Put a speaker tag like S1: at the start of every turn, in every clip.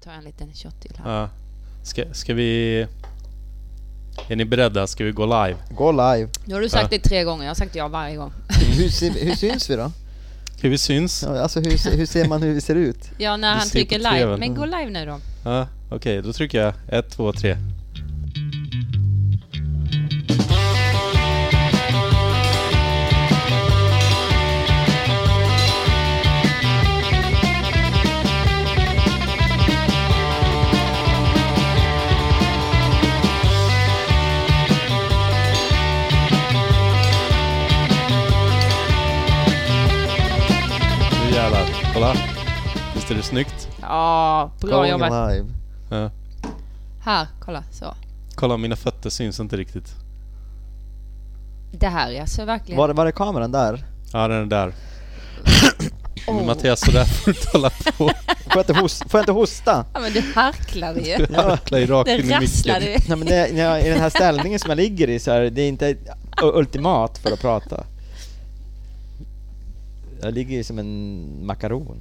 S1: tar jag en liten shot till här.
S2: Ja. Ska, ska vi... Är ni beredda? Ska vi gå live?
S3: Gå live.
S1: Nu har du sagt
S2: Ja.
S1: det tre gånger, jag har sagt ja varje gång.
S3: Hur, sy- hur syns vi då?
S2: Hur vi syns?
S3: Ja, Alltså hur, se- hur ser man hur vi ser ut?
S1: Ja, när
S2: Du
S1: han
S2: ser på
S1: trycker live.
S2: tvn. Mm.
S1: Men gå live nu då.
S2: Ja, Okej, då trycker jag. Ett, två, tre. Nu jävlar. Kolla. Visst är det snyggt?
S1: Ja, bra
S3: Going
S1: jobbat.
S3: live.
S2: Ja.
S1: Här, kolla. Så.
S2: Kolla, mina fötter syns inte riktigt.
S1: Det här är alltså verkligen...
S3: Var, var är kameran där?
S2: Ja, den är där.
S1: Åh.
S2: Men Mattias, så där får du inte hålla på.
S3: Får jag inte, host, får jag inte hosta?
S1: Ja, men du harklar ju.
S2: Du harklar ju rakt
S1: Det
S2: in i
S1: rasslar
S2: micken.
S1: ju.
S3: Nej, men när, jag- när jag, I den här ställningen som jag ligger i så är det inte u- ultimat för att prata. Jag ligger ju som en makaron.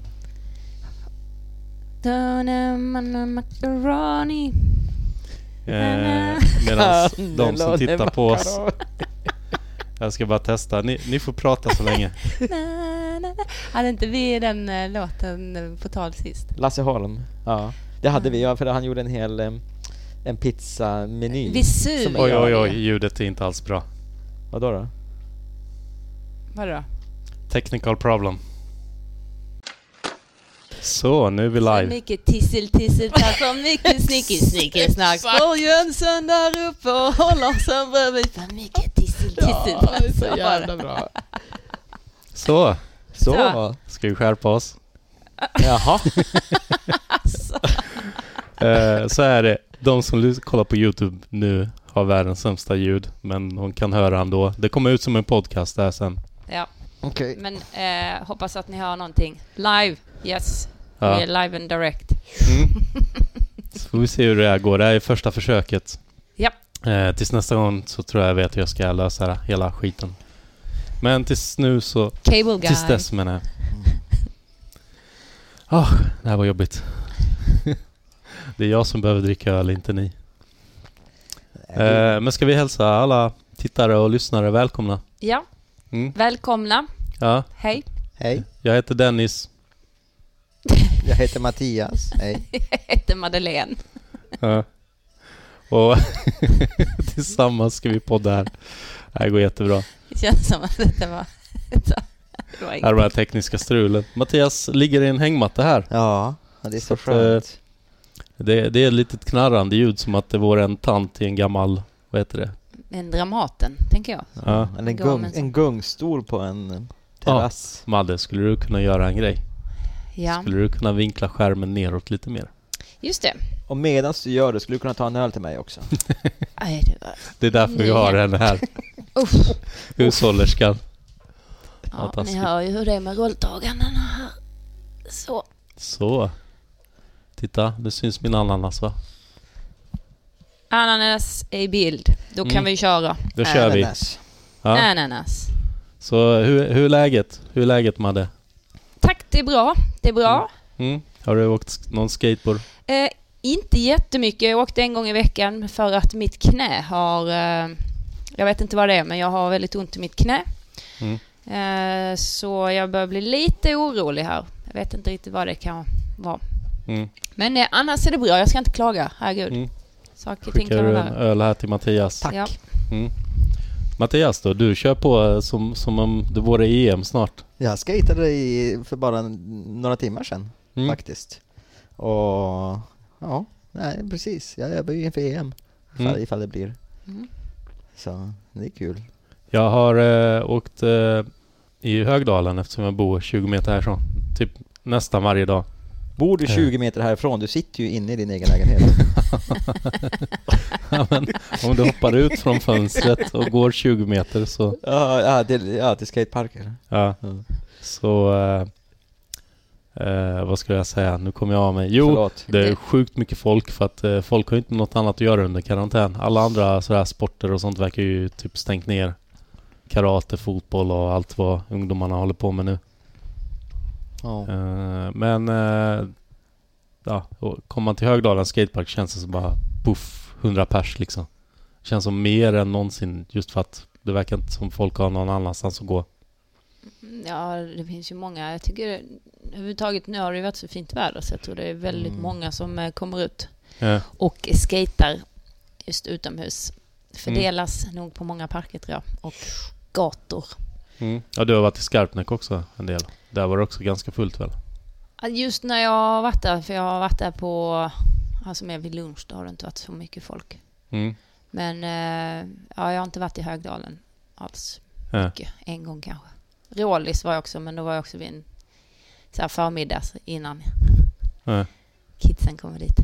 S1: Tuna, manna, macaroni.
S2: Eh, Medan de som
S3: Melon
S2: tittar på oss...
S3: makaron.
S2: Jag ska bara testa. Ni, ni får prata så länge.
S1: Na, na, na. Hade inte vi den eh, låten eh, på tal sist?
S3: Lasse Holm. Ja, det hade vi. Ja, för han gjorde en hel em, en pizzameny.
S1: Visur.
S3: Som-
S2: Oj, oj, oj. Ljudet är inte alls bra.
S3: Vadå då?
S1: Vadå?
S2: Technical problem. Så, nu är vi
S1: Så
S2: live.
S1: mycket tissel, tissel, tack så mycket snicki, snicki, snack. Står Jönsson där uppe och håller sen bredvid. För mycket tissel, tissel, alltså, tack så jävla
S3: bra.
S2: Så,
S3: Så.
S1: Så.
S2: ska vi skärpa oss?
S3: Jaha.
S2: Eh, så är det. De som lys- kollar på Youtube nu har världens sämsta ljud. Men de kan höra ändå. Det kommer ut som en podcast där sen.
S1: Ja,
S3: Okej.
S1: men eh, hoppas att ni hör någonting. Live, yes.
S2: Ja.
S1: Vi är live and direct.
S2: Så får vi se hur det här går. Det här är första försöket.
S1: Ja.
S2: Eh, tills nästa gång så tror jag jag vet hur jag ska lösa det, hela skiten. Men tills nu så...
S1: Cable guy. Mm.
S2: Tills dess menar jag. Ah, det här var jobbigt. det är jag som behöver dricka öl, inte ni. Eh, men ska vi hälsa alla tittare och lyssnare välkomna?
S1: Ja,
S2: Mm.
S1: välkomna.
S2: Ja,
S1: Hej.
S3: Hej,
S2: jag heter Dennis.
S3: jag heter Mattias. Hej.
S1: Jag heter Madeleine.
S2: Ja. Och tillsammans ska vi podda här. Det här går jättebra.
S1: Det känns som att det var... det var
S2: Här
S1: inget.
S2: var det här tekniska strulet. Mattias ligger i en hängmatta här.
S3: Ja, ja, det är
S2: Så
S3: så
S2: att, eh,
S3: skönt.
S2: Det, det är ett litet knarrande ljud som att det vore en tant i en gammal, vad heter det?
S1: Men Dramaten, tänker jag.
S2: Ja.
S3: Eller en,
S1: det var
S3: gung,
S1: men-
S3: en gungstol på en terrass.
S2: Madde, skulle du kunna göra en grej?
S1: Ja,
S2: Skulle du kunna vinkla skärmen neråt lite mer?
S1: just det.
S3: Och medan du gör det skulle du kunna ta en öl till mig också.
S1: Aj, det var...
S2: Det är därför vi
S1: Äh, Nej.
S2: har henne här.
S1: Uff.
S2: Hushållerskan. Ja,
S1: Ja, ni
S2: taskigt.
S1: hör ju hur det är med rulltagandena här. Så.
S2: Så. Titta, nu syns min ananas va?
S1: Ananas i bild. Då kan
S2: Mm.
S1: vi köra.
S2: Då kör vi.
S3: Ananas.
S2: Ja.
S1: Ananas.
S2: Så hur, hur är läget? Hur är läget Madde?
S1: Tack, det är bra. Det är bra.
S2: Mm? Har du åkt sk- någon skateboard?
S1: Eh, inte jättemycket. Jag åkte en gång i veckan för att mitt knä har... Eh, jag vet inte vad det är, men jag har väldigt ont i mitt knä.
S2: Mm.
S1: Eh, så jag börjar bli lite orolig här. Jag vet inte riktigt vad det kan vara.
S2: Mm.
S1: Men eh, annars är det bra. Jag ska inte klaga. Herregud.
S2: Mm.
S1: Saker och ting
S2: Skickar
S1: kan vara
S2: du en
S1: värre.
S2: öl här till Mattias?
S3: Tack.
S1: Ja.
S2: Mm. Mattias då, du kör på eh, som, som om det vore EM snart.
S3: Jag skejtade i, för bara n- några timmar sedan
S2: Mm.
S3: faktiskt. Och ja, nej precis. Jag övar ju inför EM. Ifall,
S2: Mm.
S3: ifall det blir.
S1: Mm.
S3: Så det är kul.
S2: Jag har eh, åkt eh, i Högdalen eftersom jag bor 20 meter härifrån. Typ nästan varje dag.
S3: Bor du
S2: Eh.
S3: 20 meter härifrån, du sitter ju inne i din egen lägenhet.
S2: Ja, Men Eh, om du hoppar ut från fönstret och går 20 meter så...
S3: ja, ja, till, ja, till skateparker.
S2: Ja,
S3: Mm.
S2: så eh, eh, vad skulle jag säga? Nu kommer jag av mig. Jo,
S3: Förlåt.
S2: det är sjukt mycket folk för att eh, folk har ju inte något annat att göra under karantän. Alla andra sådär sporter och sånt verkar ju typ stängt ner. Karate, fotboll och allt vad ungdomarna håller på med nu.
S3: Ja.
S2: Eh, Men eh, ja, och kommer man till Högdalen skatepark känns det som bara puff, 100 pers liksom. Känns som mer än någonsin just för att det verkar inte som folk har någon annanstans att gå.
S1: Ja, det finns ju många. Jag tycker överhuvudtaget, nu har det ju varit så fint väder så jag tror det är väldigt
S3: Mm.
S1: många som eh, kommer ut
S2: Ja.
S1: och skater just utomhus.
S2: Mm.
S1: Fördelas nog på många parker tror jag och gator.
S2: Mm. Ja, du har varit i Skarpnäck också en del. Där var det också ganska fullt väl?
S1: Ja, Just när jag har varit där, för jag har varit där på, alltså mer vid lunch, då har det inte varit så mycket folk.
S2: Mm.
S1: Men eh, ja, jag har inte varit i Högdalen alls
S2: Ja.
S1: mycket. En gång kanske. Rålis var jag också, men då var jag också vid en så här förmiddags innan
S2: Ja.
S1: kidsen kommer dit.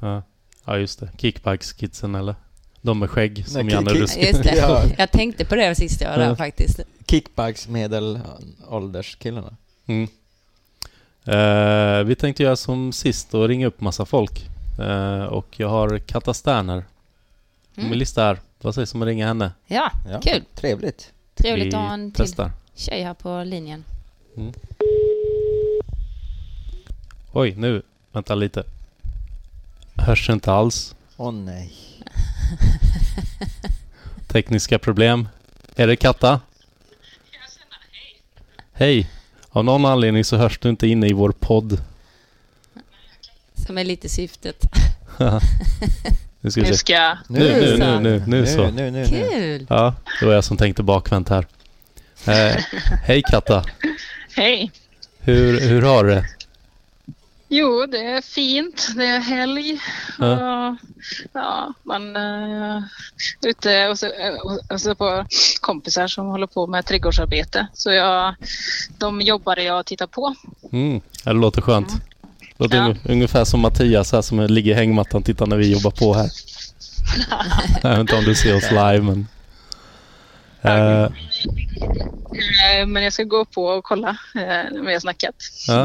S2: Ja. ja, just det. Kickbikes-kidsen eller? De med skägg som
S3: Nej,
S2: Janne
S3: kick-
S2: Rusk.
S1: Ja, Just det.
S3: Ja.
S1: Jag tänkte på det sist jag var där
S2: Ja.
S1: faktiskt.
S3: Kickbacks medelålderskillarna.
S2: Mm. Eh, vi tänkte göra som sist och ringa upp massa folk. Eh, och jag har Katta Sterner på min
S1: Mm.
S2: lista här. Vad sägs om att ringa henne?
S1: Ja,
S3: Ja.
S1: kul.
S3: Trevligt.
S1: Trevligt
S2: vi
S1: att ha en till
S2: testar.
S1: tjej här på linjen.
S2: Oj, nu. Vänta lite. Hörs inte alls.
S3: Åh nej.
S2: Tekniska problem. Är det Katta? Hej. Av någon anledning så hörs du inte inne i vår podd.
S1: Som är lite syftet.
S2: Nu ska vi
S4: Nu
S2: se.
S4: ska jag...
S2: Nu, nu, nu, nu, nu så.
S3: Nu, nu, nu, nu.
S1: Kul!
S2: Ja, det var jag som tänkte bakvänt här. Eh, hej Katta.
S4: Hej!
S2: Hur, hur har du det?
S4: Jo, det är fint. Det är helg.
S2: Ja.
S4: Och, ja, man eh, är ute och så, eh, och, och så på kompisar som håller på med trädgårdsarbete. Så jag, de jobbar jag tittar på.
S2: Mm. Ja, det låter skönt. Låter
S4: Ja.
S2: unge- ungefär som Mattias här som ligger i hängmattan och tittar när vi jobbar på här. jag vet inte om du ser oss live men... Eh,
S4: Eh, Men jag ska gå på och kolla eh, när vi har snackat.
S2: ja.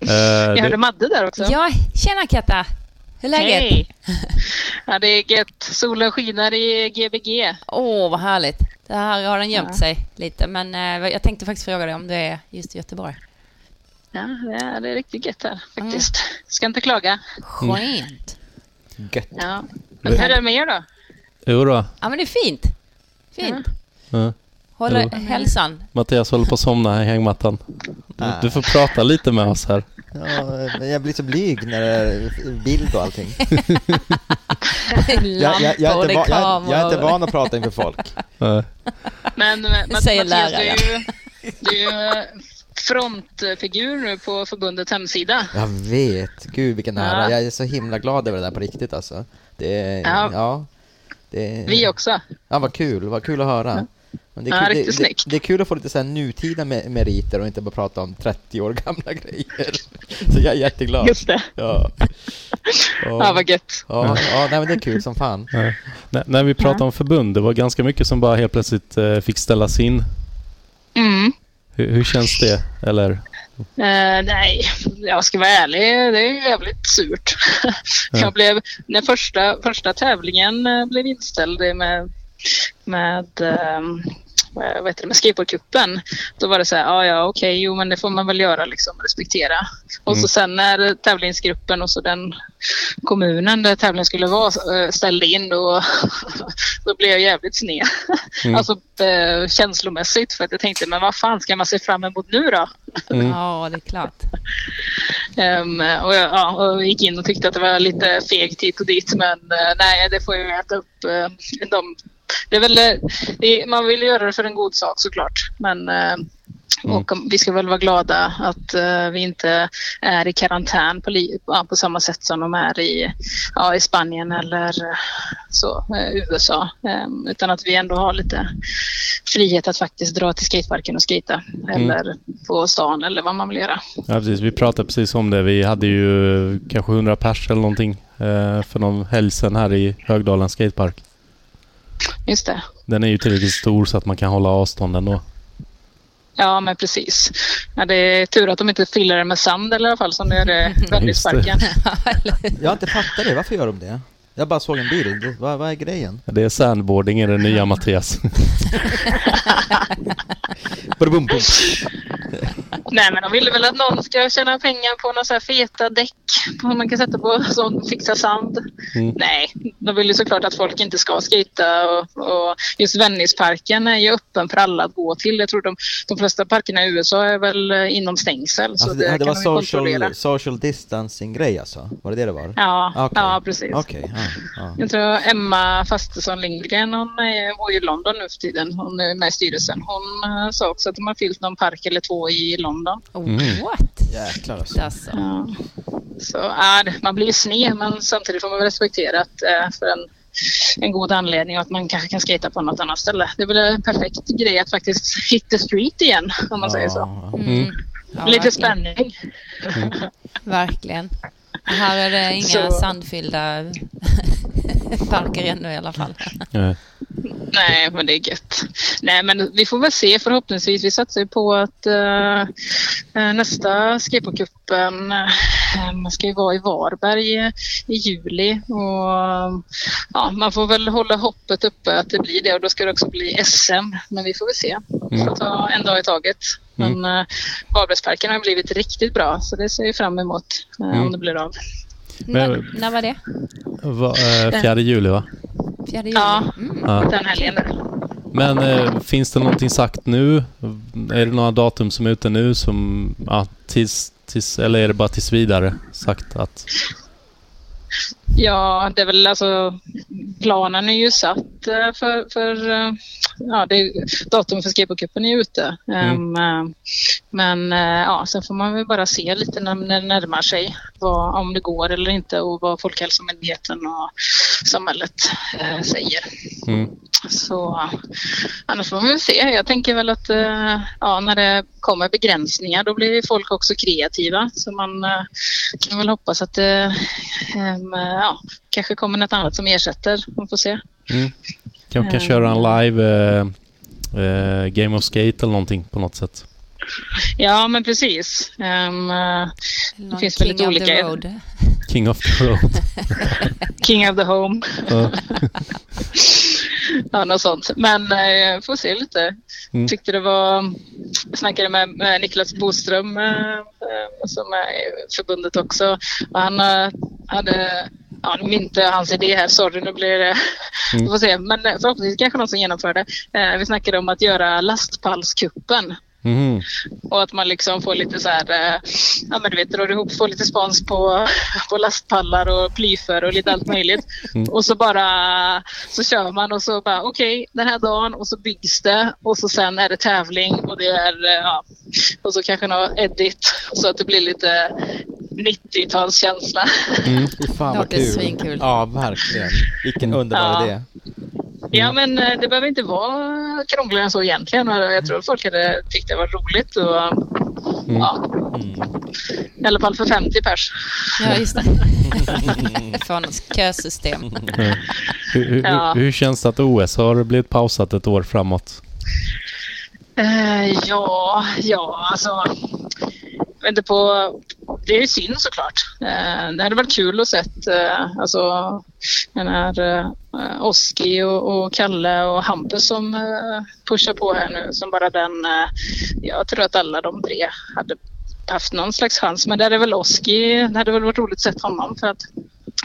S2: Eh,
S4: Jag hörde
S2: det,
S4: Madde där också.
S1: Ja, tjena Katta! Hur är läget?
S4: Hej! Ja, det är gött. Solen skiner i Gbg.
S1: Åh, vad härligt. Det här har den gömt sig lite, men eh, jag tänkte faktiskt fråga dig om det är just i Göteborg. Mm.
S4: Ja, det är, det är riktigt gött här faktiskt. Ska inte klaga.
S1: Skönt.
S3: Gött.
S4: Ja. Men hur är det med er då?
S2: jo då.
S1: Ja, men det är fint. Fint.
S2: Ja.
S1: Håller
S2: Jo.
S1: hälsan.
S2: Mattias håller på att somna i hängmattan. Du, du får prata lite med oss här.
S3: Ja, men jag blir så blyg när det är bild och allting.
S1: Lampa
S3: Jag, jag, jag, är,
S1: och
S3: inte
S1: det
S3: va-
S1: är
S3: jag, jag är inte
S1: kameror.
S3: van att prata inför folk.
S2: Eh,
S4: Men eh, Matt- Mattias, du
S1: Säger läraren.
S4: är ju, du är ju eh, frontfigur nu på förbundets hemsida.
S3: Jag vet, gud vilken ära.
S4: Ja.
S3: Jag är så himla glad över det där på riktigt alltså. Det är, ja.
S4: Ja.
S3: det är,
S1: Mm.
S4: Vi också.
S3: Ja, vad kul, vad kul att höra. Men det, är
S4: Ja,
S3: kul,
S4: riktigt
S3: det, det,
S4: snyggt.
S3: det är kul att få lite så här nutida me- meriter och inte bara prata om 30 år gamla grejer. Så jag är jätteglad.
S4: det.
S3: Ja.
S4: Ja,
S3: Ja,
S4: vad gött.
S3: ja, ja nej, men det är kul som fan.
S2: när, när vi pratade om förbund, det var ganska mycket som bara helt plötsligt eh, fick ställas in.
S4: Mm.
S2: Hur, hur känns det? Eller?
S4: Eh, nej, jag ska vara ärlig. Det är jävligt surt.
S2: Ja.
S4: Jag blev, när första, första tävlingen eh, blev inställd med, med, ehm, vad heter det, med skateboardcupen. Då var det så här, ja ja okej, jo men det får man väl göra liksom, respektera. Och
S2: Mm.
S4: så sen när tävlingsgruppen och så den kommunen där tävlingen skulle vara eh, ställde in då, då blev jag jävligt sned.
S2: Mm.
S4: Alltså eh, känslomässigt för att jag tänkte, men vad fan ska man se fram emot nu då?
S2: Mm.
S1: Ja, det är klart.
S4: Ehm, och jag ja, och gick in och tyckte att det var lite fegt hit och dit. Men eh, nej, det får ju äta upp. eh, de, det är väl, eh, det, man vill göra det för en god sak såklart. Men eh,
S1: Mm.
S4: och, vi ska väl vara glada att eh, vi inte är i karantän på, li, ja, på samma sätt som de är i, ja, i Spanien eller eh, så, eh, USA. Ehm, utan att vi ändå har lite frihet att faktiskt dra till skateparken och skita Eller på stan eller vad man vill göra.
S2: Ja, precis. Vi pratade precis om det. Vi hade ju kanske 100 pers eller någonting eh, för någon helg sedan här i Högdalen skatepark.
S4: Just det.
S2: Den är ju tillräckligt stor så att man kan hålla avstånd ändå.
S4: Ja, men precis. Ja, det är tur att de inte fyller det med sand eller i alla fall som de gör det i Vänlisparken.
S3: Jag har inte fattat det, varför gör de det? Jag bara såg en bild, vad, vad är grejen?
S2: Det är sandboarding i den nya Mattias.
S3: Badabum, bum.
S4: Nej, men de ville väl att någon ska tjäna pengar på några så här feta däck som man kan sätta på som fixar sand.
S2: Mm.
S4: Nej, de vill ju såklart att folk inte ska skita och, och just Vännisparken är ju öppen för alla att gå till. Jag tror de, de flesta parkerna i USA är väl eh, inom stängsel så
S3: Alltså,
S4: det,
S3: det, det
S4: kan
S3: var
S4: de ju kontrollera.
S3: social, social distancing-grej alltså? Var det det det var?
S4: Ja,
S3: Ah, okej.
S4: ja, precis.
S3: Okej, ja, ja.
S4: Jag tror Emma Fastesson Lindgren, hon är, bor ju i London nu för tiden. Hon är med i styrelsen. Hon eh, sa också att de har fyllt någon park eller två i London.
S2: Mm.
S1: What?
S3: Jäklar alltså.
S1: Alltså.
S4: Ja. Så ja, det- man blir ju sned men samtidigt får man väl respektera att eh, för en, en god anledning och att man kanske kan skata på något annat ställe. Det blir en perfekt grej att faktiskt hit the street igen om man säger så.
S3: Ja,
S1: Mm. Ja,
S4: Lite
S1: verkligen.
S4: spänning.
S1: Verkligen. Här är det inga
S4: Så-
S1: sandfyllda parker ännu i alla fall.
S2: Ja.
S4: Nej, men det är gött. Nej, men vi får väl se förhoppningsvis. Vi satsar ju på att eh, eh, nästa skateboardcupen eh, man ska ju vara i Varberg eh, i juli. Och, eh, ja, man får väl hålla hoppet uppe att det blir det och då ska det också bli SM. Men vi får väl se. Vi
S2: Mm.
S4: får ta en dag i taget. Men eh, Varbergsparken har blivit riktigt bra så det ser vi fram emot eh,
S2: Mm.
S4: om det blir av.
S2: Men-
S1: N- när var det?
S2: Va, eh, fjärde juli va?
S1: Fjärde juli?
S4: Ja,
S1: Mm.
S2: Ja.
S4: den helgen. där.
S2: Men eh, finns det någonting sagt nu? Är det några datum som är ute nu som... Ja, tills, tills, eller är det bara tills vidare sagt att...
S4: Ja, det är väl alltså planen är ju satt eh, för, för eh, ja, det är, datum för skateboardcupen är ju ute. Ehm, eh, Men eh, ja, sen får man väl bara se lite när när det närmar sig vad, om det går eller inte och vad Folkhälsomyndigheten och samhället eh, säger.
S2: Mm.
S4: Så annars får vi väl se. Jag tänker väl att eh, ja, när det kommer begränsningar då blir folk också kreativa. Så man eh, kan väl hoppas att det ehm, ja, kanske kommer något annat som ersätter. Man får se.
S2: Mm. Kanske kan köra en live eh, eh, Game of Skate eller någonting på något sätt.
S4: Ja, men precis. Ehm, eh,
S1: Eller någon
S4: finns väldigt
S1: King of the
S4: olika.
S1: road.
S2: King of the Road.
S4: King of the home.
S2: Ja.
S4: Ja, något sånt. Men eh, får se lite.
S2: Mm.
S4: Tyckte det var... Jag snackade med, med Niklas Boström eh, eh, som är i förbundet också. Och han eh, hade... Ja, nu är inte hans idé här. Sorry, nu blir det...
S2: Mm.
S4: Vi får se. Men eh, förhoppningsvis kanske någon som genomför det. Eh, vi snackade om att göra lastpallskuppen.
S5: Mm-hmm.
S2: Mhm.
S4: Och att man liksom får lite så här, eh, ja men du vet, drar ihop, får lite spons på, på lastpallar och plyfer och lite allt möjligt.
S2: Mm.
S4: Och så bara, så kör man och så bara okej, den här dagen och så byggs det och så sen är det tävling och det är, eh, ja, och så kanske någon edit så att det blir lite 90-talskänsla.
S2: Mm.
S3: Fy fan vad
S1: Låter
S3: kul.
S1: svinkul.
S3: Ja, verkligen. Vilken underbar
S4: Ja.
S3: idé.
S4: Ja men eh, det behöver inte vara krångligare än så egentligen. Och Jag tror folk hade tyckt det var roligt och
S2: Mm.
S4: ja, i alla fall för 50 pers.
S1: Ja, just det. Från något kösystem.
S2: Ja. Hur, hur,
S4: Ja.
S2: hur, hur känns det att OS har blivit pausat ett år framåt?
S4: Eh, ja, ja, alltså. jag vet inte på, det är ju synd såklart. Eh, det hade varit kul att sett eh, alltså, den här eh, Oski och, och Kalle och Hampus som eh, pushar på här nu. Som bara den, eh, jag tror att alla de tre hade haft någon slags chans. Men det hade väl Oski, det hade väl varit roligt att sett honom. För att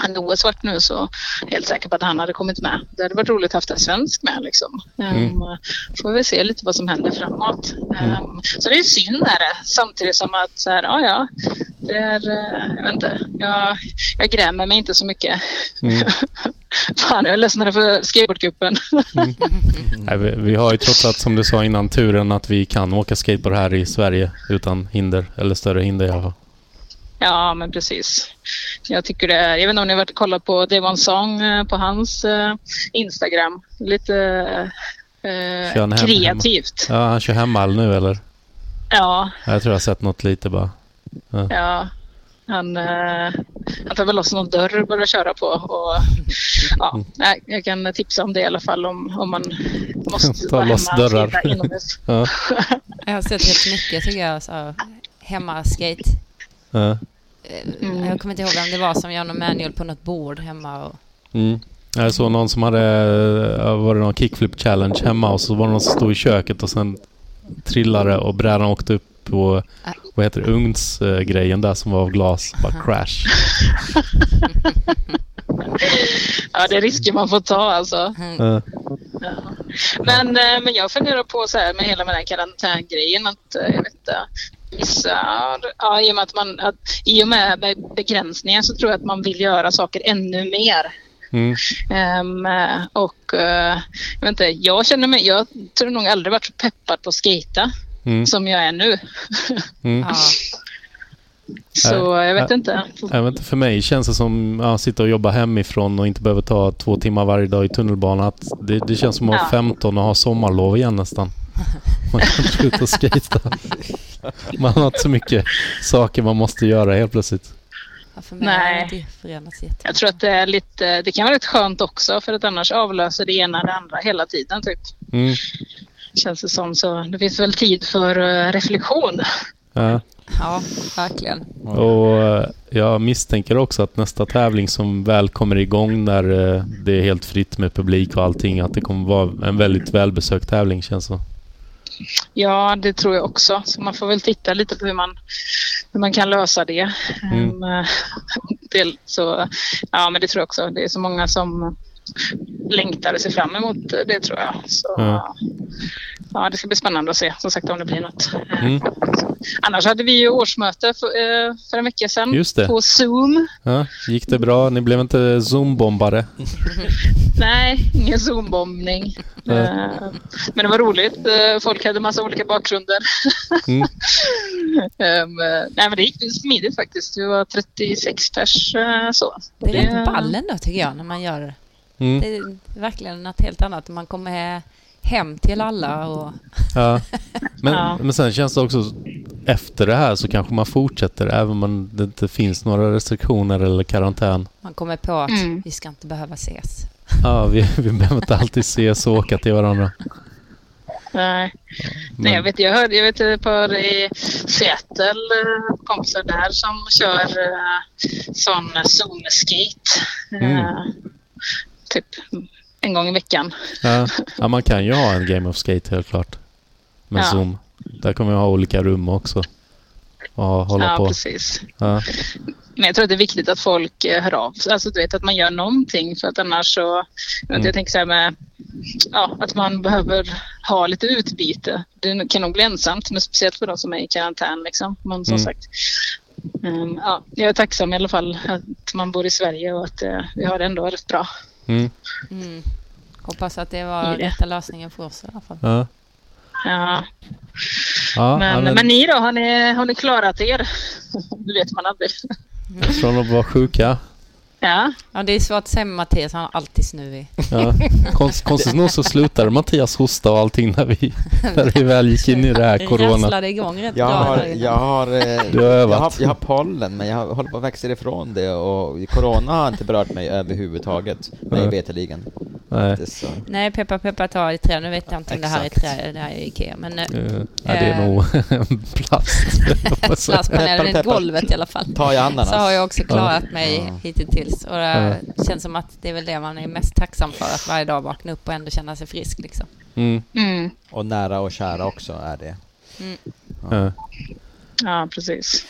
S4: hade OS varit nu så är jag helt säker på att han hade kommit med. Det hade varit roligt att haft en svensk med. Liksom.
S2: Mm.
S4: Ehm, får vi se lite vad som händer framåt. Ehm, så det är synd är det. Samtidigt som att så här, ja, ja, det är, eh, jag, vet inte, jag, jag grämer mig inte så mycket.
S2: Mm.
S4: Fan, jag är ledsen för skateboardcupen.
S2: Mm. Nej, vi, vi har ju trots allt, som du sa innan, turen att vi kan åka skateboard här i Sverige utan hinder, eller större hinder i alla fall.
S4: Ja, men precis. Jag tycker det är, jag vet inte om ni har varit och kollat på Devon Song eh, på hans eh, Instagram. Lite eh,
S2: Kör han hem-
S4: kreativt.
S2: Ja, han kör hemmall nu eller?
S4: Ja,
S2: Ja, Jag tror jag har sett något lite bara.
S4: ja. Han, eh, han tar väl loss någon dörr och börjar köra på. Och, ja,
S2: Mm.
S4: nej, jag kan tipsa om det i alla fall om, om man måste
S2: Ta
S4: vara
S2: loss
S4: hemma och
S2: dörrar.
S4: sitta inomhus.
S2: Ja,
S1: Jag har sett rätt mycket tycker jag. Så. Hemma skate.
S2: ja.
S4: Mm.
S1: Jag kommer inte ihåg vem det var som gör någon manual på något bord hemma. Och...
S2: Mm. Jag såg någon som hade, ja, var det någon kickflip challenge hemma och så var det någon som stod i köket och sen trillade och brädan åkte upp på,
S1: Ah.
S2: vad heter det, ugnsgrejen där som var av glas. Bara crash.
S4: Ja, det är risker man får ta alltså.
S2: Eh,
S4: Men, eh, men jag funderar på så här med hela den här karantängrejen att eh, jag vet inte, vissa, ja, i och med att man, att, i och med be- begränsningar så tror jag att man vill göra saker ännu mer.
S2: mm.
S4: Ehm, eh, och eh, jag vet inte, jag känner mig, jag tror nog aldrig varit så peppad på att skata
S2: Mm.
S4: som jag är nu.
S2: Mm.
S1: Ja.
S4: så jag vet
S2: Nej.
S4: inte.
S2: Jag vet inte, för mig känns det som att sitta och jobba hemifrån och inte behöva ta två timmar varje dag i tunnelbanan. Att det, det känns som att vara
S4: Ja.
S2: 15 och ha sommarlov igen nästan. Man kan inte ut och skejta. Man har inte så mycket saker man måste göra helt plötsligt.
S1: Ja, för mig
S4: Nej.
S1: har det inte förändrats jättemycket.
S4: Jag tror att det är lite, det kan vara rätt skönt också för att annars avlöser det ena det andra hela tiden typ.
S2: Mm.
S4: Känns det som så. Det finns väl tid för eh, reflektion.
S2: Ja.
S1: Ja, verkligen.
S2: Och eh, jag misstänker också att nästa tävling som väl kommer igång när eh, det är helt fritt med publik och allting, att det kommer vara en väldigt välbesökt tävling känns det
S4: Ja, det tror jag också. Så man får väl titta lite på hur man, hur man kan lösa det.
S2: Mm.
S4: Ehm, eh, del, så, ja, men det tror jag också. Det är så många som längtar och ser fram emot det tror jag. Så,
S2: Ja.
S4: ja. det ska bli spännande att se som sagt om det blir något.
S2: Mm.
S4: Annars hade vi ju årsmöte för, eh, för en vecka sedan
S2: Just det.
S4: på Zoom.
S2: Ja, gick det bra? Ni blev inte zoombombare?
S4: Mm-hmm. Nej, ingen Zoom-bombning.
S2: Nej.
S4: Eh, Men det var roligt. Eh, Folk hade massa olika bakgrunder.
S2: Mm.
S4: Ehm, eh, Nej, men det gick smidigt faktiskt. Vi var 36 pers. eh, Så.
S1: Det är
S4: Ja.
S1: rätt ballen då tycker jag när man gör det.
S2: Mm.
S1: Det är verkligen något helt annat. Man kommer he- hem till alla och...
S2: Ja. Men,
S4: Ja.
S2: men sen känns det också efter det här så kanske man fortsätter även om det inte finns några restriktioner eller karantän.
S1: Man kommer på att
S4: Mm.
S1: vi ska inte behöva ses.
S2: Ja, vi, vi behöver inte alltid ses och åka till varandra.
S4: Nej.
S2: Men,
S4: Nej, jag vet, jag hörde, jag vet ett par i Seattle, eh, kompisar där som kör eh, sån Zoom-skate.
S2: Mm.
S4: eh, Typ en gång i veckan.
S2: ja, ja, man kan ju ha en Game of Skate helt klart. Med
S4: Ja.
S2: Zoom. Där kommer jag ha olika rum också. Och ha- hålla
S4: ja,
S2: på.
S4: precis.
S2: Ja.
S4: Men jag tror att det är viktigt att folk eh, hör av sig. Alltså du vet att man gör någonting för att annars så... jag vet
S2: Mm.
S4: Jag tänker så här med... Ja, att man behöver ha lite utbyte. Det kan nog bli ensamt, men speciellt för de som är i karantän liksom. Men som
S2: Mm.
S4: sagt. ehm, ja, jag är tacksam i alla fall att man bor i Sverige och att eh, vi har det ändå rätt bra.
S2: Mm.
S1: Mm. Hoppas att det var
S4: Det är det.
S1: rätta lösningen för oss i alla fall.
S2: Ja.
S4: Ja,
S2: Ja,
S4: men,
S2: ja,
S4: men...
S2: men
S4: ni då, har ni, har ni klarat er? Det vet man aldrig.
S2: Från att vara sjuka.
S4: Ja,
S1: Ja, det är svårt att säga med Mattias, han är alltid snuvig.
S2: Ja. Konst, konstigt nog så slutade Mattias hosta och allting när vi, när vi väl gick in i det här corona.
S1: Rasslade igång rätt
S3: Jag
S1: bra.
S3: har,
S1: där.
S3: jag har, eh,
S2: Du har övat.
S3: Jag har, jag har pollen, men jag håller på att växa ifrån det och corona har inte berört mig överhuvudtaget, mig
S2: Nej.
S3: veterligen.
S2: Nej.
S3: Det är så.
S1: Nej, peppa peppa ta i trä. Nu vet jag inte om det här är
S3: Exakt.
S1: trä, det här är Ikea. Men eh,
S2: Eh, ja, det är nog plast.
S1: plastpanelen
S3: Peppa,
S1: i
S3: peppa.
S1: golvet i alla fall.
S3: Ta jag ananas?
S1: Så har jag också klarat mig
S3: Ja.
S1: hittills. Och eh, det känns som att det är väl det man är mest tacksam för. Att varje dag vakna upp och ändå känna sig frisk liksom.
S2: Mm,
S4: mm.
S3: Och nära och kära också är det.
S2: eh.
S4: ja precis.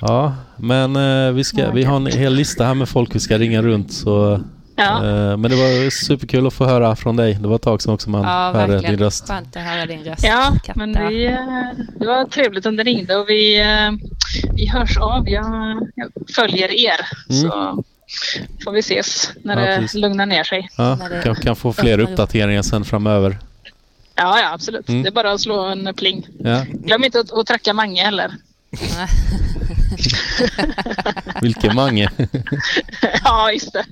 S2: Ja, men eh, vi, ska, vi har en hel lista här med folk vi ska ringa runt. Så, eh,
S4: Ja,
S2: men det var superkul att få höra från dig. Det var ett tag sedan också man
S1: Ja,
S2: hörde
S1: verkligen.
S2: din röst.
S1: Skönt att höra din röst.
S4: Ja,
S1: Katta.
S4: men vi, eh, det var trevligt att ni ringde och vi, eh, vi hörs av. Jag, jag följer er
S2: Mm.
S4: så får vi ses när
S2: Ja,
S4: det
S2: precis.
S4: lugnar ner sig.
S2: Ja,
S1: När det-
S2: kanske kan få fler
S1: Öppnar upp.
S2: uppdateringar sen framöver.
S4: Ja, ja absolut.
S2: Mm.
S4: Det är bara att slå en pling.
S2: Ja,
S4: Glöm inte att, att tracka Mange heller.
S2: vilken mange.
S4: ja, just det.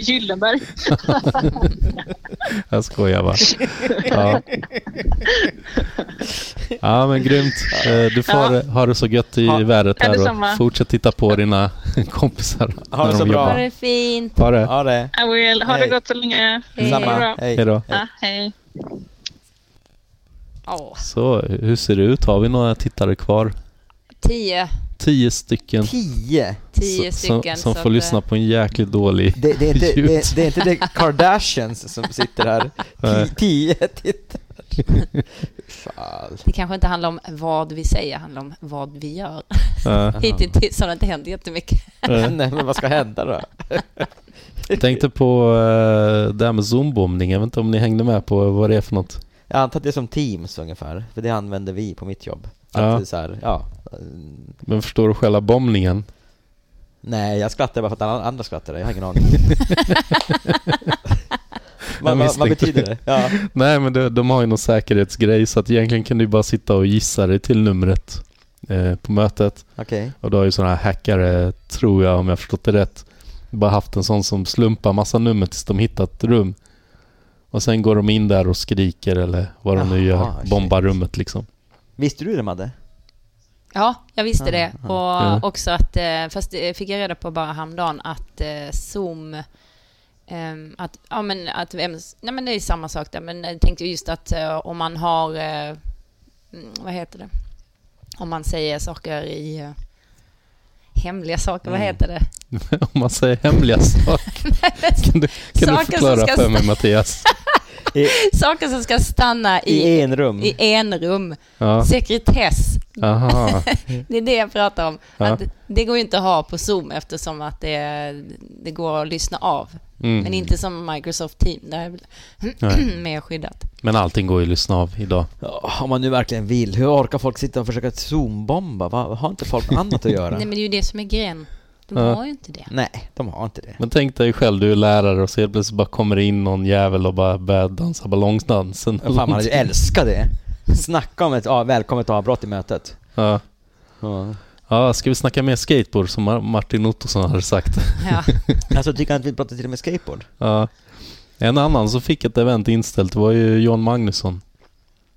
S4: Gyllenberg.
S2: Jag skojar bara. Ja, ja men grymt. Eh, Du får
S4: Ja.
S2: ha det så gött i
S3: Ha-
S2: vädret
S4: Ja,
S2: här
S4: detsamma.
S2: och fortsätt titta på dina kompisar.
S3: Ha det
S2: när
S3: så
S2: de
S3: bra.
S1: Ha
S2: jobbar.
S1: det fint.
S2: Ha det.
S3: Ja, det.
S4: I will. Ha det
S3: Hej.
S4: gott så länge.
S1: Hej.
S4: Ha det
S3: Samma.
S4: bra.
S2: Hej då.
S4: Ja, hej.
S1: Åh,
S2: Så, hur ser det ut? Har vi några tittare kvar?
S1: tio.
S2: Tio stycken.
S3: Tio!
S2: som-
S1: Tio
S2: Som,
S1: stycken. så
S2: som
S1: att,
S2: får
S1: eh,
S2: lyssna på en jäkligt dålig...
S3: Det, det, är inte,
S2: Ljud.
S3: det, det är inte det Kardashians som sitter här.
S2: Nej.
S3: Ti- Tio tittare.
S6: Fan.
S1: Det kanske inte handlar om vad vi säger, det handlar om vad vi gör.
S2: Ja.
S1: Hittills har det inte hänt jättemycket.
S2: Eh,
S6: Nej men vad ska hända då?
S2: Tänkte på eh, det här med zoombombning. Jag vet inte om ni hängde med på vad det är för något.
S6: Jag antar att det är som Teams ungefär, för det använder vi på mitt jobb. Att
S2: Ja.
S6: det är så här, ja. mm,
S2: Men förstår du själva bombningen?
S6: Nej, jag skrattar bara för att alla andra skrattar. Jag har ingen aning.
S2: Jag
S6: vad, vad, vad
S2: misstänkte
S6: betyder det? Ja.
S2: Nej, men det, de har ju någon säkerhetsgrej så att egentligen kan du bara sitta och gissa dig till numret eh, på mötet.
S6: Okej.
S2: Och då har ju sådana här hackare, tror jag om jag har förstått det rätt, bara haft en sån som slumpar massa nummer tills de hittat ett rum. Och sen går de in där och skriker eller vad de nu
S6: Jaha,
S2: gör, bombar
S6: shit.
S2: rummet liksom.
S6: Visste du det Madde?
S1: Ja, jag visste det.
S6: Ja,
S2: ja. Ja.
S1: Och också att, eh, fast det fick jag reda på bara häromdagen, att eh, Zoom, ehm, att, ja men att, vem- nej men det är ju samma sak där, men jag tänkte just att eh, om man har, eh, mm, vad heter det, om man säger saker i, eh, hemliga saker,
S2: Mm.
S1: vad heter det?
S2: Om man säger hemliga saker. Kan du, kan du
S1: Saker som
S2: förklara
S1: ska
S2: för mig Mattias?
S6: I,
S1: Saker som ska stanna i,
S6: i en rum?
S1: i en rum.
S2: Ja,
S1: Sekretess,
S2: aha.
S1: Det är det jag pratar om.
S2: Ja.
S1: Att det går ju inte att ha på Zoom eftersom att det, det går att lyssna av.
S2: Mm.
S1: Men inte som Microsoft Team, där är
S2: Nej.
S1: det mer skyddat.
S2: Men allting går ju att lyssna av idag.
S6: Ja, om man nu verkligen vill. Hur orkar folk sitta och försöka zoombomba? Va? Har inte folk annat att göra?
S1: Nej, men det är ju det som är grejen. De
S2: Ja.
S1: har ju inte det.
S6: Nej, de har inte det.
S2: Men tänk dig själv, du är lärare och så helt plötsligt bara kommer det in någon jävel och bara börjar dansa ballongdansen.
S6: Fan, man hade ju älskat det. Snacka om ett ah, välkommet avbrott i mötet.
S2: ja.
S6: Ja.
S2: ja, ska vi snacka mer skateboard som Mar- Martin Ottosson hade sagt?
S1: Ja.
S6: Alltså, tycker han att vi pratar till och med skateboard?
S2: Ja. En annan som fick ett event inställt var ju John Magnusson.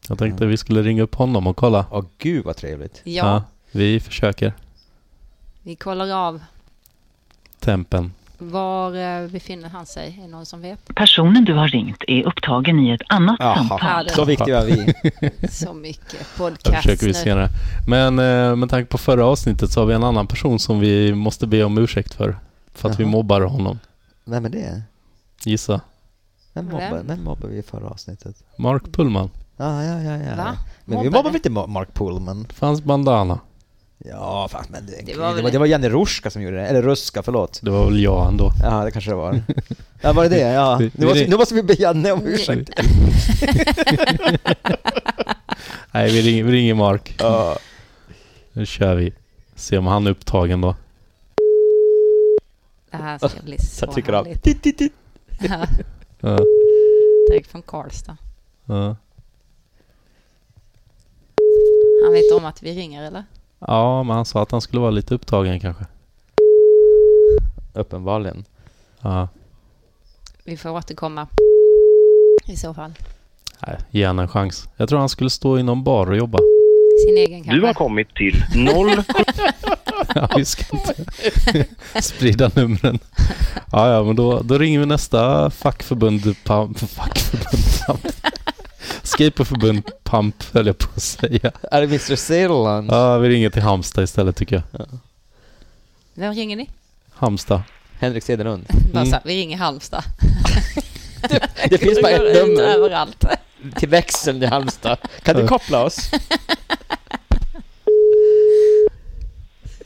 S2: Jag tänkte vi skulle ringa upp honom och kolla.
S6: Åh gud vad trevligt.
S1: ja,
S2: vi försöker.
S1: vi kollar av.
S2: Tempen.
S1: Var eh, befinner han sig? Är det någon som vet?
S4: Personen du har ringt är upptagen i ett annat
S6: Jaha,
S4: samtal.
S6: så viktiga var vi.
S1: Så mycket
S2: Det
S1: podcast
S2: försöker vi
S1: nu.
S2: senare. Men eh, med tanke på förra avsnittet så har vi en annan person som vi måste be om ursäkt för. För att vi
S6: Jaha.
S2: mobbar honom.
S6: Vem är det?
S2: Gissa.
S6: Vem mobbar,
S1: Vem?
S6: vem mobbar vi i förra avsnittet?
S2: Mark Pullman.
S6: Ja, ja, ja, ja.
S1: Va?
S6: Men vi
S1: Mobbar
S6: mobbar väl
S1: vi?
S6: inte Ma- Mark Pullman?
S2: Fanns bandana.
S6: Ja, fan, men det,
S1: Det
S6: det,
S1: var
S6: var
S1: väl-
S6: det, var, det var Janne Ruska som gjorde det, eller Ruska, förlåt.
S2: Det var väl jag ändå.
S6: Ja, det kanske det var. Ja, var det det? Ja.
S2: Det-
S6: Nu, måste,
S2: det-
S6: nu måste vi be Janne om ursäkt.
S2: Nej, vi ringer, vi ringer Mark.
S6: Ja.
S2: Nu kör vi. Se om han är upptagen då.
S1: Det här ska bli så
S6: Jag trycker av.
S1: härligt.
S6: Titt, titt, titt.
S1: Ja,
S2: Ja,
S1: direkt från Karlstad.
S2: ja.
S1: Han vet om att vi ringer, eller?
S2: ja, men han sa att han skulle vara lite upptagen kanske.
S6: Uppenbarligen.
S2: Ja.
S1: Vi får återkomma i så fall.
S2: Nej, ge han en chans. Jag tror han skulle stå i någon bar och jobba.
S1: Sin egen kanske.
S5: Du har kommit till 0,
S2: Ja, vi ska inte sprida numren. Ja, ja, men då, då ringer vi nästa fackförbund... Pam, fackförbund pamp. Skaterförbund Pamp, höll jag på att säga.
S6: Är det Mr. Sederland?
S2: Ja, vi ringer till Halmstad istället tycker jag.
S1: Vem ringer ni?
S2: Halmstad.
S6: Henrik Sederlund.
S1: Bara
S2: Mm.
S1: så här, vi ringer Halmstad.
S6: Det finns bara
S1: Går
S6: ett
S1: ut
S6: nummer
S1: Överallt.
S6: till växeln i Halmstad. Kan du koppla oss?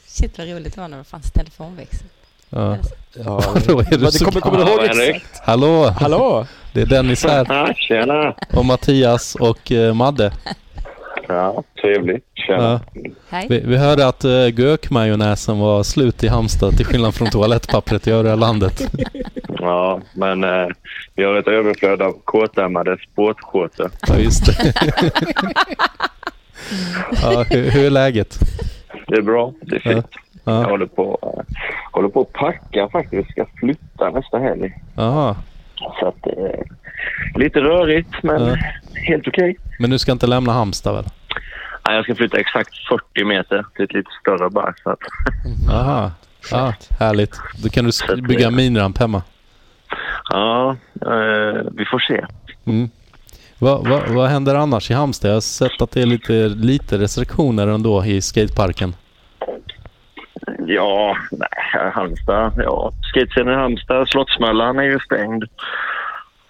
S1: Shit vad roligt det var när det fanns telefonväxel.
S2: Ja.
S6: Ja.
S2: Då är du
S6: Vad, du
S2: så
S6: kommer, kommer du
S5: glad?
S6: ihåg
S5: Ja, Henrik.
S6: exakt?
S2: Hallå!
S6: Hallå?
S2: Det är Dennis här
S5: Ja, tjena.
S2: och Mattias och eh, Madde.
S5: Ja, trevligt.
S2: Ja.
S5: Tjena.
S1: Hej.
S2: Vi, vi hörde att uh, gökmajonnäsen var slut i Halmstad till skillnad från toalettpappret i övriga landet.
S5: Ja, men eh, vi har ett överflöd av kåtärmade sportshortar.
S2: Ja, just det. ja, hur, hur är läget?
S5: Det är bra. Det är fint. Jag
S2: Ja.
S5: håller på, eh, håller på att packa faktiskt. Vi ska flytta nästa helg.
S2: Aha.
S5: Så att, eh, lite rörigt, men
S2: Ja.
S5: helt okej.
S2: Men du ska inte lämna Halmstad väl?
S5: Ja, jag ska flytta exakt 40 meter till ett lite större bar. Så att,
S2: Aha. Ja, härligt. Då kan du s-
S5: Skönt.
S2: bygga en miniramp hemma.
S5: ja, eh, vi får se.
S2: Mm. Vad, vad, vad händer annars i Halmstad? Jag har sett att det är lite, lite restriktioner ändå i skateparken.
S5: Ja, nej, Halmstad. Ja. Skatescenen i Halmstad, Slottsmöllan är ju stängd.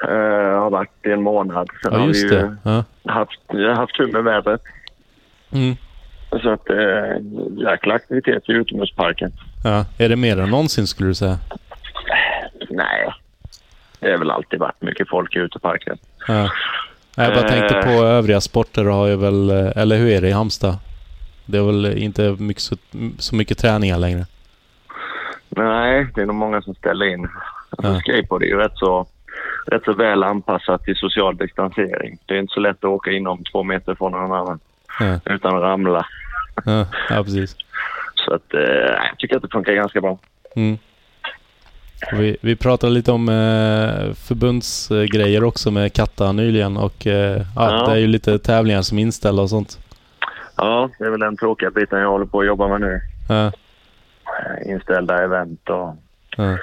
S5: Eh, har varit i en månad. Sen
S2: Ja,
S5: har vi
S2: just
S5: ju
S2: det. Ja.
S5: haft, jag har haft tur med vädret.
S2: Mm.
S5: Så att det är en jäkla aktivitet i utomhusparken.
S2: Ja. Är det mer än någonsin skulle du säga?
S5: Nej, det har väl alltid varit mycket folk i uteparken.
S2: Ja. Nej, Jag bara
S5: Eh.
S2: tänkte på övriga sporter har jag väl... eh, Eller hur är det i Halmstad? Det är väl inte mycket, så, så mycket träningar längre?
S5: Nej, det är nog många som ställer in. Alltså,
S2: Ja.
S5: Skateboard är ju rätt så, rätt så väl anpassat till social distansering. Det är inte så lätt att åka inom två meter från någon annan
S2: Ja.
S5: utan att ramla.
S2: Ja, ja precis.
S5: Så att, eh, jag tycker att det funkar ganska bra.
S2: Mm. Och Vi, vi pratade lite om eh, förbundsgrejer också med Katta nyligen och eh, ja.
S5: Ja.
S2: det är ju lite tävlingar som är inställda och sånt.
S5: Ja, det är väl den tråkiga biten jag håller på att jobba med nu.
S2: Ja,
S5: Eh, Inställda event och
S2: ja,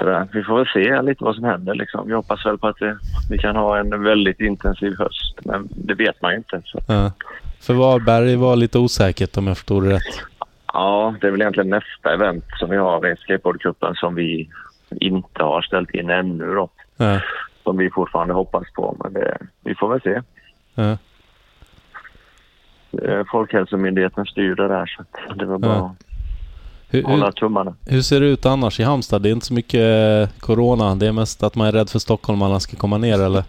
S5: sådär. Vi får väl se lite vad som händer. Liksom. Vi hoppas väl på att det, vi kan ha en väldigt intensiv höst, men det vet man ju inte. Så.
S2: ja. För Varberg var lite osäkert om jag förstod det rätt.
S5: Ja, det är väl egentligen nästa event som vi har i skateboardcupen som vi inte har ställt in ännu då.
S2: Ja,
S5: Som vi fortfarande hoppas på, men det, vi får väl se.
S2: ja,
S5: Eh, Folkhälsomyndigheten styr det där, så att det var bara
S2: Ja. Hur,
S5: att hålla
S2: hur,
S5: tummarna.
S2: hur ser det ut annars i Halmstad? Det är inte så mycket eh, corona. Det är mest att man är rädd för stockholmarna ska komma ner eller?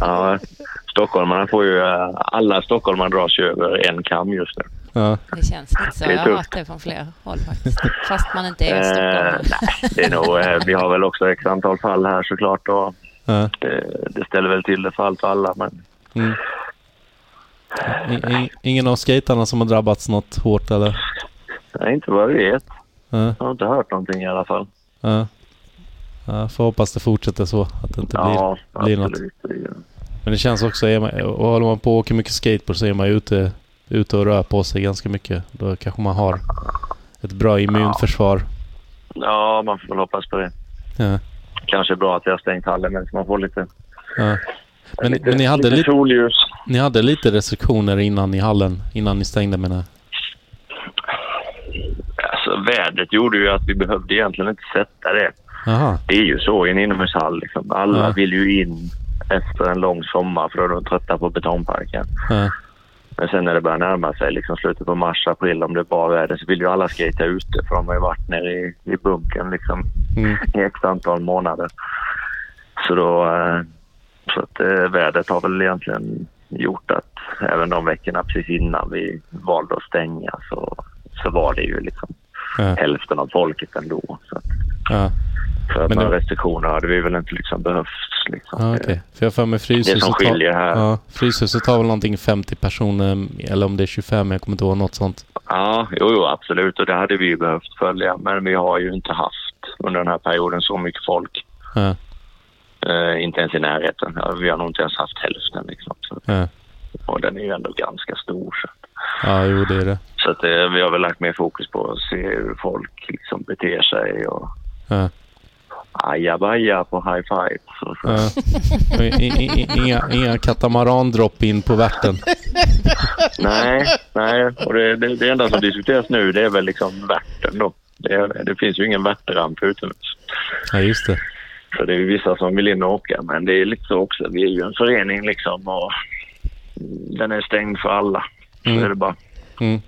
S5: Ja, stockholmarna får ju... eh, Alla stockholmare dras ju över en kam just nu.
S2: Ja,
S1: Det känns lite så.
S5: Det är
S1: Jag har
S5: tufft.
S1: hört det från flera håll faktiskt. Fast man inte är
S5: Eh,
S1: stockholmare.
S5: nej, det är nog, eh, vi har väl också ett antal fall här såklart. Och
S2: ja.
S5: det, det ställer väl till det för allt och alla. Men
S2: Mm. I, i, ingen av skaterna som har drabbats något hårt eller?
S5: nej, inte vad jag vet.
S2: Ja.
S5: Jag har inte hört någonting i alla fall.
S2: Ja. ja. Får hoppas det fortsätter så. Att det inte
S5: ja,
S2: blir, blir något.
S5: absolut. Det är ju-
S2: Men det känns också, är man, och håller man på och åker mycket skateboard så är man ju ute, ute och rör på sig ganska mycket. Då kanske man har ett bra immunförsvar.
S5: Ja, man får väl hoppas på det.
S2: Ja.
S5: Kanske är bra att jag har stängt hallen men så man får lite,
S2: Ja. Men,
S5: lite,
S2: men ni, hade
S5: lite
S2: lite,
S5: solljus.
S2: ni hade lite restriktioner innan i hallen, innan ni stängde menar jag.
S5: Alltså, vädret gjorde ju att vi behövde egentligen inte sätta det.
S2: Jaha,
S5: Det är ju så i en inomhushall. Liksom. Alla
S2: Ja.
S5: vill ju in efter en lång sommar för då är de trötta på betongparken.
S2: ja.
S5: Men sen när det börjar närma sig liksom slutet på mars, april om det är bra väder så vill ju alla skejta ute för de har ju varit nere i, i bunkern liksom
S2: Mm.
S5: i x antal månader. Så då... eh, Så att eh, vädret har väl egentligen gjort att även de veckorna precis innan vi valde att stänga så, så var det ju liksom
S2: Ja.
S5: hälften av folket ändå. Så att
S2: Ja.
S5: för att
S2: Men
S5: några
S2: det-
S5: restriktioner hade vi väl inte liksom behövt. Liksom.
S2: Ja, okej. För jag har för mig Fryshuset...
S5: som
S2: tar-
S5: skiljer här.
S2: Ja, Fryshuset tar väl någonting 50 personer, eller om det är 25, jag kommer inte ihåg något sånt.
S5: Ja, jo, jo, absolut. Och det hade vi ju behövt följa. Men vi har ju inte haft under den här perioden så mycket folk.
S2: Ja,
S5: Eh, inte ens i närheten. Ja, Vi har nog inte ens haft hälften. Liksom. Så,
S2: ja.
S5: och den är ju ändå ganska stor. Så,
S2: ja jo det är det.
S5: så att, eh, vi har väl lagt mer fokus på att se hur folk liksom beter sig och
S2: Ja.
S5: ajabaja på high five. Så, så.
S2: Ja. Och i- i- i- Inga, inga katamarandropp in på värten.
S5: Nej, nej. Och det, det, det enda som diskuteras nu det är väl liksom värten då. Det, det finns ju ingen värtramp utomhus.
S2: Ja, just det.
S5: Så det är ju vissa som vill in och åka, men det är lite så också. Vi är ju en förening liksom och den är stängd för alla.
S2: Mm.
S5: Så är det bara.
S2: Mm.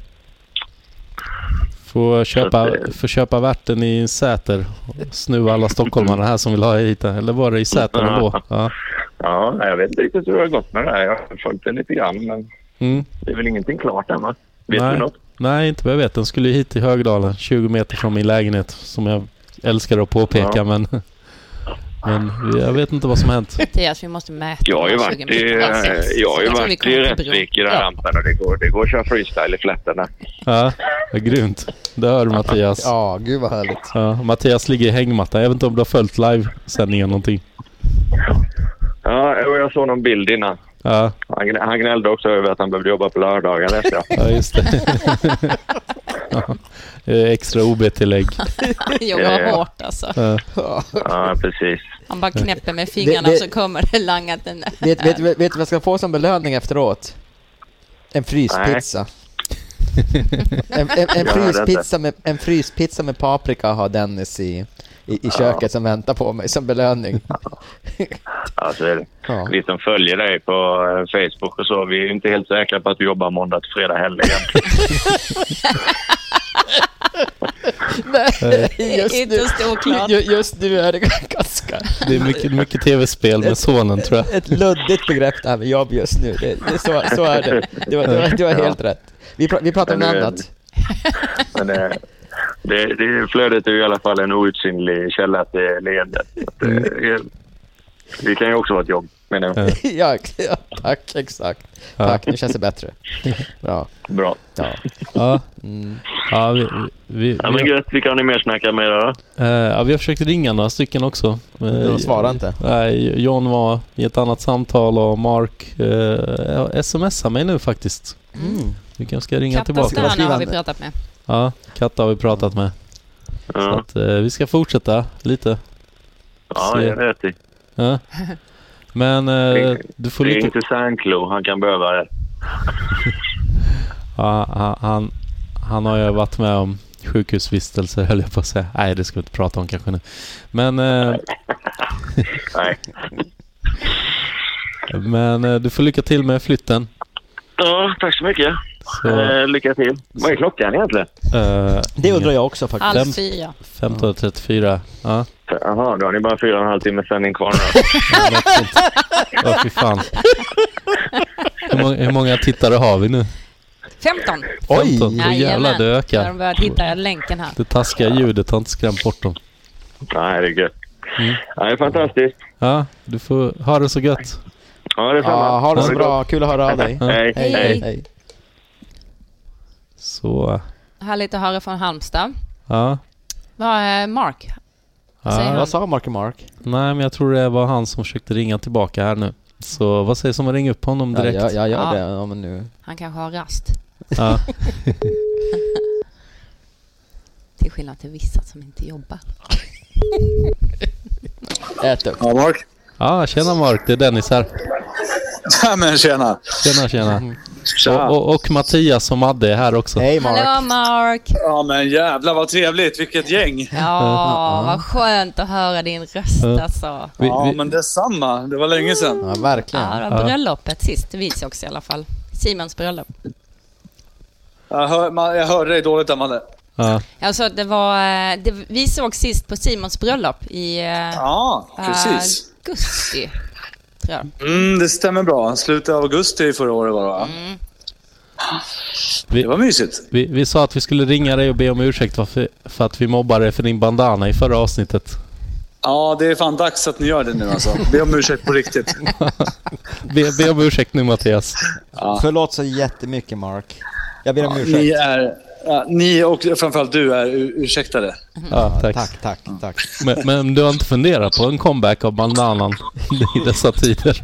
S2: Får köpa, får köpa värten i Säter. och Snuva alla stockholmarna här som vill ha hit den. Eller var det i Säter ändå? Ja.
S5: Ja, jag vet inte riktigt hur det har gått med det här. Jag har följt det lite grann, men
S2: Mm.
S5: det är väl ingenting klart än va? Vet
S2: Nej.
S5: du något?
S2: Nej, inte vad jag vet. Den skulle ju hit till Högdalen. 20 meter från min lägenhet. Som jag älskar att påpeka
S5: Ja.
S2: men... Men jag vet inte vad som hänt.
S1: Mattias, vi måste mäta.
S5: Jag har ju
S1: de här
S5: varit
S1: 20
S5: i, eh,
S1: meterna. Alltså,
S5: jag har ju
S1: jag tror vi
S5: varit
S1: kommer
S5: i
S1: till bron.
S5: Rättvik i den här
S1: Ja.
S5: rampen och det går, det går att köra freestyle i flätterna.
S2: Ja, vad grymt. Det hör du, Mattias.
S3: Ja, gud vad härligt.
S2: Ja, Mattias ligger i hängmattan. Jag vet inte om du har följt livesändningen någonting.
S5: Ja, och jag såg någon bild innan.
S2: Ja,
S5: Han, gnä- han gnällde också över att han behövde jobba på lördagar läste jag.
S2: ja just det. ja, eh, extra OB-tillägg.
S1: Jobbar
S5: Ja, ja.
S1: hårt alltså.
S2: Ja,
S5: Ja, precis.
S1: Han bara knäpper med fingrarna
S3: Det- det-
S1: så kommer det langat den där.
S3: Vet, vet, vet, vet du vad jag ska få som belöning efteråt? En fryspizza. En, en, en,
S5: Jag hörde
S3: fryspizza, med, en fryspizza med paprika har Dennis i i, i köket som väntar på mig som belöning.
S5: Ja, så är Alltså, det.
S3: Ja.
S5: Vi som följer dig på eh, Facebook och så, vi är ju inte helt säkra på att du jobbar måndag till fredag heller egentligen.
S3: Nej, just nu,
S1: Ytterst oklart.
S3: ju- just nu är det ganska...
S2: Det är mycket, mycket tv-spel med sonen tror jag.
S3: Ett luddigt begrepp det här med jobb just nu. Det, det, så, så är det. Du, har- du, har- du har helt rätt. Vi, pra, vi pratar om något
S5: Eller-
S3: annat.
S5: Men eh, det, det flödet är ju i alla fall en outsinlig källa till leende. Så att,
S2: Mm.
S5: eh, Vi kan ju också vara ett jobb, menar jag.
S3: Ja, ja, tack. Exakt.
S2: Ja.
S3: Tack, nu känns det bättre. Bra.
S5: Bra.
S3: Ja.
S2: Ja,
S3: Mm.
S2: ja, vi, vi,
S5: Ja,
S2: vi,
S5: men
S2: vi,
S5: gött, vilka har ni mer snackat med då?
S2: eh, ja, vi har försökt ringa några stycken också. Men-
S3: De svarar inte.
S2: Nej, John var i ett annat samtal och Mark eh, smsar mig nu faktiskt.
S3: Mm.
S2: Vi kanske ska ringa tillbaka.
S1: Kattastjärna har vi pratat med.
S2: Ja, Katta har vi pratat med. Så
S5: Ja,
S2: att, eh, vi ska fortsätta lite.
S5: ja det är rätt i.
S2: Ja. Men eh, du får
S5: Det är
S2: lite...
S5: inte Sanklo, han kan behöva det.
S2: Ja, han, han, han har ju varit med om sjukhusvistelser höll jag på att säga. Nej, det ska vi inte prata om kanske nu. Men, eh,
S5: Nej.
S2: men eh, du får lycka till med flytten.
S5: Ja, tack så mycket.
S2: Så,
S5: Eh, lycka till. Vad är klockan egentligen?
S2: eh,
S3: Det undrar jag också faktiskt.
S2: Vem-
S1: Halv fyra.
S2: 15.34. Ja,
S5: Jaha, då har ni bara fyra och en halv timme sändning kvar nu.
S2: ja, något sånt. Ja, fy fan. Hur många, hur många tittare har vi nu?
S1: 15.
S2: 15. Då jävlar,
S1: Jajamän.
S2: det
S1: När de
S2: ökar.
S1: började hitta länken här.
S2: Det taskiga ljudet har inte skrämt bort dem.
S5: Nej, det är gött.
S2: Mm.
S5: Ja, det är fantastiskt.
S2: Ja, du får ha det så gött.
S5: Ja, det är samma.
S3: Ja, ha det så
S5: gott.
S3: bra. Kul att höra av dig.
S5: Hej.
S3: Hej.
S1: Hej.
S3: Hej.
S2: Så,
S1: Härligt att höra från Halmstad.
S2: ja.
S1: Vad är Mark? Säger
S2: ja.
S1: han.
S3: Vad sa Marky Mark?
S2: Nej, men jag tror det var han som försökte ringa tillbaka här nu. Så vad sägs om att ringa upp honom
S3: Ja,
S2: direkt?
S3: jag, jag
S1: Ja.
S3: gör det. Ja, men nu.
S1: Han kanske har rast.
S2: Ja.
S1: Till skillnad till vissa som inte jobbar.
S3: Ät upp.
S7: Ja, Mark.
S2: ja, tjena Mark, det är Dennis här.
S7: Ja, men tjena.
S2: Tjena, tjena.
S7: Tja.
S2: Och, och, och Mattias som hade är här också.
S3: Mm. Hej Mark.
S1: Hallå Mark!
S7: Ja, men jävlar vad trevligt. Vilket gäng.
S1: Ja, vad skönt att höra din röst
S2: Ja.
S1: alltså.
S2: Vi,
S7: Ja,
S2: vi,
S7: men detsamma. Det var länge sedan.
S3: Ja, verkligen.
S1: Ja, det var bröllopet sist. Vi sågs i alla fall. Simons bröllop.
S7: Jag, hör, man, jag hörde dig dåligt, Amanda.
S2: ja,
S1: Alltså, det var, eh, det, vi sågs sist på Simons bröllop i eh,
S7: Ja, precis.
S1: augusti. Tror jag.
S7: Mm, det stämmer bra. Slutet av augusti förra året var det, va?
S1: Mm.
S2: Vi-
S7: Det var mysigt.
S2: vi, vi sa att vi skulle ringa dig och be om ursäkt för, för att vi mobbade dig för din bandana i förra avsnittet.
S7: Ja, det är fan dags att ni gör det nu alltså. Be om ursäkt på riktigt.
S2: Be, be om ursäkt nu Mattias.
S3: Förlåt så jättemycket Mark. Jag ber om
S7: Ni
S3: ursäkt.
S7: är... Ja, ni och framförallt du är u- ursäktade.
S2: Ja, tack.
S3: Mm. Tack, tack, tack.
S2: Men, men du har inte funderat på en comeback av bandanan i dessa tider?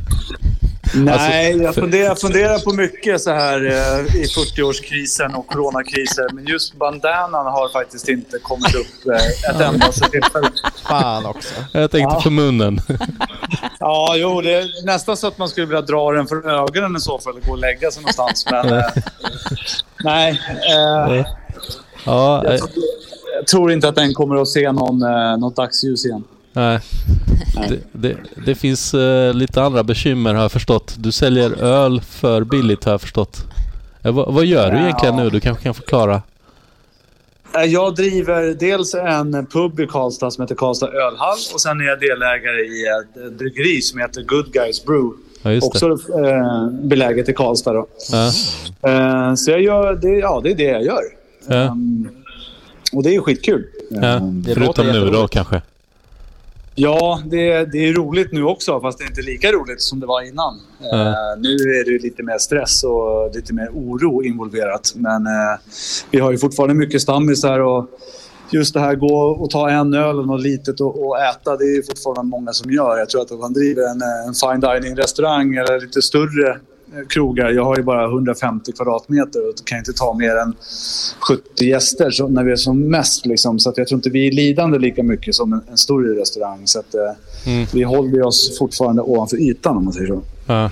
S2: Alltså,
S7: Nej, jag funderar, jag funderar på mycket så här eh, i 40-årskrisen och coronakrisen. Men just bandanan har faktiskt inte kommit upp eh, ett endaste tillfälle.
S3: Fan också.
S2: Jag tänkte för munnen.
S7: Ja, jo, det är nästan så att man skulle vilja dra den för ögonen i så fall och gå och lägga sig någonstans. Men eh, nej, eh,
S2: Ja, eh,
S7: jag tror inte att den kommer att se någon, eh, något dagsljus igen.
S2: nej. Det, det, det finns eh, lite andra bekymmer har jag förstått. Du säljer öl för billigt har jag förstått. Eh, vad, vad gör du egentligen nu? Du kanske kan förklara?
S7: Eh, Jag driver dels en pub i Karlstad som heter Karlstad Ölhall och sen är jag delägare i ett bryggeri som heter Good Guys Brew.
S2: Ja, just det.
S7: Också eh, beläget i Karlstad. Då.
S2: Ja,
S7: Eh, så jag gör, det, ja, det är det jag gör.
S2: ja,
S7: Mm. Och det är ju skitkul. Eh,
S2: ja. Förutom nu då
S3: jätteroligt.
S2: kanske.
S7: Ja, det, det är roligt nu också, fast det är inte lika roligt som det var innan.
S2: Ja.
S7: Eh, nu är det ju lite mer stress och lite mer oro involverat. Men eh, vi har ju fortfarande mycket stammisar och just det här gå och ta en öl och något litet och, och äta, det är ju fortfarande många som gör. Jag tror att om man driver en, eh, en fine dining-restaurang eller lite större eh, krogar. Jag har ju bara 150 kvadratmeter och kan inte ta mer än 70 gäster så, när vi är som mest. Liksom. Så att jag tror inte vi är lidande lika mycket som en, en större restaurang. Så att, eh,
S2: Mm.
S7: Vi håller ju oss fortfarande ovanför ytan om man säger så.
S2: Ja.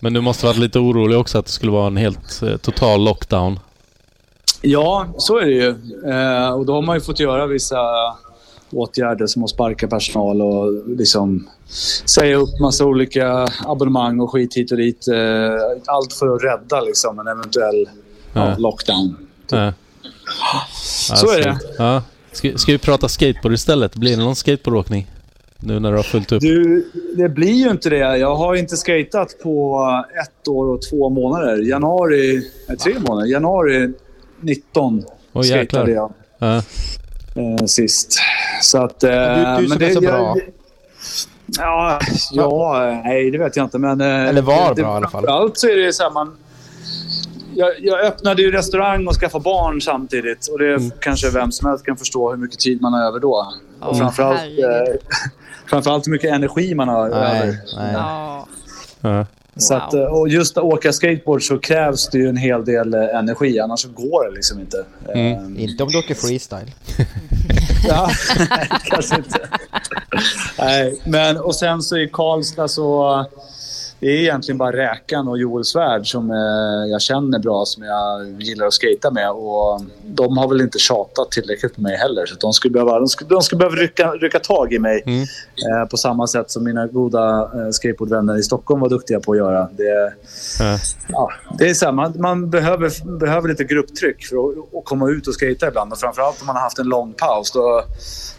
S2: Men du måste varit lite orolig också att det skulle vara en helt eh, total lockdown.
S7: Ja, så är det ju. Eh, och då har man ju fått göra vissa åtgärder som att sparka personal och liksom säga upp massa olika abonnemang och skit hit och dit. eh, Allt för att rädda liksom, en eventuell ja,
S2: Ja.
S7: lockdown.
S2: Ja.
S7: Så är det.
S2: Ja. Ska, ska vi prata skateboard istället? Blir det någon skateboardåkning? Nu när du har fullt upp?
S7: Du, det blir ju inte det. Jag har inte skatat på ett år och två månader. Januari, nej, tre månader. Januari 19
S2: Åh, jäklar.
S7: skatade jag
S2: Ja.
S7: eh, sist. Så att... eh,
S3: du som är så
S7: jag-
S3: bra.
S7: Ja, ja, eh, nej det vet jag inte. Men, eh,
S3: Eller var
S7: det,
S3: bra i alla fall.
S7: Allt så är det ju så här, man... Jag, jag öppnade ju restaurang och skaffade barn samtidigt. Och det
S3: Mm.
S7: kanske vem som helst kan förstå hur mycket tid man har över då. och
S1: Åh,
S7: framförallt, eh,
S1: herregud.
S7: framförallt hur mycket energi man har över.
S3: Nej, nej.
S1: Ja.
S2: Ja.
S7: Så
S1: Wow.
S7: att, eh, och just att åka skateboard så krävs det ju en hel del eh, energi, annars så går det liksom inte. Eh,
S3: Inte om du åker freestyle.
S7: Ja, kanske inte. Nej, men och sen så i Karlstad så... Det är egentligen bara Räkan och Joel Svärd som eh, jag känner bra, som jag gillar att skata med. Och de har väl inte tjatat tillräckligt på mig heller. Så att de skulle behöva, de skulle, de skulle behöva rycka, rycka tag i mig
S2: Mm.
S7: eh, på samma sätt som mina goda eh, skateboardvänner i Stockholm var duktiga på att göra. Det,
S2: Ja.
S7: Ja, det är så här, man, man behöver, behöver lite grupptryck för att, att komma ut och skejta ibland. Och framförallt om man har haft en lång paus. Då,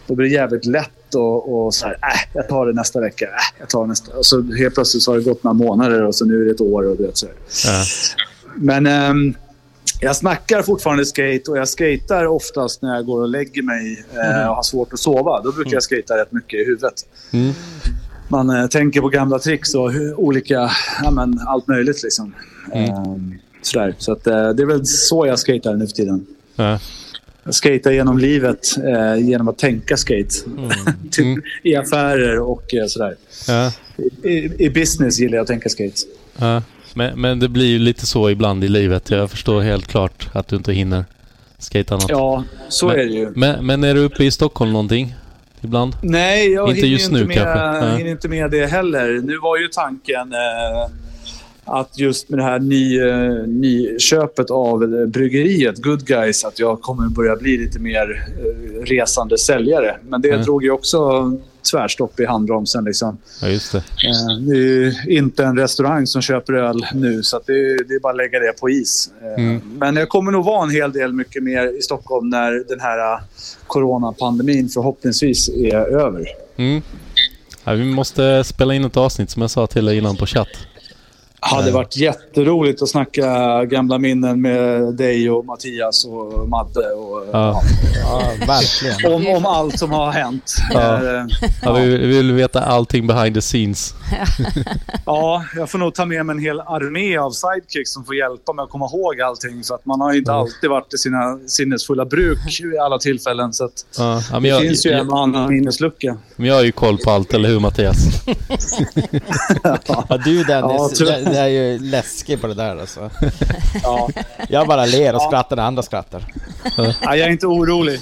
S7: då blir det jävligt lätt och, och så här, äh, jag tar det nästa vecka. Äh, jag tar det nästa. Och så helt plötsligt så har det gått några månader och så nu är det ett år. Och du vet, så här.
S2: Ja.
S7: Men ehm, jag snackar fortfarande skate och jag skatar oftast när jag går och lägger mig eh, och har svårt att sova. Då brukar jag skata rätt mycket i huvudet.
S2: Mm.
S7: Man eh, tänker på gamla tricks och hur, olika, ja, men, allt möjligt. Liksom. Ehm, sådär. Så att, eh, det är väl så jag skatar nu för tiden.
S2: Ja.
S7: Jag skatar genom livet eh, genom att tänka skate. typ I affärer och eh, sådär.
S2: Ja.
S7: I, I business gillar jag att tänka skate.
S2: Ja. Men, men det blir ju lite så ibland i livet. Jag förstår helt klart att du inte hinner skejta något.
S7: Ja, så är det ju.
S2: Men, men är du uppe i Stockholm någonting? Ibland?
S7: Nej, jag
S2: Inte
S7: hinner ju
S2: just
S7: inte
S2: nu,
S7: med,
S2: kanske. Nej.
S7: hinner inte med det heller. Nu var ju tanken eh, att just med det här ny, eh, nyköpet av eh, bryggeriet Good Guys att jag kommer börja bli lite mer eh, resande säljare. Men det
S2: Mm.
S7: drog ju också tvärstopp i handbromsen. Liksom.
S2: Ja, just det.
S7: Eh, det är ju inte en restaurang som köper öl nu, så att det, det är bara att lägga det på is. Eh,
S2: Mm.
S7: Men jag kommer nog vara en hel del mycket mer i Stockholm när den här eh, coronapandemin förhoppningsvis är över.
S2: Mm. Ja, vi måste spela in ett avsnitt som jag sa till dig innan på chatt.
S7: hade varit jätteroligt att snacka gamla minnen med dig och Mattias och Madde. Och,
S2: Ja.
S3: Ja, verkligen.
S7: Om, om allt som har hänt.
S2: Ja.
S7: Eh,
S2: Ja, vi, vi vill veta allting behind the scenes.
S7: ja, jag får nog ta med mig en hel armé av sidekicks som får hjälpa mig att komma ihåg allting. För att man har ju
S2: Mm.
S7: inte alltid varit i sina sinnesfulla bruk i alla tillfällen. Så att
S2: Ja, ja, men
S7: det
S2: jag,
S7: finns ju en
S2: jag,
S7: och annan minneslucka.
S2: men jag har ju koll på allt, eller hur Mattias?
S3: Ja, du Dennis,
S7: Ja,
S3: det,
S7: tyvärr.
S3: det är ju läskig på det där alltså.
S7: Ja.
S3: Jag bara ler och skrattar när andra skrattar.
S7: Ja, jag är inte orolig.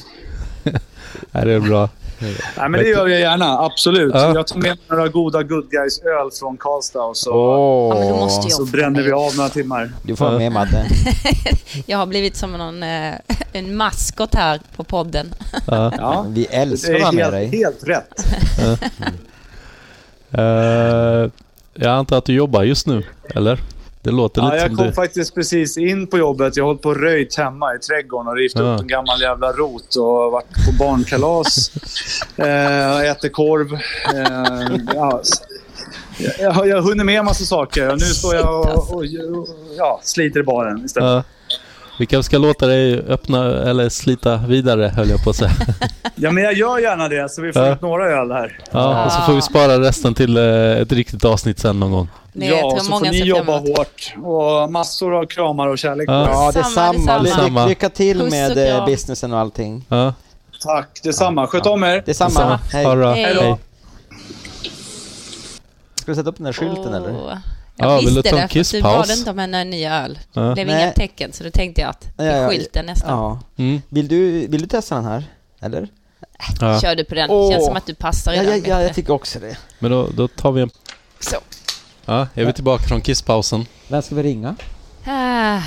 S2: Ja, det är bra.
S7: Nej, men det gör jag gärna. Absolut.
S2: Ja.
S7: Jag tar med mig några goda Good Guys-öl från Karlstad och så,
S1: Ja, men du måste ju
S7: så
S1: offra
S7: bränner
S1: mig.
S7: vi av några timmar.
S3: Du får vara med Madde.
S1: Jag har blivit som någon, eh, en maskot här på podden.
S2: Ja.
S7: Ja.
S3: Vi älskar
S7: Det
S3: att vara
S7: är
S3: med
S7: helt,
S3: dig.
S7: helt rätt.
S2: Eh, jag antar att du jobbar just nu, eller? Det låter
S7: Ja,
S2: lite
S7: jag
S2: som
S7: kom
S2: du.
S7: faktiskt precis in på jobbet. Jag har hållit på och röjt hemma i trädgården och rivit
S2: Ja.
S7: upp en gammal jävla rot och varit på barnkalas. eh, ätit korv. Eh, ja. jag, har- jag har hunnit med en massa saker och nu står jag och, och, och ja, sliter i baren istället.
S2: Ja. Vi kanske ska låta dig öppna eller slita vidare, höll jag på att säga.
S7: Ja, men jag gör gärna det så vi får
S2: Ja.
S7: ut några öl här.
S2: Ja, och så får vi spara resten till eh, ett riktigt avsnitt sen någon gång.
S1: Det
S7: ja,
S1: tror
S7: och
S1: jag
S7: så
S1: många
S7: får ni
S1: ser fram
S7: jobba
S1: emot.
S7: hårt. Och massor av kramar och kärlek.
S2: Ja.
S3: Ja,
S1: Detsamma,
S3: detsamma.
S1: detsamma.
S3: Ly- Lycka till
S1: Puss
S3: med
S1: och kram.
S3: eh, businessen och allting.
S2: Ja,
S7: Tack detsamma. Sköt om er.
S3: Detsamma. Hej.
S2: ha det bra.
S1: Hej.
S3: Ska du sätta upp den där skylten eller?
S1: Åh.
S2: Ja,
S1: Jag
S2: vill du
S1: visste
S2: ta en
S1: det, för att du
S2: kisspaus?
S1: bad inte om en eh, ny öl.
S2: Ja.
S1: Det blev
S3: Nej.
S1: inga tecken, så då tänkte jag att
S3: Ja,
S1: det är
S3: ja,
S1: skylten nästan.
S3: Ja.
S2: Mm.
S3: Vill du, vill du testa den här? Eller?
S2: Ja.
S1: Kör du på den.
S3: Åh.
S1: Känns som att du passar i
S3: Ja,
S1: den
S3: ja, ja, jag
S1: bättre.
S3: tycker också det.
S2: Men då, då tar vi en...
S1: Så.
S2: Ja, är vi tillbaka från kisspausen?
S3: Vem ska vi ringa?
S1: Ah,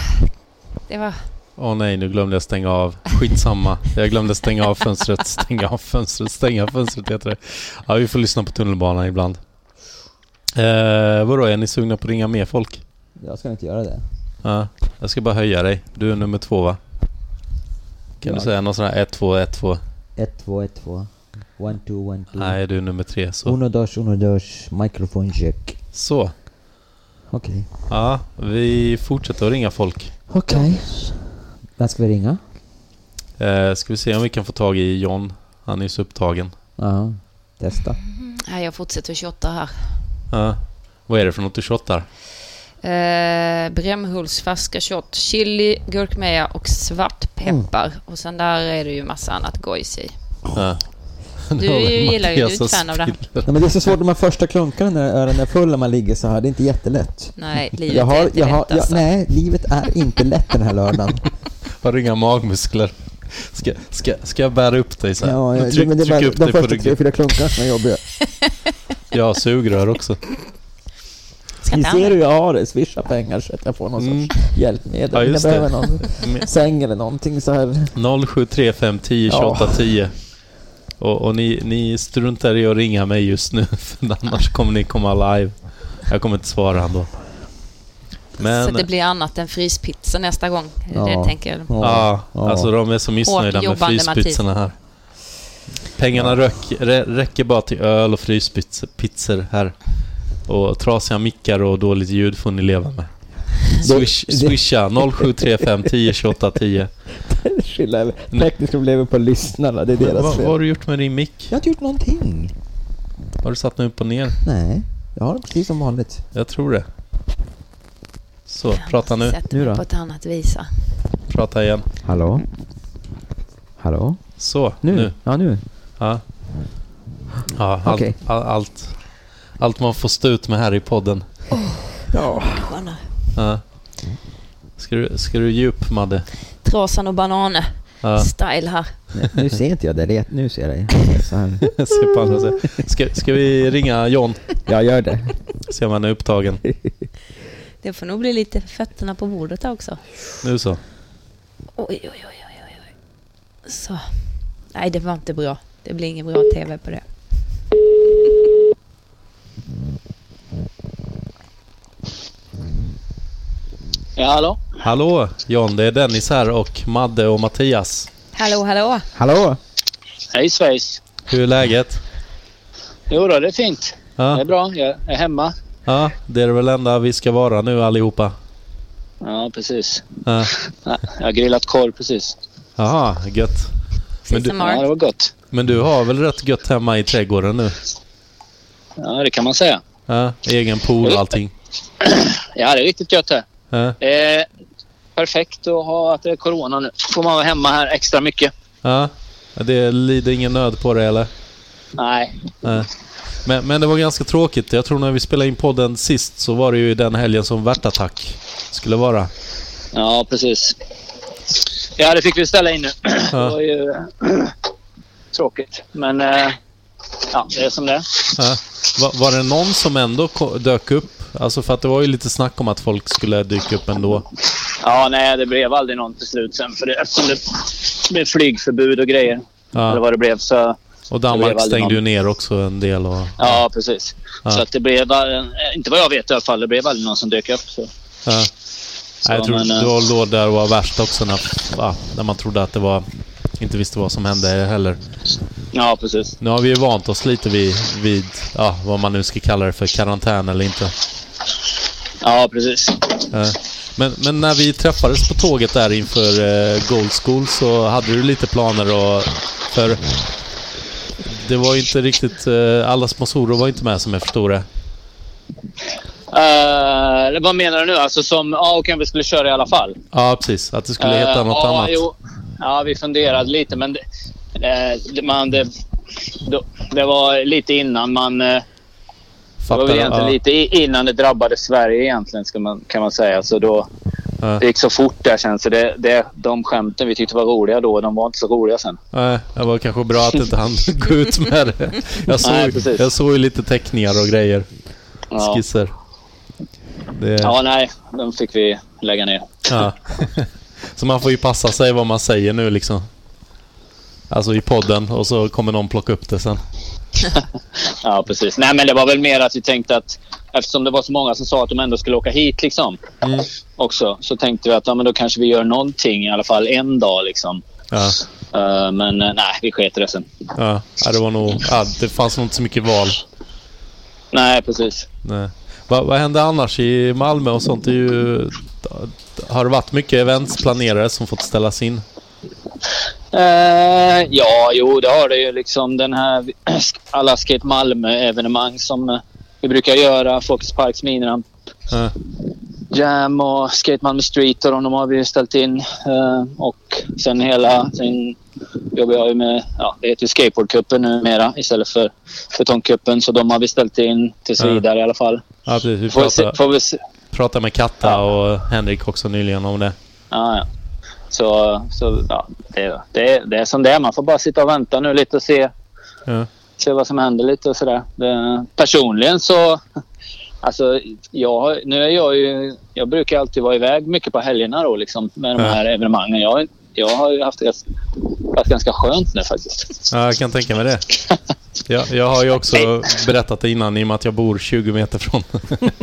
S1: Det var
S2: Åh nej, nu glömde jag stänga av. Skitsamma. Jag glömde stänga av fönstret, stänga av fönstret, stänga av fönstret heter det. Ja, vi får lyssna på tunnelbanan ibland. Eh, vadå, är ni sugna på att ringa mer folk?
S6: Jag ska inte göra det.
S2: Ja, jag ska bara höja dig. Du är nummer två va? Kan du
S6: Jag?
S2: säga någon sån här 1, 2, 1, 2?
S6: 1, 2, 1, 2. 1, 2, 1, 2.
S2: Nej, du är nummer tre. Så.
S6: Uno, dos, uno, dos. Microphone check.
S2: så.
S6: Okej.
S2: Ja, vi fortsätter att ringa folk.
S6: Okej. När ska vi ringa?
S2: Eh, ska vi se om vi kan få tag i John. Han är ju så upptagen.
S6: Ja. Testa.
S1: Nej, Ah, jag fortsätter 28 här.
S2: Ja. Vad är det för något du shottar?
S1: Eh, Brämhults färska shot, chili, gurkmeja och svartpeppar.
S3: Mm.
S1: Och sen där är det ju massa annat gojs i.
S2: Ja.
S1: Du
S2: Det var väl
S1: gillar ju- du är ett
S2: Mattias som
S1: fan av det här.
S2: spiller.
S6: Nej, men det är så svårt när man första klunkar när öronen är full när man ligger så här. Det är inte jättelätt.
S1: Nej, livet
S6: Jag
S1: är
S6: har,
S1: inte
S6: jag har,
S1: lätt
S6: jag,
S1: alltså.
S6: nej, livet är inte lätt den här lördagen.
S2: Har du inga magmuskler? Ska, ska, ska jag bära upp dig så här?
S6: Ja, jag,
S2: tryck,
S6: men det är
S2: tryck
S6: bara
S2: upp dig
S6: de
S2: på
S6: första tre,
S2: ryggen.
S6: fyra klunkarna som är jobbiga.
S2: Jag har sugrör också.
S1: Ska
S6: Ni
S1: inte
S6: ser
S1: han-
S6: hur jag har det. Swisha pengar så att jag får någon
S2: Mm.
S6: sorts hjälpmedel.
S2: Ja,
S6: jag
S2: just det. Mm.
S6: behöver någon säng eller någonting så här.
S2: 0735 10 28 10. Och, och ni, ni struntar i att ringa mig just nu, för annars kommer ni komma live. Jag kommer inte svara ändå.
S1: Så
S2: Men,
S1: det blir annat än fryspizza nästa gång.
S6: Ja.
S1: Det tänker jag.
S2: ja, alltså de är så missnöjda
S1: Hårt
S2: med
S1: jobbande,
S2: fryspizzorna här. Pengarna röck, rä, räcker bara till öl och fryspizzor här. Och trasiga mickar och dåligt ljud får ni leva med. Swish,
S6: det-
S2: swisha 0735 10 28 10.
S6: Skylla över. Tekniskt problem på lyssnarna, det är
S2: Men,
S6: deras
S2: vad,
S6: fel.
S2: vad har du gjort med din mick?
S6: Jag har inte gjort någonting.
S2: Har du satt den upp och ner?
S6: Nej, jag har det precis som vanligt.
S2: Jag tror det. Så, prata nu.
S1: Sätter
S6: Nu
S1: mig
S6: då?
S1: på ett annat vis. va?
S2: Prata igen.
S6: Hallå? Hallå?
S2: Så, nu.
S6: Ja, nu.
S2: Ja, ja allt,
S6: Okej.
S2: all, allt, allt man får stå ut med här i podden.
S6: Ja.
S1: Skönare.
S2: Ja. Ska, du, ska du ge upp, Madde?
S1: Trasan och banane
S2: Ja,
S1: style här.
S6: Nu ser inte jag dig, det är- nu ser jag dig. Så här.
S2: se på andra sidan. ska, ska vi ringa John?
S6: Jag gör det.
S2: Se om han är upptagen.
S1: Det får nog bli lite fötterna på bordet här också.
S2: Nu så.
S1: Oj, oj, oj, oj, oj, oj. Så. Nej, det var inte bra. Det blir ingen bra TV på det.
S8: Ja, hallå?
S2: Hallå John, det är Dennis här och Madde och Mattias.
S1: Hallå, hallå!
S6: Hallå?
S8: Hej svejs!
S2: Hur är läget?
S8: Jo då, det är fint. Det är
S2: Ja,
S8: bra. Jag är hemma.
S2: ja, det är väl enda vi ska vara nu allihopa.
S8: Ja, precis.
S2: Ja.
S8: Ja, Jag har grillat korv precis.
S2: Jaha, gött. Men
S1: Precis
S2: du-
S1: som
S8: Ja, det
S1: Mark.
S8: var gott.
S2: Men du har väl rätt gött hemma i trädgården nu?
S8: Ja, det kan man säga.
S2: Ja, egen pool och allting.
S8: Ja, det är riktigt gött här.
S2: Ja,
S8: Eh, perfekt att ha att det är corona nu. Får man vara hemma här extra mycket.
S2: ja. Det lider ingen nöd på det eller?
S8: Nej.
S2: Ja. Men, men det var ganska tråkigt. Jag tror när vi spelade in podden sist så var det ju den helgen som värtattack skulle vara.
S8: Ja, precis. Ja, det fick vi ställa in nu. Det
S2: Ja.
S8: var ju tråkigt. Men eh, ja, det är som det är.
S2: Ja. Var, var det någon som ändå ko- dök upp? Alltså för att det var ju lite snack om att folk skulle dyka upp ändå.
S8: Ja, nej, det blev aldrig någon till slut sen. För det, eftersom det blev flygförbud och grejer. Eller
S2: Ja.
S8: vad det blev. Så,
S2: Och
S8: Det blev
S2: Danmark
S8: aldrig
S2: stängde ju
S8: någon.
S2: ner också en del. Och,
S8: ja, precis.
S2: Ja.
S8: Så att det blev, eh, inte vad jag vet i alla fall, det blev aldrig någon som dök upp. Så.
S2: ja.
S8: Så,
S2: Nej, jag tror
S8: men, eh,
S2: det var då där det var värst också när, ja, när man trodde att det var... Inte visste vad som hände heller.
S8: Ja, precis.
S2: Nu har vi ju vant oss lite vid, vid ja, vad man nu ska kalla det för, karantän eller inte.
S8: Ja, precis.
S2: Eh, Men, men när vi träffades på tåget där inför eh, Gold School så hade du lite planer och... För det var ju inte riktigt... eh, Alla sponsorer var inte med som jag förstod det.
S8: Eh, vad menar du nu? Alltså som, ja okej vi skulle köra i alla fall.
S2: Ja, precis. Att det skulle heta
S8: Eh,
S2: något
S8: ja,
S2: annat.
S8: Jo, ja, vi funderade lite men det, eh, det- man, det, då, det var lite innan man... eh, Det var väl egentligen
S2: ja.
S8: lite i- innan det drabbade Sverige egentligen ska man, kan man säga. Så då,
S2: Ja.
S8: Det gick så fort där sen så det, det, de skämten vi tyckte var roliga då, de var inte så roliga sen.
S2: Nej, det var kanske bra att inte han gå ut med det. Jag såg,
S8: Nej, precis.
S2: jag såg ju lite teckningar och grejer.
S8: Ja,
S2: Skisser. Det,
S8: ja nej, de fick vi lägga ner.
S2: Ja. Så man får ju passa sig vad man säger nu liksom. Alltså i podden och så kommer någon plocka upp det sen.
S8: Ja, precis. Nej, men det var väl mer att vi tänkte att eftersom det var så många som sa att de ändå skulle åka hit liksom
S2: Mm.
S8: också så tänkte vi att ja, men då kanske vi gör någonting i alla fall en dag liksom.
S2: Ja,
S8: Eh, men eh, nej, vi sket i det sen.
S2: ja, ja, det var nog... Ja, det fanns nog inte så mycket val.
S8: Nej, precis.
S2: Nej. Vad, vad hände annars i Malmö och sånt? Det är ju, har det varit mycket events planerade som fått ställas in?
S8: Eh, ja, jo, det har det ju liksom den här alla Skate Malmö-evenemang som eh, vi brukar göra. Folkets Parks miniramp
S2: Ja,
S8: Jam och Skate Malmö Street och de, de har vi ju ställt in. Eh, och sen hela... Sen jobbar jag ju med... Ja, det heter ju Skateboardcupen numera istället för Betongcupen. Så de har vi ställt in tills
S2: Ja.
S8: vidare i alla fall.
S2: ja precis. Vi
S8: Får vi se,
S2: pratade,
S8: får vi se.
S2: pratade med Katta och Henrik också nyligen om det.
S8: Ja, ja. Så, så ja, det, det, det är som det är. Man får bara sitta och vänta nu lite och se,
S2: Ja.
S8: se vad som händer lite och sådär. Det- Personligen så... Alltså, jag, har- nu är jag ju... Jag brukar alltid vara iväg mycket på helgerna då liksom med de
S2: Ja.
S8: här evenemangen. Jag, jag har ju haft det gans- varit ganska skönt nu faktiskt.
S2: Ja, jag kan tänka mig det. Jag, jag har ju också berättat det innan i och med att jag bor 20 meter från,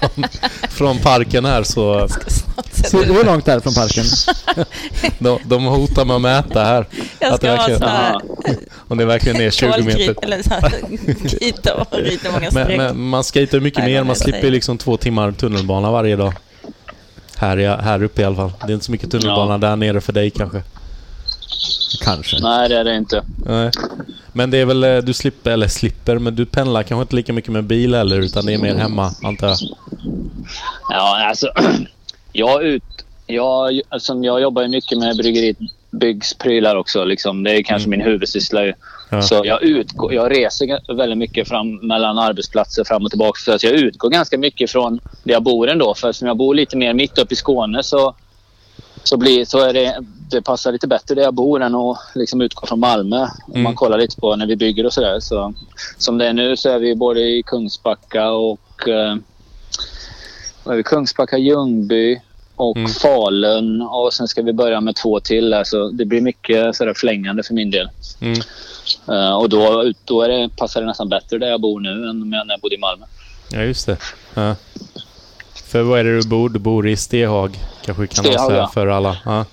S2: från, från parken här så
S6: Så, hur långt är det från parken?
S2: de, de hotar med att mäta här.
S1: Jag
S2: Att det
S1: ska ha
S2: verkligen-
S1: sån här
S2: Om det verkligen är 20 meter.
S1: kolkrit eller så här krita och rita många
S2: Men,
S1: streck.
S2: men man skejtar mycket
S1: Nej,
S2: mer.
S1: vad
S2: Man
S1: det
S2: slipper
S1: säger.
S2: liksom två timmar tunnelbana varje dag. Här, är, här uppe i alla fall. Det är inte så mycket tunnelbana
S8: Ja.
S2: där nere för dig kanske.
S6: Kanske.
S8: Nej, det är det inte.
S2: Nej. Men det är väl, eh, du slipper, eller slipper, men du pendlar kanske inte lika mycket med bil heller utan det är mer hemma antar jag.
S8: Ja, alltså. Jag ut... Jag, alltså, jag jobbar ju mycket med bryggeriet Byggs prylar också. Liksom. Det är kanske min huvudsyssla. Ju.
S2: Mm. Ja.
S8: Så jag, utgår, jag reser ga- väldigt mycket fram, mellan arbetsplatser fram och tillbaka. Så att jag utgår ganska mycket från där jag bor ändå. För eftersom jag bor lite mer mitt uppe i Skåne så, så, blir, så är det, det passar lite bättre där jag bor än att liksom utgå från Malmö. Om
S2: Mm.
S8: man kollar lite på när vi bygger och sådär. Så, som det är nu så är vi både i Kungsbacka och eh, vad är vi? Kungsbacka, Ljungby och
S2: Mm.
S8: Falun. Och sen ska vi börja med två till där. Så det blir mycket sådär flängande för min del.
S2: Mm.
S8: Eh, och då, då är det, passar det nästan bättre där jag bor nu än när jag bodde i Malmö.
S2: Ja, just det. Ja. För vad är det du bor? Du bor i Stehag kanske vi kan
S8: Stehag,
S2: avslöja
S8: ja.
S2: för alla. Ja.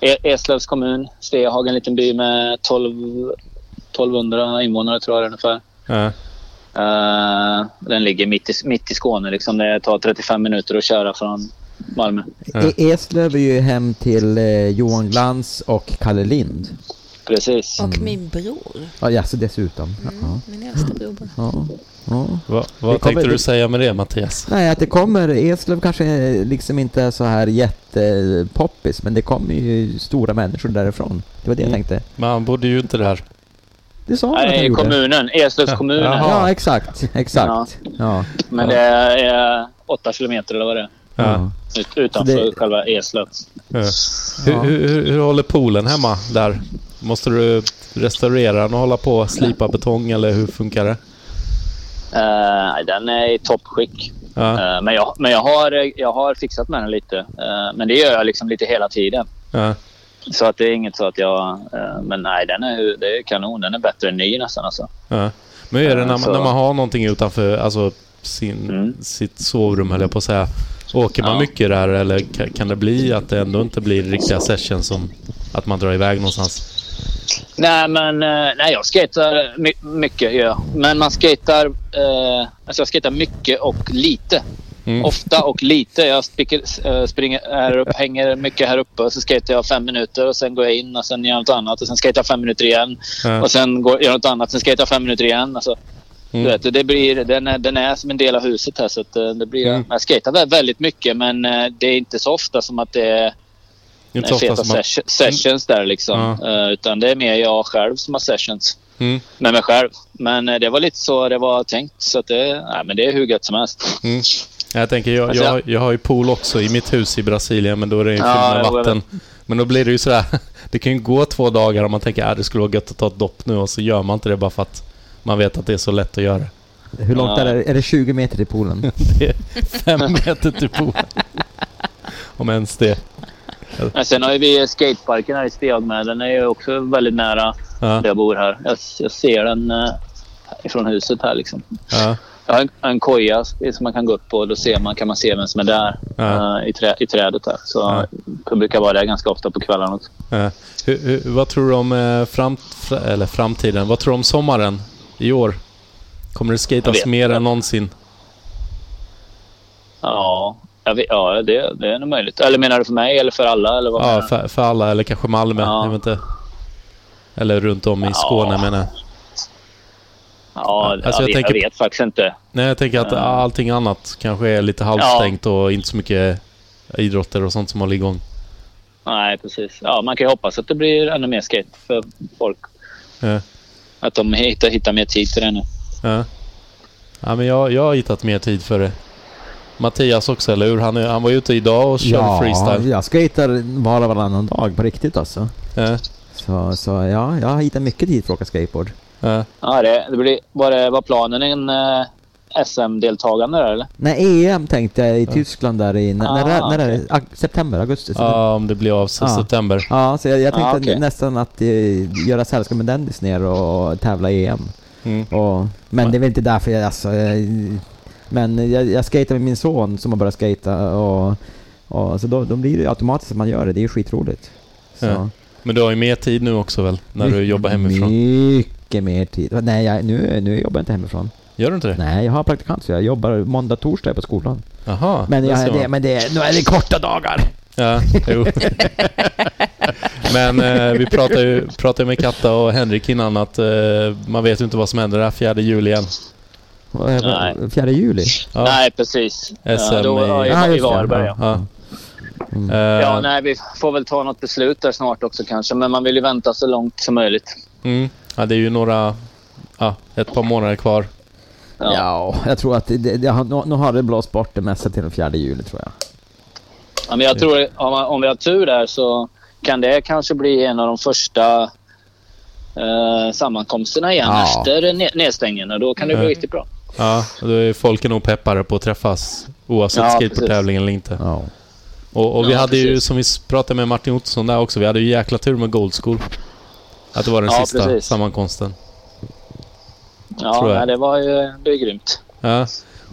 S8: E- Eslövs kommun, Stehag, en liten by med 12, 1200 invånare tror jag det är ungefär.
S2: Ja.
S8: Eh, den ligger mitt i, mitt i Skåne. Liksom. Det tar 35 minuter att köra från Malmö.
S2: Ja.
S6: E- Eslöv är ju hem till eh, Johan Glans och Kalle Lind.
S8: Precis.
S1: Och
S6: Mm.
S1: min bror.
S6: Ja, jaså dessutom. Ja,
S1: Min äldsta bror bara.
S6: ja,
S2: Va,
S6: ja. Vi
S2: vad
S6: kommer-
S2: tänkte du
S6: vi-
S2: säga med det Mattias?
S6: Nej, att det kommer. Eslöv kanske eh, liksom inte är så här jättepoppis, men det kommer ju stora människor därifrån. Det var det jag
S2: Mm.
S6: tänkte.
S2: Men han bodde ju inte där.
S6: Det sa han att han
S8: Nej,
S6: gjorde.
S8: kommunen. Eslövs kommun.
S2: Jaha.
S6: Ja, exakt. Exakt. Ja.
S8: Men det är 8 kilometer eller vad det är.
S2: Ja.
S6: Ja.
S8: ut- Utanför
S6: Så det-
S8: själva Eslöv.
S2: Ja. Eh, Hur, hur, hur, hur håller poolen hemma där? Måste du restaurera den och hålla på och slipa betong eller hur funkar det?
S8: Eh, den är i toppskick.
S2: Ja,
S8: Eh, men jag, men jag, har, jag har fixat med den lite. Eh, men det gör jag liksom lite hela tiden.
S2: ja,
S8: Så att det är inget så att jag... eh, men nej, den är, ju- det är kanon. Den är bättre än ny nästan. Alltså.
S2: ja. Men hur är det när man,
S8: Så-
S2: när man har någonting utanför alltså sin,
S8: Alltså- Mm.
S2: sitt sovrum, höll jag på att säga. Åker man
S8: Ja.
S2: mycket där eller ka- kan det bli att det ändå inte blir riktiga sessions som att man drar iväg någonstans?
S8: Nej, men eh, nej, jag skejtar my- mycket. gör jag. Men man skejtar... eh, alltså jag skejtar mycket och lite.
S2: Mm.
S8: Ofta och lite. Jag spiker, eh, springer här upp, hänger mycket här uppe. och Så skejtar jag fem minuter och sen går jag in och sen gör jag något annat. Och sen skejtar jag fem minuter igen.
S2: Ja.
S8: Och sen går, gör jag något annat. Sen skejtar jag fem minuter igen. Alltså,
S2: Mm.
S8: du vet, det blir, den, är, den är som en del av huset här. Så att, eh, det blir,
S2: Mm.
S8: Jag skejtar vä- väldigt mycket men eh, det är inte så ofta som att det är
S2: Inte så
S8: eh,
S2: ofta
S8: feta
S2: som Mm. man...
S8: session, sessions där liksom. Eh, Utan det är mer jag själv som har sessions
S2: Mm.
S8: med mig själv. Men eh, det var lite så det var tänkt. Så att det, nej, men det är hur gött som helst.
S2: Mm. Jag tänker, jag,
S8: Alltså,
S2: jag, jag har ju pool också i mitt hus i Brasilien, men då är det ju fyllt
S8: Ja,
S2: med
S8: jo, jag
S2: vatten. Men då blir det ju sådär, det kan ju gå två dagar om man tänker att det skulle vara gött att ta ett dopp nu och så gör man inte det bara för att man vet att det är så lätt att göra.
S6: Hur långt
S8: Ja.
S6: är det? Är det 20 meter till poolen?
S2: Fem meter till poolen. Om ens det.
S8: Men sen har ju vi skateparken här i Stegmed. Den är ju också väldigt nära
S2: Ja.
S8: där jag bor här. Jag, jag ser den eh, ifrån huset här liksom.
S2: Ja.
S8: Jag har en, en koja som man kan gå upp på. Då ser man, kan man se vem som är där
S2: Ja.
S8: eh, i, trä, i trädet. Där. Så Jag brukar vara där ganska ofta på kvällarna också.
S2: Eh, hur, hur, vad tror du om eh, fram, fra- eller framtiden? Vad tror du om sommaren i år? Kommer det
S8: Jag
S2: skatas
S8: vet
S2: mer än någonsin?
S8: Ja, jag vet, ja det, det är nog möjligt. Eller menar du för mig eller för alla? Eller vad menar
S2: Ja,
S8: du?
S2: för, för alla, eller kanske Malmö.
S8: Ja.
S2: Jag vet inte. Eller runt om i Skåne menar jag.
S8: ja,
S2: alltså, jag
S8: jag, vet,
S2: tänker-
S8: jag vet faktiskt inte. Eh,
S2: Nej, jag tänker
S8: Mm.
S2: att allting annat kanske är lite halvstängt och inte så mycket idrotter och sånt som håller igång.
S8: Nej, precis. Ja, man kan ju hoppas att det blir ännu mer skate för folk.
S2: Ja.
S8: Att de hittar, hittar mer tid till det nu.
S2: Ja. ja men jag, jag har hittat mer tid för det. Mattias också, eller hur? Han, är, han var ute idag och körde freestyle.
S6: jag skejtar var och varannan dag på riktigt alltså.
S2: Ja.
S6: Så, så ja, jag har hittat mycket tid för att åka skateboard.
S2: Ja.
S8: Ja, det, det blir, var, det, var planen en eh, SM-deltagande där eller?
S6: Nej, EM E tänkte jag i Tyskland där i... När, när, är-
S8: Ah,
S6: när är det? Ag- September, augusti? september.
S2: Ja, om det blir av se-
S6: Ja.
S2: september.
S6: Ja, så jag, jag tänkte
S8: Ah, okej.
S6: nästan att eh, göra sällskap med Dennis ner och tävla i EM.
S2: Mm.
S6: Och, men det är väl inte därför jag... Alltså, jag men jag, jag skater med min son som har börjat skata och, och så då, då blir det ju automatiskt att man gör det. Det är ju skitroligt. Så. Mm,
S2: Ja. Men du har ju mer tid nu också väl? När du jobbar hemifrån.
S6: Mycket mer tid. Nej, jag, nu, nu jobbar jag inte hemifrån.
S2: Gör du inte det?
S6: Nej, jag har praktikant så jag jobbar måndag, torsdag på skolan.
S2: Jaha,
S6: Men,
S2: där ser
S6: jag, det,
S2: man.
S6: men det, nu är det korta dagar.
S2: Ja, jo. men eh, vi pratade ju, pratade med Katta och Henrik innan att eh, man vet ju inte vad som händer det här fjärde juli än.
S6: Vad är det?
S8: Nej.
S6: Fjärde juli?
S2: Ja.
S8: Nej, precis.
S2: SM
S8: ja, då, ja, i,
S2: i-
S6: Ja,
S8: i
S6: just det.
S8: Varberg. Ja.
S2: Ja.
S6: Mm.
S2: Eh,
S8: Ja, nej, vi får väl ta något beslut där snart också kanske. Men man vill ju vänta så långt som möjligt.
S2: mm, ja, det är ju några, ja, ett par månader kvar.
S8: Ja.
S6: Ja, jag tror att det, det, det, har- nu, nu har det blåst bort det mesta till den fjärde juli tror jag.
S8: Ja, men jag tror om, om vi har tur där så kan det kanske bli en av de första eh, sammankomsterna igen
S6: Ja.
S8: efter ne- nedstängningen. Och då kan det bli
S2: Mm.
S8: riktigt bra.
S2: Ja, då är folk nog peppade på att träffas oavsett
S8: Ja,
S2: skateboardtävling eller inte.
S6: Ja.
S2: Och, och vi
S8: Ja,
S2: hade ju,
S8: precis.
S2: som vi s- pratade med Martin Ottosson där också, vi hade ju jäkla tur med Gold School. Att det var den
S8: Ja,
S2: sista
S8: precis.
S2: sammankomsten.
S8: Ja,
S2: Tror jag.
S8: nej, det var ju det är grymt.
S2: Ja.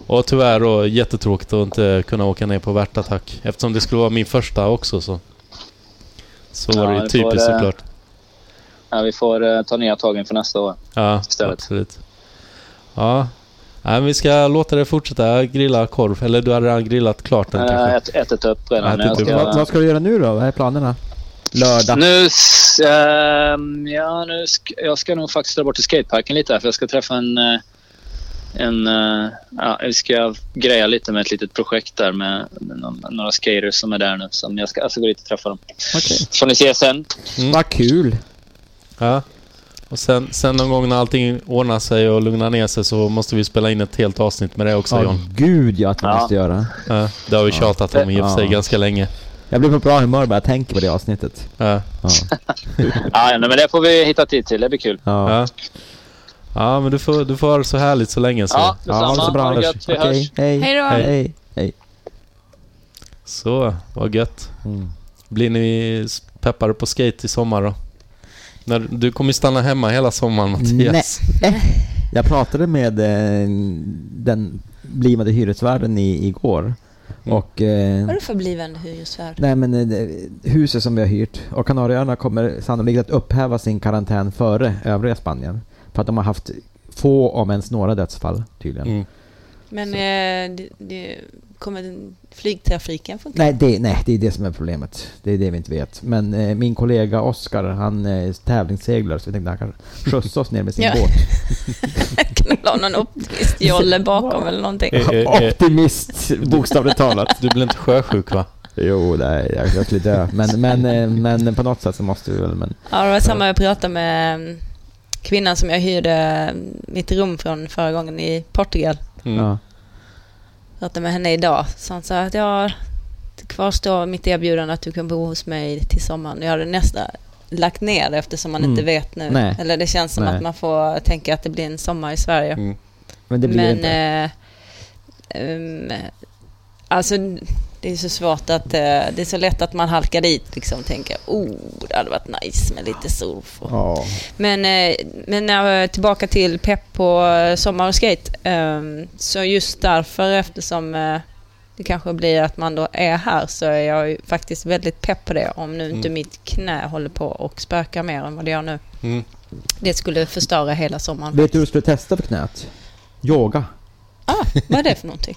S2: Och tyvärr då, jättetråkigt att inte kunna åka ner på värtattack. Eftersom det skulle vara min första också så. Så
S8: Ja,
S2: var det ju
S8: vi får,
S2: typiskt
S8: eh,
S2: såklart.
S8: Ja, vi får eh, ta nya tag inför nästa år.
S2: Ja,
S8: istället.
S2: absolut. Ja. Nej, men vi ska låta det fortsätta grilla korv. Eller du har redan grillat klart den
S8: Eh, Jag har
S2: kanske? typ.
S8: ät, ätit upp
S2: Ätit
S8: redan. Jag
S2: upp.
S8: ska-
S6: typ- Vad, vad ska du göra nu då? Vad är planerna? Lördag?
S8: Nu, s- ehm, ja, nu sk- jag ska nog faktiskt dra bort till skateparken lite här, för jag ska träffa en... eh, en eh, ja, vi ska greja lite med ett litet projekt där med, med någon, några skaters som är där nu. Som jag, ska, jag ska gå dit och träffa dem.
S6: Okej.
S8: får ni se sen.
S6: Vad kul!
S2: Mm. Ja. Och sen, sen någon gång när allting ordnar sig och lugnar ner sig så måste vi spela in ett helt avsnitt med det också
S6: Ja,
S2: John.
S6: gud ja, att man
S8: Ja.
S6: måste göra.
S2: Ja. Det har vi tjatat om i och för sig
S6: Ja.
S2: ganska länge.
S6: Jag blir på bra humör bara jag tänker på det avsnittet.
S2: Ja.
S6: Ja.
S8: Ja, nej, men det får vi hitta tid till. Det blir kul.
S6: Ja.
S2: Ja. ja, men du får, du får ha det så härligt så länge så.
S8: Ja,
S6: Ja, ha det så bra.
S8: Ha det gött. Vi
S6: Okej,
S8: hörs.
S6: hej.
S1: Hej då.
S6: Hej. Hej.
S2: Så, vad gött.
S6: Mm.
S2: Blir ni s- peppade på skate i sommar då? När, du kommer ju stanna hemma hela sommaren Mattias.
S6: Nej. Jag pratade med eh, den blivande hyresvärden i, igår.
S2: Mm.
S6: Och... Eh,
S1: Vadå för blivande hyresvärd?
S6: Nej men eh, det- huset som vi har hyrt och Kanarieöarna kommer sannolikt att upphäva sin karantän före övriga Spanien. För att de har haft få om ens några dödsfall tydligen.
S2: Mm.
S1: Men eh, det, det kommer flygtrafiken funka?
S6: Nej, det, nej, det är det som är problemet. Det är det vi inte vet. Men eh, min kollega Oskar, han eh, tävlingsseglar så jag tänkte han kan skjutsa oss ner med sin
S1: Ja.
S6: båt.
S1: Kan det vara någon optimistjolle bakom eller någonting?
S2: Eh, eh, eh,
S6: Optimist, bokstavligt talat.
S2: du blir inte sjösjuk va?
S6: Jo, nej, jag, jag skulle dö. Men, men, eh, men på något sätt så måste vi väl. Men,
S1: Ja, det var samma jag pratade med mm, kvinnan som jag hyrde mm, mitt rum från förra gången i Portugal.
S2: Mm.
S6: ja.
S1: pratade med henne idag. Så hon sa att jag kvarstår mitt erbjudande att du kan bo hos mig till sommaren. Jag hade nästan lagt ner det eftersom man
S6: Mm.
S1: inte vet nu.
S6: Nej.
S1: Eller det känns som
S6: Nej.
S1: att man får tänka att det blir en sommar i Sverige.
S6: men det blir
S1: Men
S6: inte.
S1: eh, ehm, alltså Det är så svårt att... eh, Det är så lätt att man halkar dit liksom. Tänker, oh, det hade varit nice med lite surf. Och...
S6: Ja.
S1: Men, eh, men när, eh, tillbaka till pepp på eh, sommar och skate. eh, Så just därför, eftersom eh, det kanske blir att man då är här, så är jag ju faktiskt väldigt pepp på det. Om nu inte
S2: Mm.
S1: mitt knä håller på och spökar mer än vad det gör nu.
S2: Mm.
S1: Det skulle förstöra hela sommaren.
S6: Vet du hur du skulle testa för knät? Yoga.
S1: Ah, vad är det för någonting?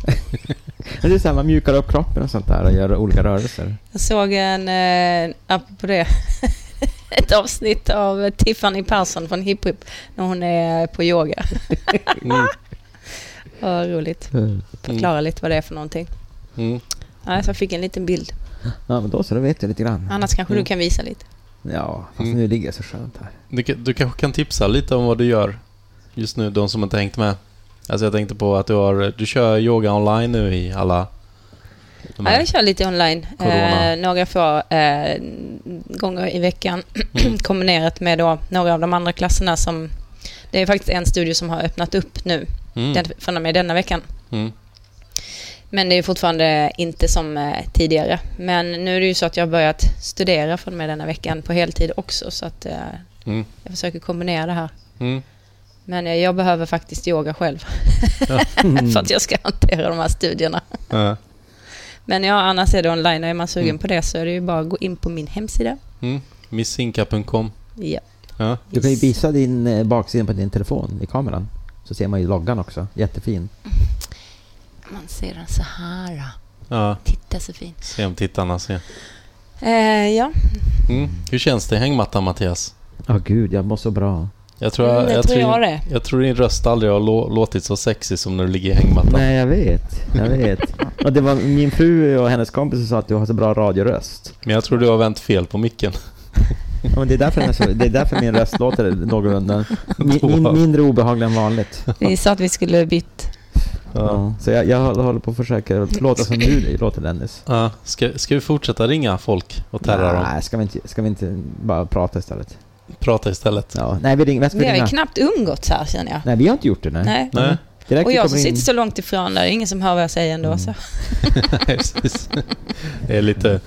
S6: Det är så här, man mjukar upp kroppen och sånt där och gör olika rörelser.
S1: Jag såg en, eh, apropå det, ett avsnitt av Tiffany Persson från Hip Hop när hon är på yoga.
S2: Mm.
S1: Vad roligt.
S6: Mm.
S1: Förklara lite vad det är för någonting.
S2: Mm.
S1: Ja, så jag fick en liten bild.
S6: Ja, men då så, då vet jag lite grann.
S1: Annars kanske
S2: Mm.
S1: du kan visa lite.
S6: Ja, fast
S2: Mm.
S6: nu ligger jag så skönt här.
S2: Du, ka- du kanske kan tipsa lite om vad du gör just nu, de som inte hängt med. Alltså jag tänkte på att du har, du kör yoga online nu i alla... de
S1: Ja,
S2: här-
S1: jag kör lite online.
S2: Corona.
S1: Eh, några få eh, gånger i veckan.
S2: Mm.
S1: Kombinerat med då några av de andra klasserna som... Det är faktiskt en studio som har öppnat upp nu.
S2: Mm.
S1: Den, från och med denna veckan.
S2: Mm.
S1: Men det är fortfarande inte som eh, tidigare. Men nu är det ju så att jag har börjat studera från och med denna veckan på heltid också. Så att eh,
S2: Mm.
S1: jag försöker kombinera det här.
S2: Mm.
S1: Men eh, jag behöver faktiskt yoga själv. för
S2: Mm.
S1: att jag ska hantera de här studierna.
S2: Ja.
S1: Men ja, annars är det online och är man sugen
S2: Mm.
S1: på det så är det ju bara att gå in på min hemsida.
S2: Mm. Missinka.com.
S1: Ja.
S2: Ja.
S6: Du kan ju visa din eh, baksida på din telefon i kameran. Så ser man ju loggan också. Jättefin.
S1: Man ser den så här. då.
S2: ja.
S1: Titta så fin.
S2: Se om tittarna ser.
S1: Eh, ja,
S2: Mm. Hur känns det i hängmattan Mattias?
S6: Ja, gud, jag mår så bra.
S2: Jag tror,
S1: Mm, det tror jag
S2: din-
S1: det.
S2: jag tror din röst aldrig har lå- låtit så sexig som när du ligger i hängmattan.
S6: Nej, jag vet. Jag vet. Och det var min fru och hennes kompis som sa att du har så bra radioröst.
S2: Men jag tror du har vänt fel på micken.
S6: Ja, men det, är därför den är så, det är därför min röst låter någorlunda min, min, mindre obehaglig än vanligt.
S1: vi sa att vi skulle bytt.
S6: Ja, så jag, jag håller på att försöka låta som du låter Dennis.
S2: Ja. Ska, ska vi fortsätta ringa folk och terra dem?
S6: Nej, ska vi, inte, ska vi inte bara prata istället?
S2: Prata istället.
S6: Ja. Nej, vi ringer. Vem ska
S1: Vi
S6: vi
S1: har ju
S6: ringa?
S1: knappt umgåtts här känner jag.
S6: Nej, vi har inte gjort det. Nej.
S1: Nej.
S2: Nej,
S6: Direkt
S1: Och
S6: vi
S1: jag som
S6: kommer in-
S1: sitter så långt ifrån där, det är ingen som hör vad jag säger
S6: Mm.
S1: ändå. Så.
S2: Nej, Mm. precis. Det är lite...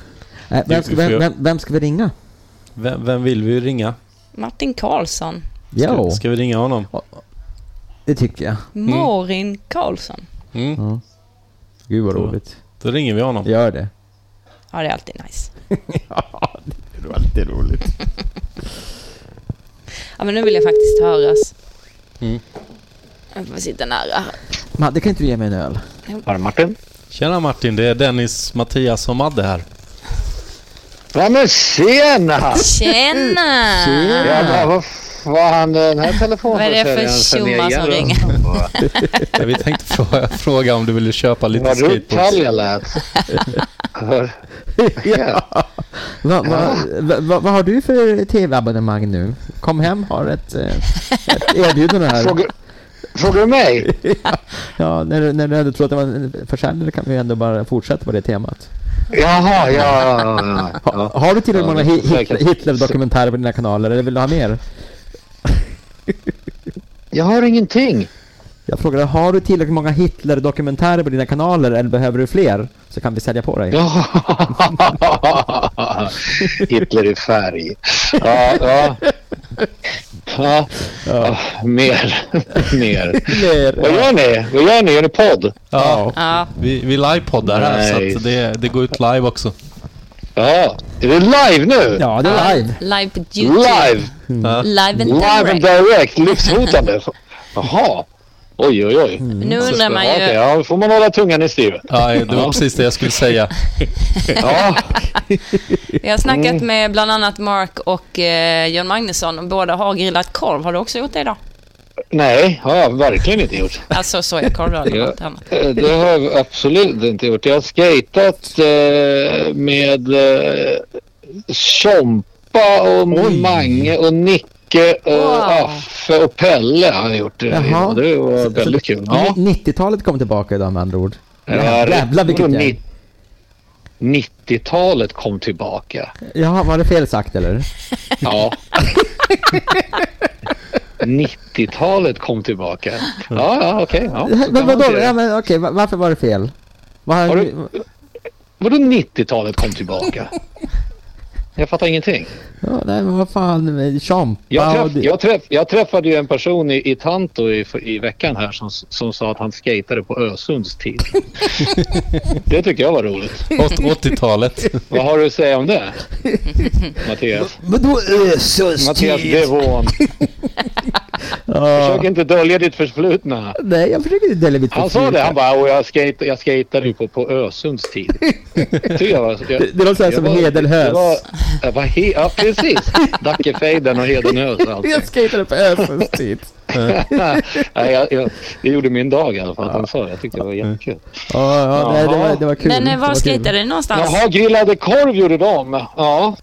S6: Nej, vem, ska, vem, vem, vem ska vi ringa?
S2: Vem, vem vill vi ringa?
S1: Martin Karlsson.
S6: Jo,
S2: Ska, ska vi ringa honom?
S6: det tycker jag.
S1: Mm. Morin Karlsson.
S2: Mm,
S6: Ja. Gud vad
S2: Så.
S6: roligt.
S2: då ringer vi honom.
S6: Gör det.
S1: Ja, det är alltid nice.
S6: Det var lite roligt.
S1: Ja, men nu vill jag faktiskt höras.
S2: Mm.
S1: Jag får sitta nära. här.
S6: Man, det kan inte du ge mig en öl?
S1: Mm.
S9: Var Martin?
S2: Tjena Martin, det är Dennis, Mattias och Madde här.
S10: Ja men tjena!
S1: Tjena!
S10: Jävlar, vad fan den här
S1: Vad är det för
S10: telefonförsäljaren
S1: tjomma som ringer?
S2: Ja, Vi tänkte fråga, fråga om du ville köpa lite
S10: Vad
S2: skateboards.
S10: ruttalj jag lät. Hör-
S6: Vad va, va, va, vad har du för tv-abonnemang nu? Kom hem, har ett, eh, ett erbjudande här.
S10: Frågar frågar du mig?
S6: Ja, när, du- när du ändå tror att det var en försäljare kan vi ändå bara fortsätta på det temat.
S10: Jaha, ja, ja, ja,
S6: Ha,
S10: ja.
S6: Har du tillräckligt
S10: Ja,
S6: många
S10: det är
S6: Hi- Hitler-
S10: säkert.
S6: Hitler-dokumentärer på dina kanaler eller vill du ha mer?
S10: Jag har ingenting.
S6: Jag frågade, har du tillräckligt många Hitler-dokumentärer på dina kanaler eller behöver du fler? Så kan vi sälja på dig.
S10: Ja. Hitler i färg. Ja, ja. ja. ja. Mer, mer.
S6: Mer.
S10: Vad gör ni? Vad gör ni? Gör ni podd?
S2: Ja,
S1: Ja,
S2: vi, vi livepoddar här så
S10: Nice.
S2: att det, det går ut live också.
S10: Ja. Är det live nu?
S6: Ja, det är live.
S1: live på YouTube.
S10: Live!
S2: Mm. Ja.
S1: Live and
S10: Live and
S1: direct.
S10: direct. Livshotande. Jaha. Oj, oj, oj.
S1: Nu undrar man
S10: Ja, okej.
S1: ju...
S10: Ja, då får man hålla tungan i styr.
S2: Mm. Ja, det var precis det jag skulle säga.
S10: Ja. Mm.
S1: Jag har snackat med bland annat Mark och eh, John Magnusson och båda har grillat korv. Har du också gjort det idag?
S10: Nej, har jag verkligen inte gjort.
S1: Alltså sojakorv då, eller
S10: Ja.
S1: något annat.
S10: Eh, Det har jag absolut inte gjort. Jag har skatat eh, med eh, Tjompa och Mange och Nicke och
S1: Wow.
S10: Affe och Pelle har jag gjort. eh,
S6: Jaha.
S10: Det var
S6: Så- så
S10: väldigt kul. Ja.
S6: 90-talet kom tillbaka idag med andra ord.
S10: Ja,
S6: Jävlar vilket
S10: och
S6: gäng.
S10: 90-talet kom tillbaka.
S6: Jaha, var det fel sagt eller?
S10: Ja. 90-talet kom tillbaka. Ja, ja okej. ja, så kan
S6: Men
S10: man
S6: vadå?
S10: se det.
S6: Ja, men, okej, va- varför var det fel? Vad har,
S10: Har du- Vadå 90-talet kom tillbaka? Jag fattar ingenting.
S6: Ja, nej men vad fan, men champa
S10: Jag, träff,
S6: och...
S10: jag, träff, jag träffade ju en person i, i Tanto i, i veckan här som, som sa att han skatade på Ösunds tid. det tyckte jag var roligt.
S2: Åt- 80-talet.
S10: Vad har du att säga om det? Mattias.
S6: Vadå Ösunds
S10: Mattias Devon. Försök inte dölja ditt förflutna.
S6: Nej, jag försöker inte dela mitt
S10: Han sa det. Han bara och jag, skate, jag skatade ju på, på Ösunds tid. Tyckte jag var- jag-
S6: Det- det låter så här
S10: jag
S6: som
S10: var-
S6: Hedenhös.
S10: det var- jag var he- Ja, precis. Dackefejden och Hedenhös och allting.
S6: Jag skejtade på Ösunds tid.
S10: Nej, jag, jag, det gjorde min dag i alla fall att han sa det. Jag tyckte det var jättekul.
S6: Ja, ja, nej, det, var, det var kul.
S1: Men eh,
S6: Det var
S1: var
S6: kul.
S1: skejtade ni någonstans?
S10: Jaha, grillade korv gjorde de. Ja.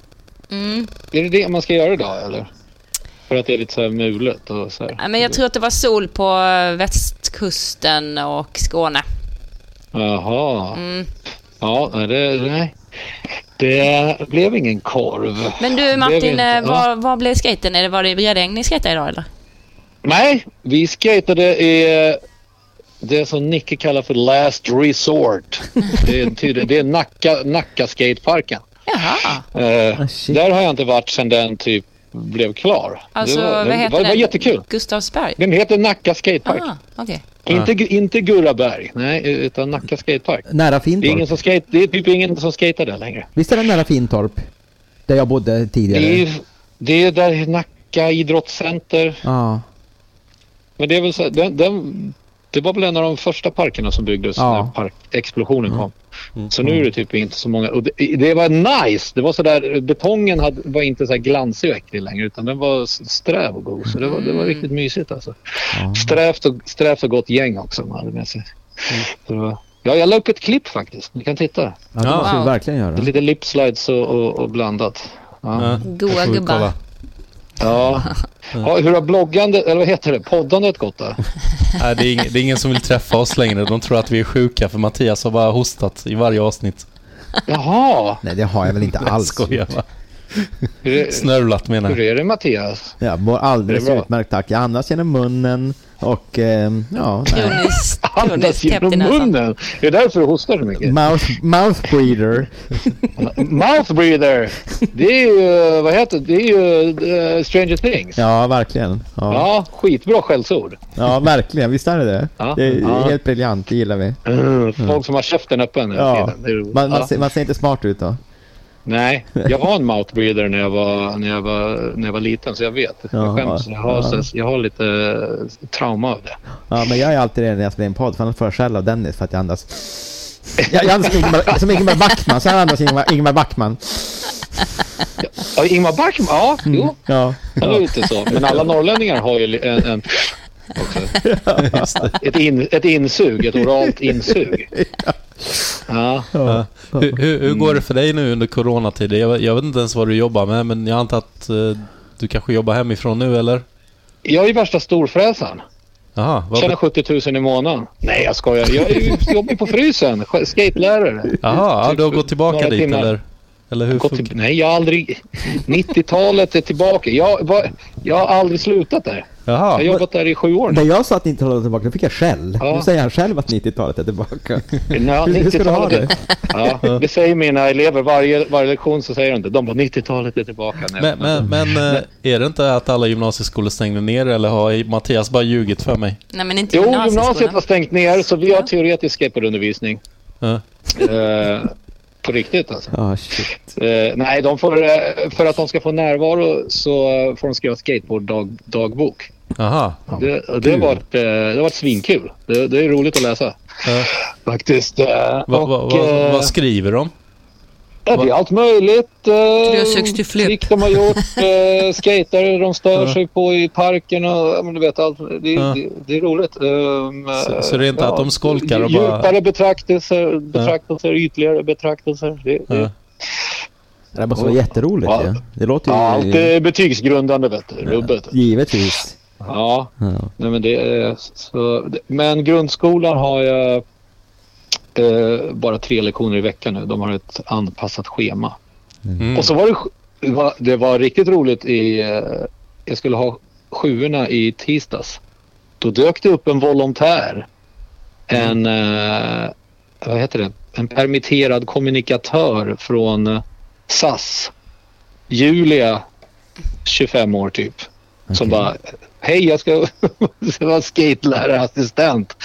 S1: Mm.
S10: Är det det man ska göra idag eller? För att det är lite så här mulet och så här.
S1: Ja, Men jag tror att det var sol på eh, västkusten och Skåne.
S10: Jaha.
S1: Mm.
S10: Ja, nej, det, nej. Det blev ingen korv.
S1: Men du
S10: Det vet
S1: Martin,
S10: inte.
S1: eh,
S10: Ja.
S1: var, var blev skaten? Eller var det i Bredäng ni skejtade idag eller?
S10: Nej, vi skatade i eh, det som Nicke kallar för Last Resort. Det är, tydligen, det är Nacka, Nacka skateparken.
S1: Jaha.
S10: Eh,
S6: Ah, shit.
S10: där har jag inte varit sedan den typ blev klar.
S1: Alltså,
S10: det var,
S1: vad
S10: det
S1: heter
S10: var, det var
S1: den?
S10: jättekul.
S1: Gustavsberg?
S10: Den heter Nacka skatepark.
S1: Ah, okej.
S10: Inte, inte Gurraberg, nej, utan Nacka skatepark.
S6: Nära
S10: Det är,
S6: Fintorp.
S10: ingen som skate, det är typ ingen som skater där längre.
S6: Visst är det nära Fintorp? Där jag bodde tidigare.
S10: Det är, det är där Nacka idrottscenter.
S6: Ja,
S10: Men det är väl så, den, den, det var väl en av de första parkerna som byggdes
S6: Ja. Mm.
S10: när parkexplosionen kom. Så nu är det typ inte så många. Och det, det var nice. Det var så där, betongen hade, var inte så här glansig och äcklig längre utan den var s- sträv och god. Så det var, det var riktigt mysigt alltså. Strävt, och, strävt och gott gäng också man hade med sig. Så det var, ja, jag la upp ett klipp faktiskt. Ni kan titta.
S6: Mm. ja det
S2: Ja.
S6: måste vi
S1: Wow.
S6: verkligen göra.
S10: Det är lite lipslides och, och, och blandat. Ja.
S2: Ja,
S1: Goa
S2: jag får
S1: gubbar.
S2: kolla.
S10: Ja. Ja, hur har bloggandet, eller vad heter det, poddandet gått då?
S2: Nej, det, är ingen, det är ingen som vill träffa oss längre. De tror att vi är sjuka för Mattias har bara hostat i varje avsnitt.
S10: Jaha!
S6: Nej, det har jag väl inte
S2: Jag
S6: alls
S2: skojar
S6: gjort.
S2: bara.
S10: Hur är,
S2: Snörvlat menar
S10: hur
S2: jag.
S10: är det Mattias?
S6: Jag mår alldeles
S10: Det är bra.
S6: utmärkt tack. Jag andas genom munnen och ehm, ja, nej.
S1: Kroniskt
S10: Andas
S1: kroniskt täppt i
S10: genom
S1: näsan.
S10: munnen! Det är därför du hostar så mycket.
S6: Mouth, mouth breather.
S10: Mouth breather! Det är ju, vad heter det, det är ju eh, Stranger Things. Ja.
S6: Ja, verkligen. Ja,
S10: skitbra skällsord.
S6: ja verkligen. Visst är det det?
S10: Ja.
S6: Det är
S10: Ja. Mm,
S6: helt briljant, det gillar vi.
S10: Folk som har käften öppen hela
S6: Mm. Ja.
S10: tiden. Det är roligt.
S6: Man, man,
S10: Ja.
S6: ser, man ser inte smart ut då.
S10: Nej, jag var en mouth breather när jag var, när jag var, när jag var liten så jag vet.
S6: Ja,
S10: Jag skäms. Jag har,
S6: ja.
S10: så- jag har lite eh, trauma av det.
S6: Ja, men jag är alltid det när jag spelar in podd, för annars får jag skäll av Dennis för att jag andas. Jag, jag andas som Ingemar, som Ingemar Backman, så här andas Ingemar, Ingemar Backman.
S10: Ja, Ingmar Backman, ja, jo.
S6: Mm. Ja,
S10: Han är lite så. Men alla norrlänningar har ju en, en också. Ett, in, ett insug, ett oralt insug. Ja.
S6: ja.
S2: Hur, hur, hur går det för dig nu under coronatiden? Jag, jag vet inte ens vad du jobbar med, men jag antar att eh, du kanske jobbar hemifrån nu, eller?
S10: Jag är ju värsta storfräsaren.
S2: Jaha, vad,
S10: Tjänar 70 000 i månaden. Nej, jag skojar. Jag är ju- jobbar ju på frysen. sk- Skatelärare.
S2: jaha ja, du har gått tillbaka
S10: Några
S2: dit,
S10: timmar.
S2: eller? Eller hur
S10: Gått
S2: funkar
S10: till, nej, jag har aldrig... 90-talet är tillbaka. Jag, va, jag har aldrig slutat där. Jag har
S2: Jaha,
S10: jobbat där i sju år nu.
S6: När jag sa att 90-talet var tillbaka, då fick jag skäll.
S10: Ja.
S6: Nu säger han själv att 90-talet är tillbaka.
S10: Ja,
S6: Hur- hur ska du ha
S10: 90-talet är- Ja, det säger mina elever. Varje, varje lektion så säger de det. De bara 90-talet är tillbaka nu.
S2: men, men, men eh, är det inte att alla gymnasieskolor stängde ner, eller har Mattias bara ljugit för mig?
S1: Nej, men inte
S10: Jo, gymnasiet var
S1: gymnasieskolan.
S10: stängt ner så vi har teoretisk skateboardundervisning.
S2: Ja.
S10: Eh, på riktigt alltså.
S6: Ja, shit.
S10: Eh, nej, de får, eh, för att de ska få närvaro så eh, får de skriva skateboarddagbok.
S2: Jaha.
S10: Det, och det, har varit, eh, det har varit svinkul. Det, det är roligt att läsa.
S2: Ja.
S10: Faktiskt. Eh,
S2: Vad
S10: och,
S2: vad- vad-
S10: eh,
S2: vad skriver de?
S10: Ja, det är allt möjligt.
S1: Knösöks till flipp.
S10: Trick de har gjort. Eh, skater de stör
S2: Ja.
S10: sig på i parken och ja, men du vet allt. Det,
S2: Ja.
S10: det, det är roligt. Um,
S2: Så- så det är inte att de skolkar och bara-
S10: Djupare betraktelser, betraktelser ytligare betraktelser. Det, det,
S2: Ja.
S6: Det måste vara jätteroligt
S10: Mm. Ja.
S6: ju. Det låter
S10: Ja,
S6: ju...
S10: allt är betygsgrundande vet du. Rubbet.
S6: Givetvis.
S10: Ja,
S6: Ja.
S10: nej, men det är så. Men grundskolan har jag eh, bara tre lektioner i veckan nu. De har ett anpassat schema.
S2: Mm.
S10: Och så var det, sj- det, var, det var riktigt roligt i... eh, Jag skulle ha sjuorna i tisdags. Då dök det upp en volontär. En... Eh, vad heter det? en permitterad kommunikatör från eh, SAS. Julia, 25 år typ. Som bara, hej jag ska jag ska vara skatelärarassistent.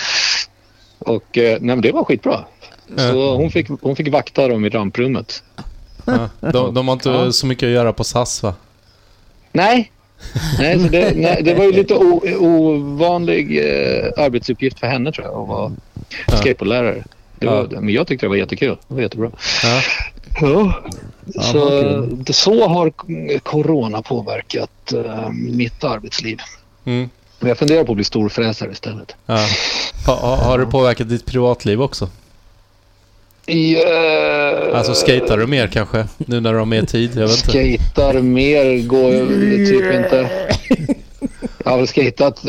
S10: Och eh, nej, men det var skitbra. Så hon fick, hon fick vakta dem i ramprummet.
S2: Ja, Eh, de, de har inte så mycket att göra på SAS va?
S10: Nej. Nej, så det, nej, det var ju lite o, ovanlig eh, arbetsuppgift för henne tror jag att vara skateboardlärare. Det var, Men jag tyckte det var jättekul. Det var jättebra.
S2: Ja.
S10: Så, så har k- corona påverkat eh, mitt arbetsliv.
S2: Mm.
S10: Men jag funderar på att bli storfräsare istället.
S2: Ja. Ha, ha, har det påverkat ditt privatliv också?
S10: I, eh,
S2: Alltså skatar du mer kanske? Nu när du har mer tid? Jag vet inte.
S10: Skatar mer går ju typ inte. Jag har väl skatat.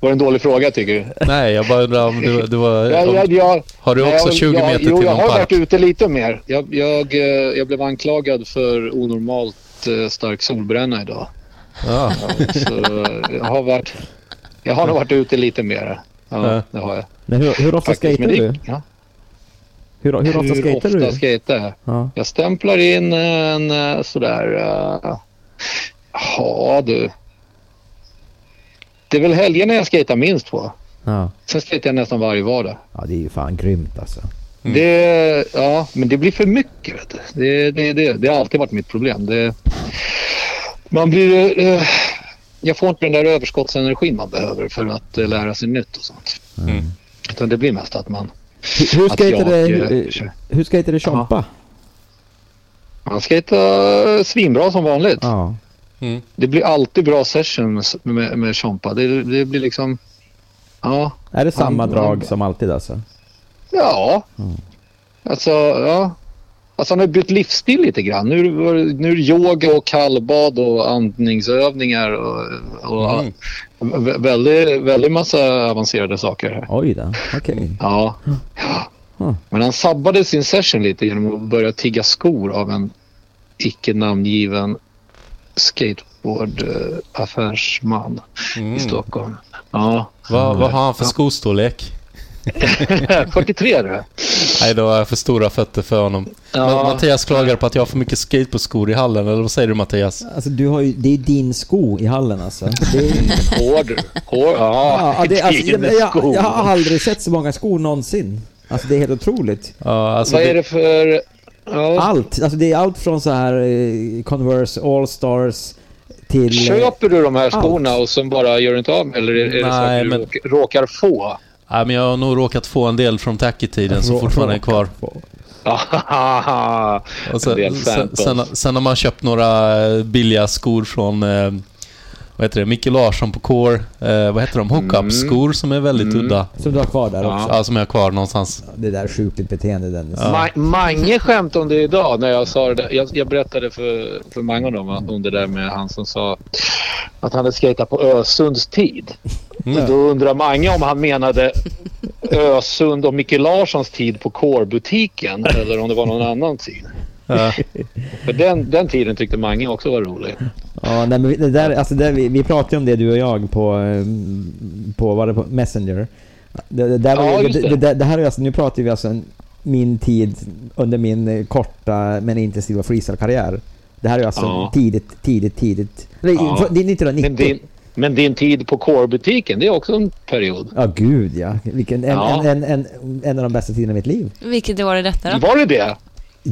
S10: Var det en dålig fråga tycker du?
S2: Nej, jag bara undrar om du, du var...
S10: Jag, jag,
S2: Om,
S10: jag,
S2: har du
S10: nej,
S2: också
S10: jag-
S2: 20
S10: jag,
S2: meter
S10: jo,
S2: till
S10: jag
S2: en
S10: har
S2: park?
S10: varit ute lite mer. Jag, jag, eh, jag blev anklagad för onormalt eh, stark solbränna idag.
S2: Ja.
S10: Så jag har varit... Jag har nog varit ute lite mer. Ja,
S2: Ja.
S10: det har jag.
S6: Men hur, hur ofta
S10: Faktiskt,
S6: skejtar
S10: men det-
S6: du?
S10: Ja.
S6: Hur, hur, ofta skejtar du?
S10: ofta skejtar jag?
S6: Ja.
S10: Jag stämplar in en eh, sådär... eh, Ja du. Det är väl helgerna jag skejtar minst på.
S6: Ja.
S10: Sen skejtar jag nästan varje vardag.
S6: ja, det är ju fan grymt alltså.
S10: Det, ja, men det blir för mycket. Vet du. Det, det, det, det har alltid varit mitt problem. Det, man blir... eh, jag får inte den där överskottsenergin man behöver för att eh, lära sig nytt och sånt.
S2: Mm.
S10: Utan det blir mest att man...
S6: Hur, hur
S10: Att
S6: skejtade
S10: jag,
S6: hur,
S10: eh, kör.
S6: hur skejtade Tjompa?
S10: Man skejtar eh, svinbra som vanligt.
S6: Ja.
S10: Det blir alltid bra session med, med, med Chompa. Det, det blir liksom... Ja.
S6: Är det samma
S10: Han-
S6: drag
S10: han-
S6: som alltid alltså?
S10: Ja. Alltså, ja. Alltså han har bytt livsstil lite grann. Nu, var det- nu är det yoga och kallbad och andningsövningar och, och
S2: Mm.
S10: vä- väldigt, väldigt massa avancerade saker. här.
S6: Oj då, okej.
S10: Ja.
S6: Mm.
S10: Men han sabbade sin session lite genom att börja tigga skor av en icke namngiven skateboardaffärsman i
S2: Mm.
S10: Stockholm. Ja.
S2: Vad, vad har han för skostorlek?
S10: 43 du.
S2: Nej, då har jag för stora fötter för honom.
S10: Ja.
S2: Ma- Mattias klagar på att jag har för mycket skateboardskor i hallen, eller vad säger du Mattias?
S6: Alltså du har ju, det är din sko i hallen alltså. Det är,
S10: Hård. Hård. Ja,
S6: ja, det, alltså
S10: din
S6: jag, jag,
S10: skog.
S6: jag har aldrig sett så många skor någonsin. Alltså det är helt otroligt.
S2: Ja, alltså
S10: Vad är
S2: det,
S10: det för... Ja.
S6: Allt, alltså det är allt från så här eh, Converse All Stars till...
S10: Köper du de här skorna och sen bara gör du inte av med Eller är, är det
S2: Nej,
S10: saker du
S2: men-
S10: råk- råkar få?
S2: nej, men jag har nog råkat få en del från Tacky-tiden som
S6: Rå-
S2: fortfarande är kvar.
S10: Ahahaha.
S2: Och
S10: En
S2: sen,
S10: del
S2: sen,
S10: samples.
S2: sen, sen har man köpt några eh, billiga skor från eh, vad heter det? Micke Larsson på Core. Eh, vad heter de?
S10: Mm.
S2: Hookup-skor som är väldigt udda.
S6: eh, Som du har kvar där också.
S2: Ja, som jag har kvar någonstans.
S6: Det där är sjukligt beteende Dennis.
S10: Ma- Mange skämtade om det idag när jag sa det där. Jag, jag berättade för, för Mange om, det- om det där med han som sa att han hade skejtat på Ösunds tid.
S2: Mm.
S10: Då undrar Mange om han menade Ösund och Micke Larssons tid på Core-butiken eller om det var någon annan tid.
S2: Ja.
S10: För den, den tiden tyckte Mange också var rolig.
S6: Ja, nej, men det där, alltså det, vi, vi pratade ju om det du och jag på, eh, på, var det på Messenger. Det, det, där var
S10: Ja,
S6: ju,
S10: just
S6: det,
S10: det.
S6: det, det, det här är alltså, nu pratar vi alltså en- min tid under min eh, korta men intensiva freestyle-karriär. Det här är alltså
S10: Ja.
S6: tidigt, tidigt, tidigt. Nej,
S10: Ja.
S6: för- Det är 1990.
S10: Men din, men din tid på Core-butiken, det är också en period.
S6: Ja, gud ja. Vilken, en,
S10: Ja.
S6: En, en, en, en av de bästa tiderna i mitt liv.
S1: Vilket år är detta då?
S10: Var det det?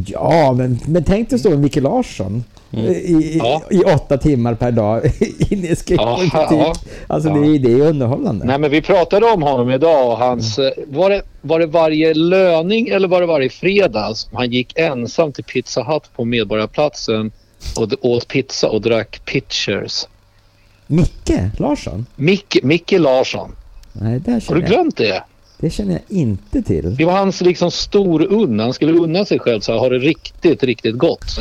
S6: Ja, men, men tänk dig stå med Micke Larsson eh, i,
S10: Mm. Ja.
S6: i, i åtta timmar per dag inne i skateboardbutik.
S10: Ja, ja.
S6: Alltså
S10: Ja.
S6: Det, är- det är underhållande.
S10: Nej, men vi pratade om honom idag och hans... eh, Var det, var det varje löning eller var det varje fredag som han gick ensam till Pizza Hut på Medborgarplatsen och d- åt pizza och drack pitchers?
S6: Micke Larsson?
S10: Micke, Micke Larsson.
S6: Nej, det
S10: Har du
S6: känner, jag,
S10: glömt det?
S6: det känner jag inte till.
S10: Det var hans liksom stor unna. Han skulle unna sig själv så här, ha det riktigt, riktigt gott. Så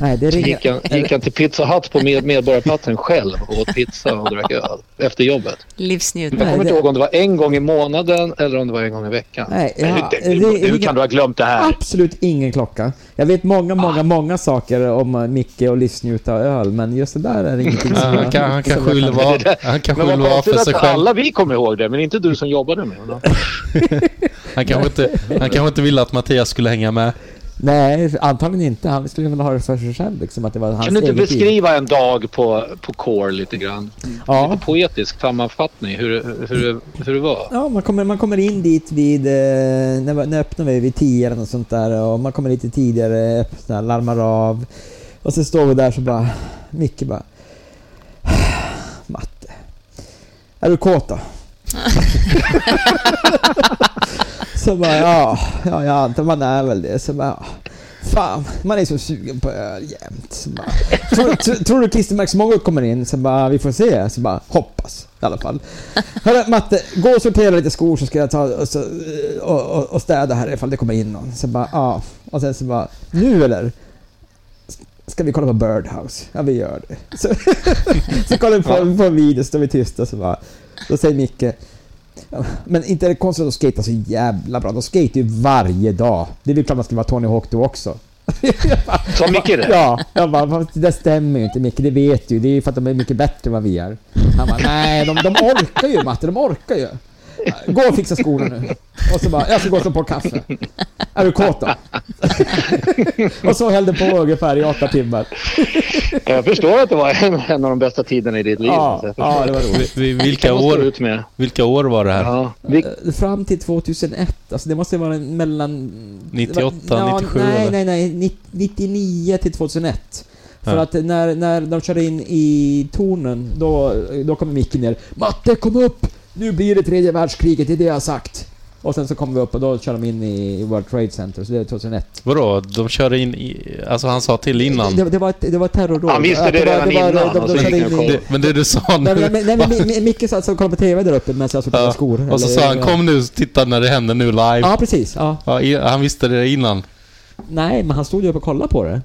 S6: Nej, det
S10: gick
S6: ringer...
S10: han, gick han till Pizza Hut på Med- Medborgarplatsen själv och åt pizza och drack öl efter jobbet.
S1: Livsnjutning.
S10: Jag
S6: Nej,
S10: kommer inte
S6: det-
S10: ihåg om det var en gång i månaden eller om det var en gång i veckan.
S6: Nej,
S10: Men
S6: ja,
S10: hur,
S6: det-
S10: hur, hur kan du ha glömt det här?
S6: Absolut ingen klocka. Jag vet många,
S10: Ah.
S6: många, många saker om eh, Micke och livsnjuta och öl, men just det där är ingenting som
S2: Han, kan, han kanske vill vara, han kanske
S10: Men
S2: vill
S10: vad
S2: vara
S10: konstigt
S2: för sig
S10: att
S2: själv.
S10: alla vi kommer ihåg det, men inte du som jobbade med honom.
S2: Han kanske inte, han kanske inte ville att Mattias skulle hänga med.
S6: Nej, antagligen inte. Han skulle väl ha det för sig själv liksom, att det var hans
S10: Kan du inte
S6: eget liv.
S10: beskriva en dag på, på Core lite grann?
S6: Ja.
S10: Lite poetisk sammanfattning hur, hur, hur det var.
S6: Ja, man kommer, man kommer in dit vid... eh, När, när öppnar vi? Vid 10 eller något sånt där. Och man kommer lite tidigare, öppnar, larmar av. Och så står vi där så bara... Micke bara... Matte. Är du kåt då? så bara ja, ja, jag antar man är väl det. Så bara ja. Fan, man är så sugen på öl jämt. Så bara, tror, tr- tror du Christer Max Mongo kommer in? Så bara, vi får se. Så bara, hoppas i alla fall. Hörru, Matte, gå och sortera lite skor så ska jag ta och, så, och, och, och städa här ifall det kommer in någon. Så bara, ja. Och sen så bara, nu eller? Ska vi kolla på Birdhouse? Ja, vi gör det. Så, så kollar vi på, på en video, så står vi tysta. Så bara, då säger Micke, Ja, Men inte är det konstigt att de skejtar så jävla bra. De skejtar ju varje dag. Det är väl klart man ska vara Tony Hawk då också.
S10: Sa Micke det?
S6: Ja, jag bara, "Fast det där stämmer ju inte Micke, det vet du. Det är ju för att de är mycket bättre än vad vi är. Han bara, nej, de, de orkar ju Matte, de orkar ju. Gå och fixa skorna nu. Och så bara, jag ska gå och slå på kaffe. Är du kåt då? Och så höll det på ungefär i åtta timmar.
S10: Jag förstår att det var en, en av de bästa tiderna i ditt liv.
S6: Ja,
S10: alltså. Jag förstår.
S6: ja, det var roligt.
S2: Vi- vi- vilka
S10: Det måste
S2: år?
S10: du Ut med.
S2: Vilka år var det här?
S10: Ja. Vil,
S6: Eh, Fram till 2001, alltså det måste vara en mellan...
S2: 98,
S6: det var-
S2: 97
S6: Nej,
S2: eller?
S6: nej, nej, Ni- 99 till 2001. För
S2: Ja.
S6: att när, när de körde in i tornen, då, då kommer Micke ner. Matte, kom upp! Nu blir det tredje världskriget, det är det jag har sagt. Och sen så kom vi upp och då kör de in i World Trade Center, så det är 2001.
S2: Vadå? De körde in i... Alltså han sa till innan.
S6: Det, det var ett, det var ett terrorråd.
S10: Han visste Mm. det
S6: var-
S10: redan
S6: var-
S10: innan,
S6: De, de,
S10: och så
S6: de körde
S10: gick han
S6: in
S10: och
S6: i...
S2: Det, men det du sa nu...
S6: Nej, men, men, nej, men Mi- Mi- Micke satt och kollade på TV där uppe medan jag sorterade
S2: ja.
S6: skor.
S2: Och så
S6: eller-
S2: sa han kom nu, titta när det händer nu live.
S6: Ja, precis. Ja.
S2: Ja, i- han visste det innan.
S6: Nej, men han stod ju uppe och kollade på det.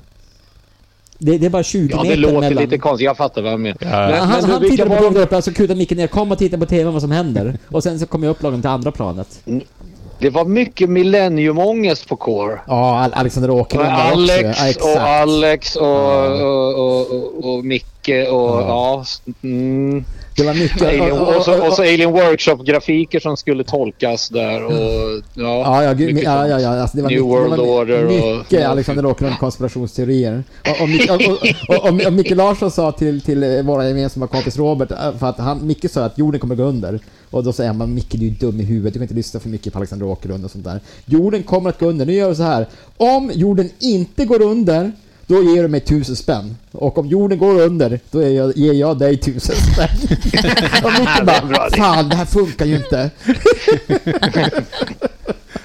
S6: Det, det är bara 20
S10: ja, det
S6: meter
S10: låter
S6: mellan.
S10: lite konstigt. Jag fattar vad han menar.
S2: Ja.
S10: Men-
S6: han
S10: men du,
S6: han
S10: vilka
S6: tittade på
S10: var
S6: tvn
S10: de-
S6: där uppe, så kutade Micke ner. Kom och titta på TVn vad som händer. Och sen så kom jag upp lagom till andra planet.
S10: Det var mycket millenniumångest på Core.
S6: Ja, Al- Alexander Åkerlund där också.
S10: Alex
S6: Ja,
S10: och
S6: exakt.
S10: Alex och, och, och, och, och Micke och ja. s- Mm.
S6: Det var mycket.
S10: Alien,
S6: Och, och,
S10: och, så,
S6: och,
S10: och så Alien Workshop-grafiker som skulle tolkas där och ja.
S6: Ja, ja, gud,
S10: mycket
S6: ja, ja,
S10: sånt.
S6: ja, alltså det var
S10: New
S6: mycket, det
S10: World
S6: var
S10: Order och-
S6: mycket liksom. Alexander Åkerlund konspirationsteorier. Och, och, Mic- och, och, och, och, och Micke Larsson sa till, till eh, våra gemensamma kompis Robert, eh, för att han, Micke sa att jorden kommer gå under. Och då säger han Micke du är dum i huvudet, du kan inte lyssna för mycket på Alexander Åkerlund och sånt där. Jorden kommer att gå under, nu gör vi så här. Om jorden inte går under, då ger du mig tusen spänn. Och om jorden går under, då ger jag, ger jag dig tusen spänn. och Micke bara, fan det här funkar ju inte.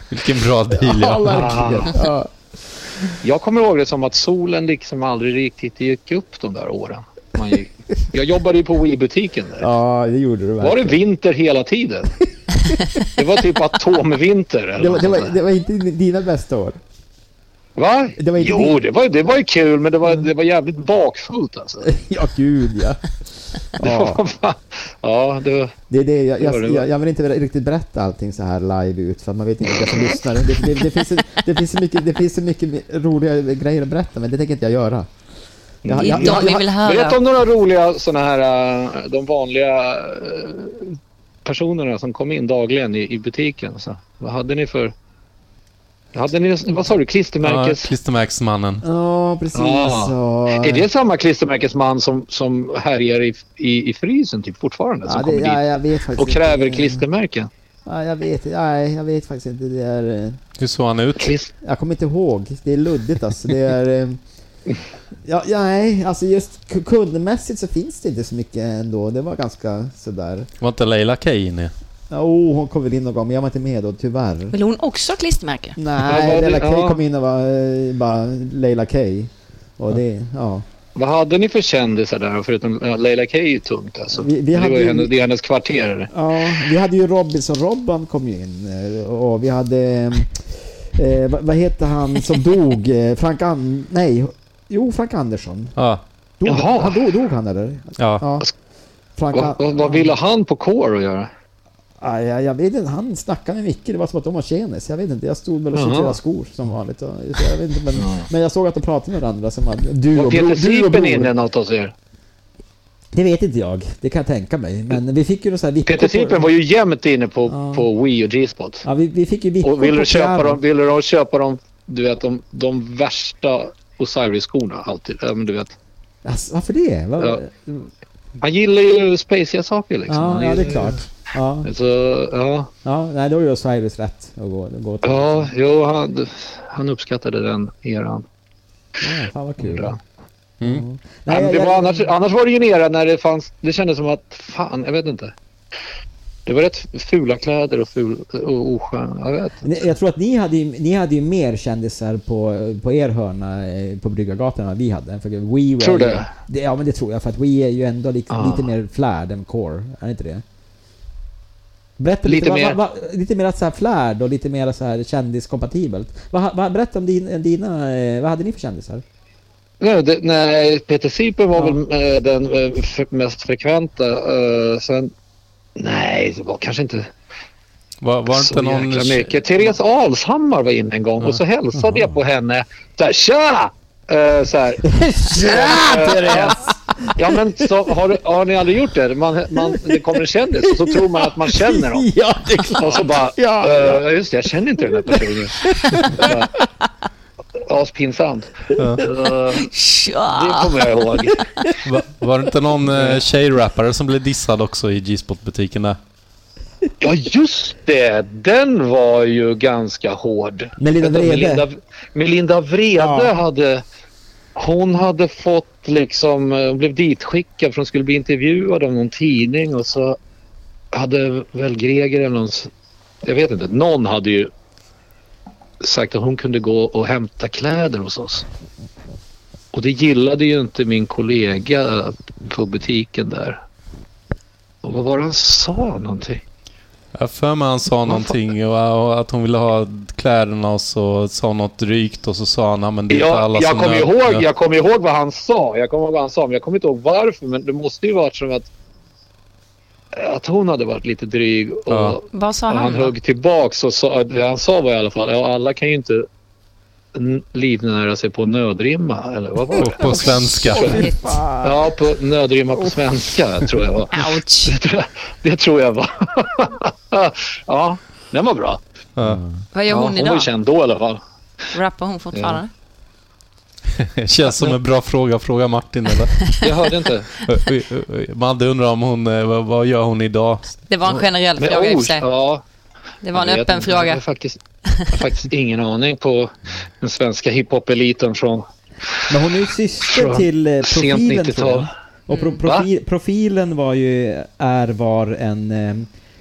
S2: Vilken bra deal
S6: Ja,
S2: ja.
S6: verkligen. Ja.
S10: Ah. Jag kommer ihåg det som att solen liksom aldrig riktigt gick upp de där åren. Man gick. Jag jobbade ju på Wii-butiken där.
S6: Ja, det gjorde du
S10: Var
S6: verkligen.
S10: det vinter hela tiden? Det var typ atomvinter eller
S6: Det var, det,
S10: något
S6: var,
S10: sånt
S6: det var inte dina bästa år.
S10: där. Va?
S6: det Mm. var inte
S10: jo,
S6: din-
S10: det var, det var ju kul men det var, det var jävligt bakfullt alltså.
S6: Ja, gud ja. ja.
S10: Ja, ja det var...
S6: Det är det. Jag,
S10: Det var
S6: jag,
S10: det.
S6: jag, jag vill inte riktigt berätta allting så här live ut, för att man vet inte vilka som lyssnar. Det, det, det, finns, så- det, finns, så mycket, det finns så mycket roliga grejer att berätta, men det tänker inte jag göra.
S10: Mm.
S6: Jag,
S1: Det är dem vi vill
S10: Berätta
S1: höra.
S10: om några roliga sådana här, eh, de vanliga eh, personerna som kom in dagligen i, i butiken. Så, vad hade ni för... Hade ni, vad sa du?
S2: ja
S10: Klistermärkes...
S2: Klistermärksmannen.
S6: Ja, precis.
S10: Ah.
S6: och-
S10: Är det samma klistermärkesman som, som härjar i, i, i frysen typ fortfarande?
S6: Ja,
S10: som
S6: det,
S10: kommer
S6: ja,
S10: dit
S6: jag vet faktiskt
S10: och kräver
S6: inte.
S10: klistermärken?
S6: Ja, jag vet, nej, jag vet faktiskt inte. Det är... eh,
S2: Hur såg han ut?
S10: Klist,
S6: Jag kommer inte ihåg. Det är luddigt alltså. Det är... eh, Ja, ja, nej, alltså just k- kundmässigt så finns det inte så mycket ändå. Det var ganska sådär.
S2: Var inte Leila Kay inne?
S6: Ja, oh, hon kom väl in någon gång, men jag var inte med då tyvärr.
S1: Vill hon också ha klistermärke?
S10: Vad
S6: Nej,
S10: var det?
S6: Leila K
S10: Ja.
S6: kom in och var eh, bara Leila K. Och det, ja.
S10: vad hade ni för kändisar där? Förutom ja, Leila Kay är ju tungt alltså.
S6: Vi- vi
S10: det,
S6: hade
S10: var ju
S6: ju-
S10: hennes, det är hennes kvarterare.
S6: ja. Vi hade ju Robinson-Robban kom ju in eh, och vi hade... eh, Eh, vad, vad hette han som dog? Eh, Frank An... Nej. Jo, Frank Andersson.
S2: Ja.
S6: Dog,
S10: Jaha.
S6: han dog, dog han eller?
S2: ja.
S6: Frank
S10: Vad, vad, vad
S6: An-
S10: ville han på Core att göra?
S6: Ja, jag, jag vet inte, han snackade med Micke, det var som att de var tjenis. Jag vet inte, jag stod väl och
S10: Jaha.
S6: sorterade skor som vanligt. Och, så jag vet inte, men, men jag såg att de pratade med varandra som att du
S10: Var
S6: och, bro,
S10: Peter
S6: du och
S10: Sipen inne
S6: bror.
S10: något hos er?
S6: Det vet inte jag, det kan jag tänka mig. Men vi fick ju någon sån här vippor
S10: Peter
S6: på-
S10: Sipen var ju jämt inne på, på Wii och G-spot.
S6: Ja, vi, vi fick ju vippor
S10: Och ville
S6: på
S10: de köpa
S6: kläder.
S10: dem, ville de köpa dem, du vet, de, de värsta Osiris-skorna alltid. Ja, men du vet.
S6: Alltså, varför det? Vad-
S10: Ja. Han gillar ju spaceiga saker liksom.
S6: Ja,
S10: Han
S6: ja, det är
S10: gillar-
S6: klart. Ja,
S10: Så, ja.
S6: ja nej, då är ju Osiris rätt att gå, gå till.
S10: Ja, jo, han, han uppskattade den eran.
S6: Ja, fan vad kul.
S2: Mm.
S10: Nej, men det
S6: jag-
S10: var annars, annars var det ju en era när det fanns, det kändes som att, fan, jag vet inte. Det var rätt fula kläder och, ful, och osköna, jag vet.
S6: Ni- Jag tror att ni hade, ju, ni hade ju mer kändisar på, på er hörna eh, på Bryggargatan än vad vi hade. För we were
S10: Tror du
S6: ju,
S10: det?
S6: det? Ja, men det tror jag. För att we är ju ändå liksom,
S10: Ah.
S6: lite mer flärd än core. Är det inte det? Berätta lite,
S10: Lite
S6: lite,
S10: mer-
S6: mer. Va, va, lite mer så här flärd och lite mer så här kändiskompatibelt. Va, va, berätta om din, dina... eh, Vad hade ni för kändisar?
S10: Nej, det, nej Peter Sipen var
S6: Ja.
S10: väl eh, den eh, f- mest frekventa. eh, sen, nej, det var kanske inte
S2: Var, var
S10: så
S2: inte någon...
S10: jäkla mycket. Therese Alshammar var inne en gång och så hälsade jag på henne. Så här, tja! Eh, så här.
S6: Tja, Therese!
S10: Ja, men så, har, du- har ni aldrig gjort det? Man, man, det kommer en kändis och så tror man att man känner dem.
S6: Ja, det är
S10: Och
S6: klart!
S10: så bara,
S6: Ja.
S10: ja, just det, jag känner inte den här personen. Bara, Aspinsamt.
S2: Ja.
S10: Eh,
S1: Tja!
S10: det kommer jag ihåg.
S2: Va, var det inte någon eh, tjejrappare som blev dissad också i G-spot-butiken där?
S10: Ja, just det. Den var ju ganska hård.
S6: Melinda Vrede.
S10: Melinda, Melinda Vrede
S6: Ja.
S10: hade... Hon hade fått liksom... eh, Hon blev ditskickad för hon skulle bli intervjuad av någon tidning och så hade väl Greger eller någon... s- Jag vet inte. Någon hade ju sagt att hon kunde gå och hämta kläder hos oss. Och det gillade ju inte min kollega på butiken där. Och vad var det han sa någonting?
S2: Jag för mig han sa någonting och, och att hon ville ha kläderna och så sa något drygt och så sa han "Ja, men det är inte
S10: Ja,
S2: alla
S10: jag
S2: som
S10: kommer
S2: nö- nö-
S10: ihåg, jag kommer ihåg vad han sa. Jag kommer ihåg vad han sa, men jag kommer inte ihåg varför. Men det måste ju varit som att, att hon hade varit lite dryg. Och,
S2: Ja.
S10: och
S1: Vad sa
S10: han
S1: han då?
S10: högg tillbaks och sa, det han sa var i alla fall, ja, alla kan ju inte n- livnära sig på nödrimma. Eller vad var det?
S2: På, på svenska.
S1: Oj,
S10: Ja, på nödrimma på svenska tror jag var.
S1: Ouch!
S10: Det tror jag, det tror jag var. ja, den var bra.
S2: Ja.
S1: Vad gör
S10: Ja,
S1: hon
S10: hon var
S1: idag?
S10: ju känd då i alla fall.
S1: Rappar hon fortfarande?
S2: Känns som en bra fråga. Fråga Martin eller?
S10: Jag hörde inte.
S2: Madde undrar om hon, eh, vad, vad gör hon idag?
S1: Det var en generell
S10: Men,
S1: fråga i och för
S10: oh,
S1: sig.
S10: ja,
S1: Det var en
S10: Jag vet
S1: öppen
S10: inte. Jag har
S1: fråga.
S10: faktiskt, jag har faktiskt ingen aning på den svenska hiphop-eliten från...
S6: Men hon är ju syster
S10: Från
S6: till eh,
S10: sent Mm.
S6: profilen tror
S10: 90-tal.
S6: jag. Och pro profi profilen var ju, är var en eh,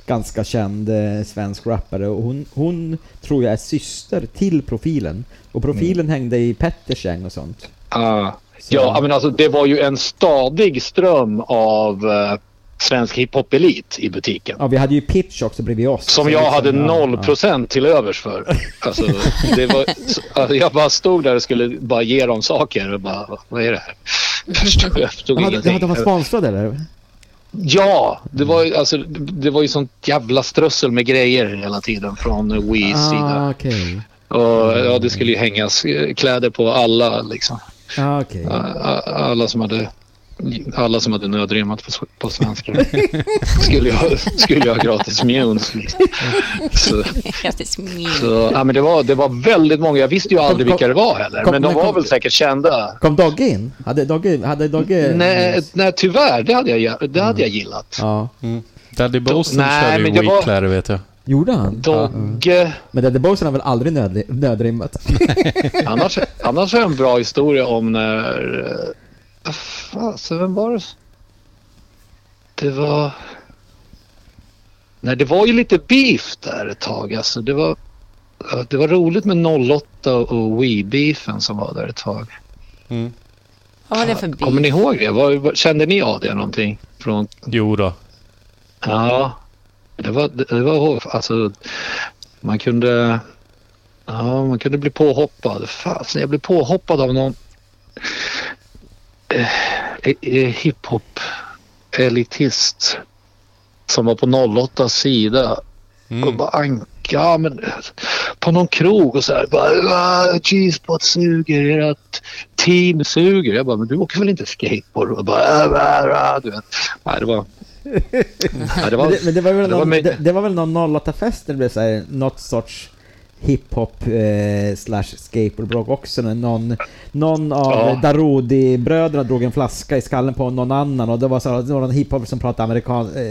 S6: ganska känd eh, svensk rappare och hon, hon tror jag är syster till profilen. Och profilen
S10: Mm.
S6: hängde i Petters gäng och sånt.
S10: Ah,
S6: Så-
S10: ja, men alltså, det var ju en stadig ström av eh, svensk hiphop-elit i butiken.
S6: Ja, vi hade ju Pitch också bredvid oss.
S10: Som
S6: Så
S10: jag
S6: liksom,
S10: hade
S6: ja,
S10: noll procent till övers för. Alltså, det var, alltså, jag bara stod där och skulle bara ge dem saker. Och bara, vad är det här? Jag förstod, jag förstod
S6: Ja. Hade,
S10: ingenting.
S6: hade de varit sponsrade eller?
S10: Ja, det var, ju- alltså, det var ju sånt jävla strössel med grejer hela tiden från Wees sida.
S6: Ah, okej.
S10: Och, ja, det skulle ju hängas eh, kläder på alla, liksom.
S6: Ah, okej.
S10: A- a- alla som hade alla som hade nödrimmat på, s- på svenska skulle ju ha, skulle ju ha gratis mjuns. Liksom. Så,
S1: Grattis, min.
S10: så, ja, men det, var, det var väldigt många. Jag visste ju aldrig vilka det var heller. Men de var väl säkert kända.
S6: Kom Dogge in? Hade Dogge... Hade Dogge... Mm.
S10: Nej, nej tyvärr. Det hade jag, det hade jag gillat.
S6: Ja.
S10: Mm.
S2: Daddy Boston
S10: Nej,
S2: körde ju
S10: men det var-
S2: weekläder vet jag.
S6: Gjorde han? Mm.
S10: Dogge.
S6: Men Daddy Bosen har väl aldrig nödri- nödrimmat?
S10: Annars, annars är det en bra historia om när... eh, vad Fan, så vem var det? Det var... Nej, det var ju lite beef där ett tag. Alltså, det, var, eh, det var roligt med 08 och Wii-beefen som var där ett tag. Mm.
S1: Vad var det för bil?
S10: Kommer ni ihåg det? Var, var- kände ni av det någonting? Från,
S2: Jo då.
S10: ja, det var... Det, det var alltså, man kunde... Ja, man kunde bli påhoppad. Fasen, jag blev påhoppad av någon eh, eh, hiphop-elitist som var på 08 sida
S2: Mm.
S10: och bara anka men, på någon krog och så här. bara, "Ah, G-spot suger, ert tid suger. Jag bara, men du åker väl inte skateboard? Och bara, äh, äh, äh, du vet. Nej, det var... Nej, det var,
S6: men det, men det var väl
S10: det var
S6: någon,
S10: mig-
S6: det, det var väl någon 08-fest där det blev så här, något sorts hiphop eh, slash skateboardblogg också. när Någon, någon av
S10: Ja.
S6: Darodi-bröderna drog en flaska i skallen på någon annan och det var, så här, det var någon hiphop som pratade amerikan, eh,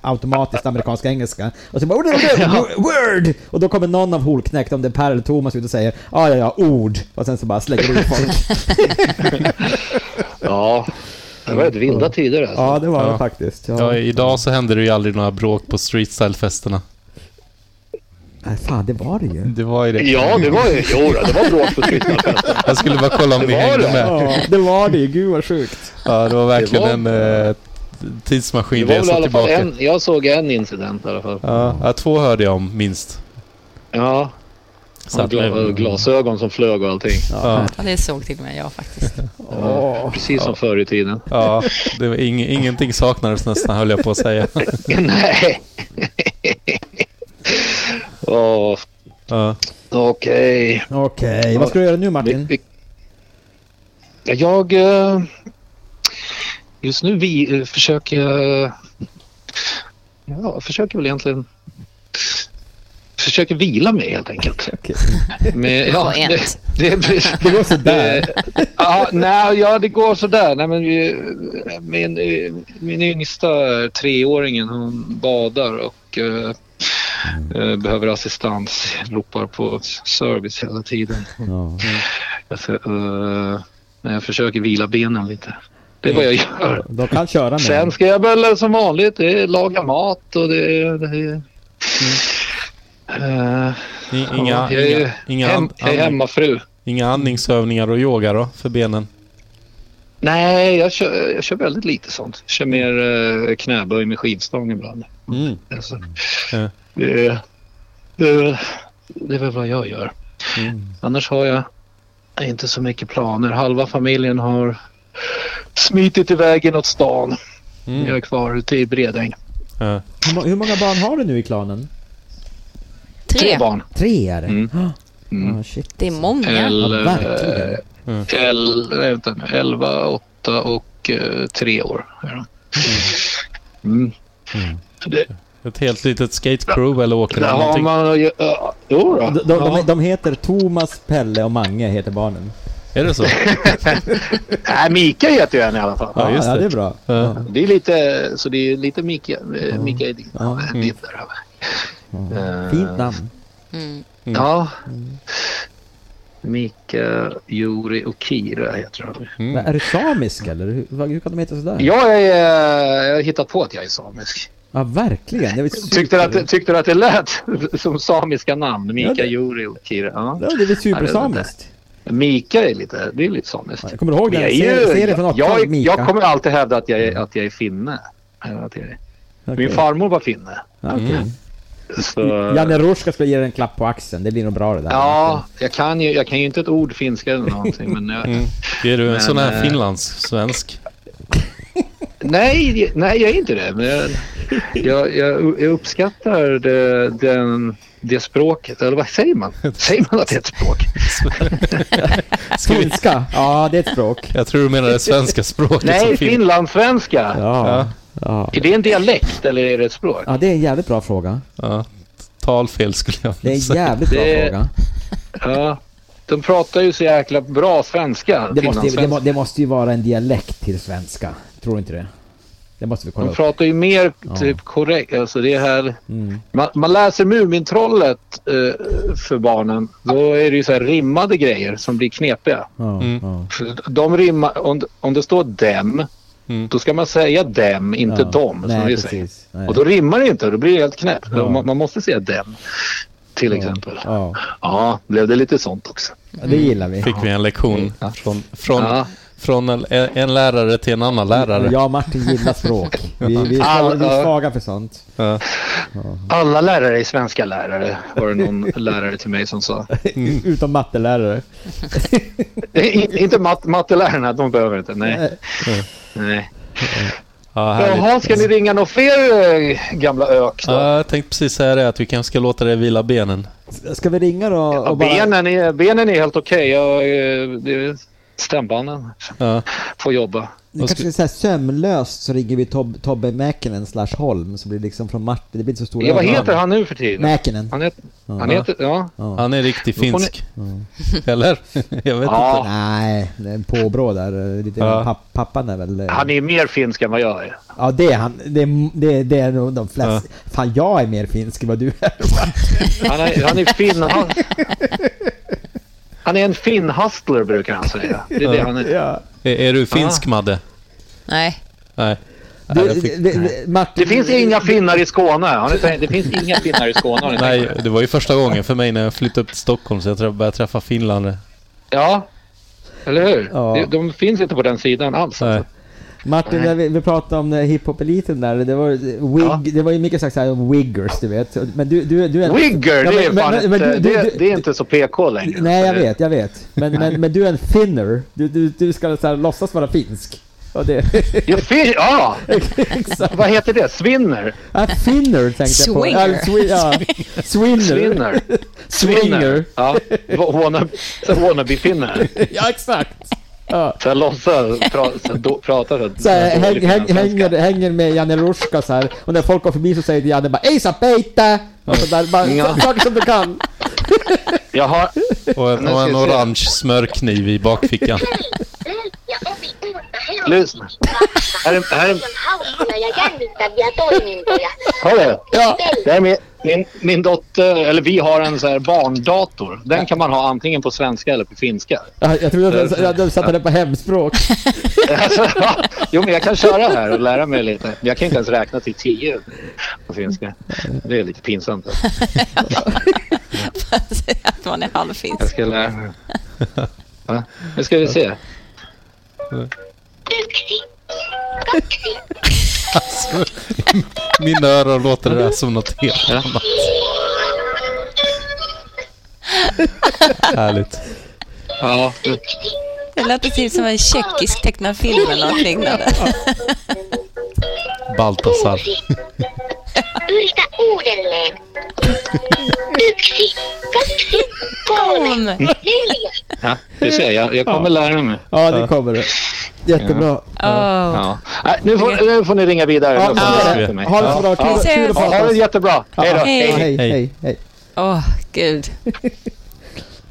S6: automatiskt amerikansk engelska. Och så bara "Oh, no, no, no, word! Och då kommer någon av Holknekt, om det är Per eller Thomas, ut och säger ja ja ja ord. Och sen så bara slänger du ut folk.
S10: ja, det var rätt vilda tider. Alltså.
S6: Ja det var det
S2: Ja.
S6: faktiskt. Ja.
S2: Ja, idag så hände det ju aldrig några bråk på streetstyle-festerna.
S6: Nej fan det var det ju.
S2: Det var ju det.
S10: Ja, det var ju... Jo, då, det var bråk på Twitter.
S2: Jag skulle bara kolla om
S10: Det
S2: ni
S10: var
S2: hängde
S10: det.
S2: med.
S6: Ja det var det ju, gud vad sjukt.
S2: Ja, det var verkligen
S10: Det var-
S2: en eh,
S10: Det var väl i
S2: tidsmaskinresa
S10: alla fall
S2: tillbaka.
S10: en... Jag såg en incident i alla fall.
S2: Ja, ja, två hörde jag om minst.
S10: Ja,
S2: Så att,
S10: gla- glasögon som flög och allting.
S2: ja,
S1: Ja, det såg till och med jag faktiskt.
S6: Åh.
S10: Precis som förr i tiden.
S2: ja, det var ing, ingenting saknades nästan höll jag på att säga.
S10: Nej. Åh,
S2: Ja,
S10: Okej.
S6: Okej, vad ska du göra nu Martin?
S10: Vi- vi- Jag... eh, Just nu vi eh, försöker jag... Ja, försöker väl egentligen... Försöker vila mig helt enkelt.
S6: Okej.
S10: Men,
S1: Skönt.
S10: det, det,
S6: Det går sådär.
S10: Eh, ja, nej, ja, det går sådär. Nej, men, vi- min, eh, min yngsta treåringen hon badar och eh, eh, behöver assistans. Ropar på service hela tiden.
S6: Ja.
S10: Jag, ska, eh, men jag försöker vila benen lite. Det är vad jag gör.
S6: De kan köra med.
S10: Sen ska jag väl eh, som vanligt det är laga mat och det är... Det är
S6: Mm.
S10: Eh,
S2: i- inga,
S10: ja, jag är,
S2: inga, inga,
S10: hem,
S2: and,
S10: jag är
S2: and,
S10: hemmafru.
S2: inga andningsövningar och yoga då för benen?
S10: Nej, jag kör, jag kör väldigt lite sånt. Jag kör mer eh, knäböj med skivstång ibland.
S2: Mm.
S10: Alltså,
S2: Ja.
S10: det, är- det, är väl, det är väl vad jag gör.
S2: Mm.
S10: Annars har jag inte så mycket planer. Halva familjen har smitit iväg inåt stan.
S6: Mm.
S10: Jag är kvar ute i Bredäng.
S2: Ja.
S6: Hur, må- hur många barn har du nu i klanen?
S10: Tre
S1: Tre.
S10: barn.
S6: Tre är det?
S10: Mm.
S6: Ah,
S10: Mm.
S6: ah, shit.
S1: Det är många.
S10: El,
S6: Ja, verkligen.
S10: eh,
S2: Mm.
S10: el, nej, vänta, nu. 11, 8 och eh, 3 år. är de. Mm. Det,
S2: Ett helt litet skatecrew eller åker
S10: där
S2: eller
S10: har
S2: någonting?
S10: man... ja, Jo då.
S6: De, de,
S10: Ja.
S6: de, de heter Thomas, Pelle och Mange heter barnen.
S2: Är det så?
S10: Nej, Mika heter ju en i alla fall.
S2: Ja, just
S6: ja,
S2: det.
S6: det är bra.
S2: Ja.
S10: Det är lite, så det är lite Mika, eh, Mika Edin.
S6: Ja.
S10: eh,
S2: Mm.
S10: där över.
S6: Ja.
S10: Eh,
S6: Fint Mm. namn.
S1: Mm.
S10: Ja. Mika, Juri och Kira heter de.
S6: Men
S2: Mm.
S6: Är du samisk eller? Hur, vad- hur kan de heta sådär?
S10: Ja, jag, är, eh, jag har hittat på att jag är samisk.
S6: Ja, verkligen. Det är väl
S10: Tyckte du
S6: super-
S10: att, tyckte du att det lät som samiska namn? Mika,
S6: Ja, det-
S10: Juri och Kira. Ja.
S6: Ja, det är väl supersamiskt.
S10: Mika är lite, det är lite samiskt.
S6: Jag kommer du ihåg
S10: Men
S6: den
S10: jag,
S6: serien
S10: är ju,
S6: serien från
S10: jag,
S6: 80-talet,
S10: jag,
S6: Mika?
S10: jag kommer alltid hävda att jag är, att jag är finne. Eh, Att jag är.
S6: Okej.
S10: Min farmor var finne.
S6: Ja, okej.
S10: Mm. Så...
S6: Janne Ruska ska ge dig en klapp på axeln. Det blir nog bra det där.
S10: Ja, jag kan ju, jag kan ju inte ett ord finska eller någonting. Men jag,
S2: Mm. Är du en
S10: Men,
S2: sån här
S10: eh,
S2: finlandssvensk?
S10: nej, nej, jag är inte det. Men jag, jag, jag, jag uppskattar det, den, det språket. Eller vad säger man? Säger man att det är ett språk?
S2: Ska vi-
S6: Finska? Ja, det är ett språk.
S2: Jag tror du menar det Eh, svenska språket
S10: Nej,
S2: som fin-
S10: finlandssvenska.
S6: Ja.
S2: Ja.
S6: Ja.
S10: Är det en dialekt eller är det ett språk?
S6: ja, det är en jävligt bra fråga.
S2: Ja, talfel skulle jag
S6: Det är
S2: vilja
S6: en
S2: säga.
S6: jävligt bra
S10: Det-
S6: fråga.
S10: Ja. De pratar ju så jäkla bra svenska.
S6: Det måste, det, må-
S10: finlandssvenska.
S6: det måste ju vara en dialekt till svenska. Tror du inte det? Det måste vi kolla
S10: De
S6: upp.
S10: pratar ju mer typ korrekt. Alltså det här...
S6: Mm.
S10: Man, man läser Mumintrollet eh, för barnen. Då är det ju så här rimmade grejer som blir knepiga.
S6: Ja,
S2: Mm.
S6: ja.
S10: De rimmar, om, om det står dem,
S2: Mm.
S10: då ska man säga dem, inte
S6: Ja.
S10: dem. Som
S6: Nej,
S10: vi säger.
S6: precis. Nej.
S10: Och då rimmar det inte. Då blir det helt knäppt.
S6: Ja.
S10: Man, man måste säga dem, till exempel. Ja.
S6: Ja,
S10: blev det lite sånt också.
S6: det gillar vi.
S2: Fick vi en lektion från, från,
S10: Ja.
S2: från en, en lärare till en annan lärare.
S6: Jag och Martin gillar språk. Vi, vi, är svaga,
S10: All-
S6: vi är svaga för sånt.
S2: Ja.
S10: Alla lärare är svenska lärare var det någon lärare till mig som sa.
S6: Utom mattelärare.
S10: I, inte mat, mattelärarna, de behöver inte. Nej. Nej.
S2: Ja, härligt.
S10: Jaha, ska ni ringa några fler eh, gamla ök då?
S2: Ja, jag tänkte precis säga det, att vi kanske ska låta det vila benen.
S6: Ska vi ringa då?
S10: Ja,
S6: Och bara...
S10: benen, är, benen är helt okej. Jag, eh, det- stämbanden
S2: Ja.
S10: får jobba.
S6: Det kanske är så här sömlöst så ringer vi Tob Tobbe Mäkinen slash Holm så blir det liksom från Martin, det blir inte så stor
S10: Ja, vad
S6: överraskning.
S10: heter han nu för tiden?
S6: Mäkinen.
S10: Han heter... Han heter ja.
S2: Han är riktig
S10: Då får ni-
S2: finsk. Eller? Jag vet
S10: Ja.
S2: inte.
S6: Nej, det är en påbrå där. eh, Lite
S2: Ja.
S6: papp, pappan är väl... eh,
S10: Han är mer finsk än vad jag är.
S6: Ja, det är han. Det är, det är, det är nog de flesta. Fan, jag är mer finsk än vad du är.
S10: Han är, han är finn... Han, han är en finn-hustler brukar han säga. Det är det han är.
S6: Ja.
S2: Är, är du
S10: Ah.
S2: finsk, Madde?
S1: Nej.
S2: Nej. Nej,
S6: Du,
S2: jag fick...
S6: det, det, Martin,
S10: Det finns inga finnar i Skåne. Har ni tänkt? Det finns inga finnar i Skåne. Har ni tänkt?
S2: Nej, det var ju första gången för mig när jag flyttade upp till Stockholm så jag träff- började träffa finländare.
S10: Ja, eller hur?
S6: Ja.
S10: De, de finns inte på den sidan alls.
S2: Nej.
S6: Martin, när vi, vi pratade om eh, hiphop-eliten där. Det var, wig,
S10: Ja.
S6: det var ju mycket sagt så här, wiggers, du vet. Men du, du, du är...
S10: Wigger,
S6: Ja,
S10: det är
S6: men-
S10: fan
S6: men-
S10: ett,
S6: men du-
S10: eh,
S6: du-
S10: det,
S6: du-
S10: det är inte så PK längre.
S6: Nej, jag vet, jag vet. Men, men, men du är en finner. Du, du, du ska så här, låtsas vara finsk. Och det,
S10: Ja, fin, ja,
S6: exakt.
S10: vad heter det? Svinner?
S6: Ja, finner tänkte jag på.
S1: Swinger.
S6: Ja, swi- ja. Swinner.
S10: Svinner?
S6: Swinger.
S10: Ja, wanna- så wannabe-finnar.
S6: Ja, exakt. Ja.
S10: Så jag låtsas pra, så jag då- prata så.
S6: Så här, häng,
S10: dålig
S6: häng,
S10: finlandssvenska.
S6: hänger, hänger med Janne Ruska så här. Och när folk går förbi så säger Janne bara ”Ejsa peita!” och så där, bara,
S10: Ja.
S6: Saker som du kan.
S10: Jag har,
S2: Och en,
S10: Nu
S2: och
S10: ska vi
S2: en
S10: se.
S2: orange smörkniv i bakfickan.
S10: lyssna. Här är, här är, hör du?
S6: Ja.
S10: Det är min, min, min dotter, eller vi har en så här barndator. Den kan man ha antingen på svenska eller på finska.
S6: Ja, Jag trodde att de- att de satte det på hemspråk.
S10: Alltså, jo, men jag kan köra här och lära mig lite. Men Jag kan inte ens räkna till tio på finska. Det är lite pinsamt.
S1: att man är
S10: Jag
S1: halvfinsk.
S10: ska lära mig. Va? Nu ska vi se.
S2: Alltså, i mina öron låter det där som något helt
S10: Ja.
S2: annat. Härligt.
S10: Ja,
S1: Det lät typ som en tjeckisk tecknad film eller något liknande.
S2: Baltasar.
S1: Boom!
S10: ja du ser. Jag, jag kommer lära mig.
S6: Ja, det kommer det. Jättebra.
S1: Oh.
S10: Ja. Nej, nu, får, nu får ni ringa vidare.
S6: Ja,
S10: Nu får ni
S2: ja.
S10: ringa till mig.
S6: Ha det så bra.
S1: Vi
S6: Kul,
S1: ses.
S6: kul att
S10: Ja,
S6: prata.
S10: ha det jättebra. Hej då.
S1: Hej.
S6: Hej,
S2: Hej.
S6: hej, hej.
S1: Åh, gud.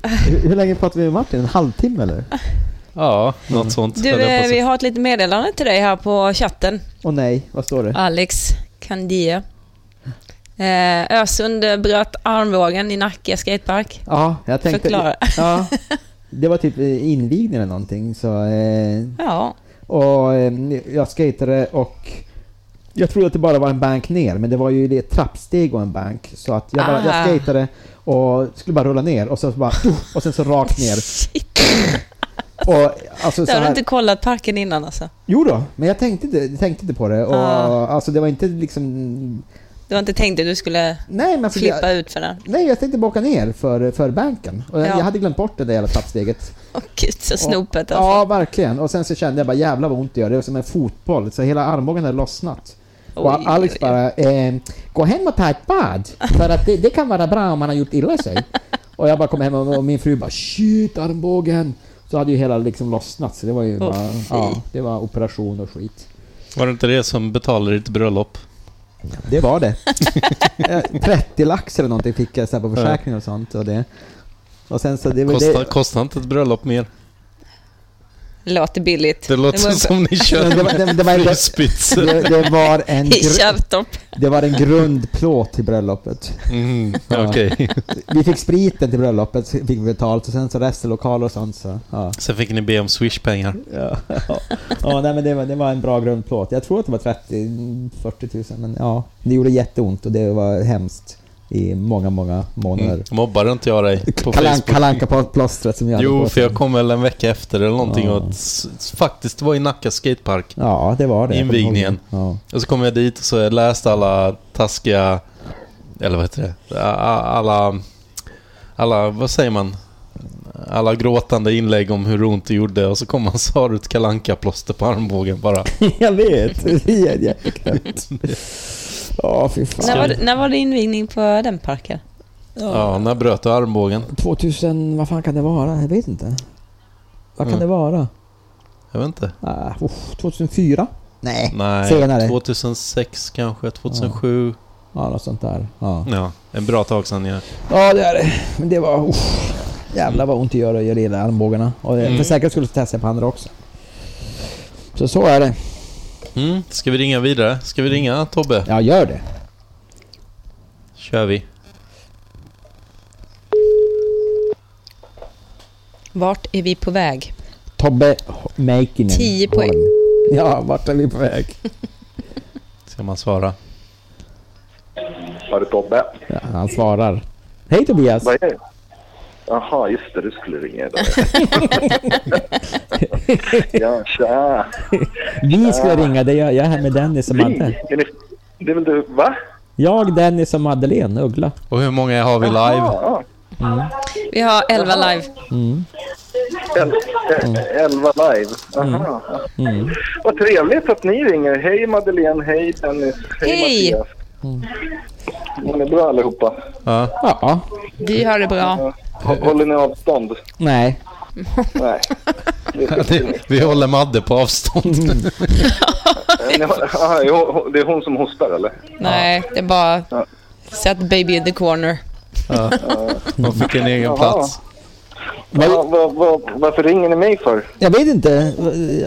S6: Hur, hur länge pratade vi med Martin? En halvtimme eller?
S2: Ja, något sånt. höll
S1: Du,
S2: jag på att
S1: eh,
S2: säga.
S1: vi har ett litet meddelande till dig här på chatten.
S6: Åh nej, vad står det?
S1: Alex Candia. Eh, Ösund eh, bröt armbågen i Nacka skatepark.
S6: Ja, jag tänkte...
S1: Förklara.
S6: Ja, det var typ eh, invigning eller någonting. Så, eh,
S1: Ja,
S6: och eh, jag skatade och jag trodde att det bara var en bank ner, men det var ju det ett trappsteg och en bank. Så att jag, bara,
S1: Ah.
S6: jag skatade och skulle bara rulla ner och sen så bara... Och sen så rakt ner.
S1: shit.
S6: Och, alltså,
S1: Det
S6: så
S1: har du
S6: här,
S1: inte kollat parken innan alltså.
S6: Jo då, men jag tänkte inte, tänkte inte på det. Och,
S1: Ah.
S6: Alltså det var inte liksom...
S1: Du har inte tänkt att du skulle
S6: Nej, men alltså, det-
S1: flippa ut för den?
S6: Nej, jag tänkte bara åka ner för, för banken. Och jag,
S1: Ja.
S6: jag hade glömt bort det där jävla trappsteget.
S1: Åh gud, så
S6: Och-
S1: snopet
S6: Ja,
S1: alltså.
S6: verkligen. Och sen så kände jag bara jävlar vad ont det gör. Det var som en fotboll. Så hela armbågen hade lossnat.
S1: Oj,
S6: och Alex
S1: oj, oj.
S6: bara, eh, gå hem och ta ett bad. För att det, det kan vara bra om man har gjort illa sig. och jag bara kom hem och, och min fru bara, shit armbågen. Så hade ju hela liksom lossnat. Så det var ju
S1: Åh,
S6: bara,
S1: fy.
S6: ja, det var operation och skit.
S2: Var det inte det som betalade ditt bröllop?
S6: Det var det. Eh, 30 lax eller någonting fick jag så här på försäkringen och sånt. Och, det. och sen så det var
S2: Kostar,
S6: det,
S2: kostar inte ett bröllop mer?
S1: Låter billigt.
S2: Det låter
S1: var-
S2: Alltså, som ni
S6: Alltså, det, var,
S2: kör
S6: det, det, var, det,
S2: fryspizza.
S6: det, det, var en
S1: I
S6: gru,
S1: Kärrtorp.
S6: det var en grundplåt till bröllopet.
S2: Mm,
S6: Ja.
S2: Okej.
S6: Vi fick spriten till bröllopet, fick vi betalt, och sen så resten lokaler och sånt. Så, ja.
S2: Sen fick ni be om swishpengar.
S6: Ja, ja. ja nej, men det, var, det var en bra grundplåt. Jag tror att det var 30-40 tusen, men ja, det gjorde jätteont och det var hemskt i många, många månader.
S2: Mm. Mobbade inte jag dig på
S6: Kalan,
S2: Facebook?
S6: kalanka på plåstret som jag hade
S2: Jo,
S6: på
S2: för jag
S6: sig.
S2: kom väl en vecka efter eller någonting
S6: Ja.
S2: och s- s- faktiskt var i Nacka skatepark.
S6: Ja, det var det. Jag kommer ihåg det.
S2: Invigningen.
S6: Ja.
S2: Och så kom jag dit och så läste alla taskiga... Eller vad heter det? A- a- Alla... Alla, vad säger man? Alla gråtande inlägg om hur ont det gjorde och så kom man så har du ett kalanka plåster på armbågen bara.
S6: jag vet, det är jätteknäppt. Ja, fy
S1: När var,
S6: fan.
S1: det- när var det invigning på den parken?
S2: Ja, när bröt du armbågen?
S6: 2000, vad fan kan det vara? Jag vet inte. Vad kan
S2: Mm.
S6: det vara?
S2: Jag vet inte.
S6: Ah, oh, 2004? Nej,
S2: Nej,
S6: senare.
S2: 2006 kanske, 2007.
S6: Ja, något sånt där. Ja,
S2: Ja, en bra tag sedan jag...
S6: ja det är det. Men det var... Oh, jävlar vad ont det gör att göra illa i armbågarna. Och det,
S2: Mm.
S6: för säkerhets skull så testade jag på andra också. Så så är det.
S2: Mm, ska vi ringa vidare? Ska vi ringa Tobbe?
S6: Ja, gör det.
S2: Kör vi.
S1: Vart är vi på väg?
S6: Tobbe Mäkinen.
S1: 10 poäng.
S6: Holm. Ja, vart är vi på väg?
S2: Ska man svara?
S11: Har du Tobbe?
S6: Ja, han svarar. Hej Tobias!
S11: Vad är det? Jaha, just det. Du skulle ringa idag. ja, tja.
S6: Vi ska ringa dig. Jag jag är här med Dennis och
S11: Vi?
S6: Madde.
S11: Är ni, det är väl du? Va?
S6: Jag, Dennis och Madeleine Uggla.
S2: Och hur många har vi
S11: Ja.
S6: Mm.
S1: Vi har 11 live.
S6: Mm.
S11: El, el, elva live. Jaha.
S6: Mm.
S11: Vad trevligt att ni ringer. Hej Madeleine, hej Dennis, hej,
S1: Hej.
S11: Mattias. Mår ni bra allihopa?
S2: Ja.
S6: ja.
S1: Vi har det bra.
S11: Håller ni avstånd?
S6: Nej.
S11: Nej. Det är
S2: Det- Vi håller Madde på avstånd.
S6: Mm.
S11: Ni har- aha, jo, Det är hon som hostar eller?
S1: Nej, det är bara... Sätt baby in the corner.
S2: Ja. Man fick en egen
S11: Jaha.
S2: plats.
S11: Ja, vad- vad- varför ringer ni mig för?
S6: Jag vet inte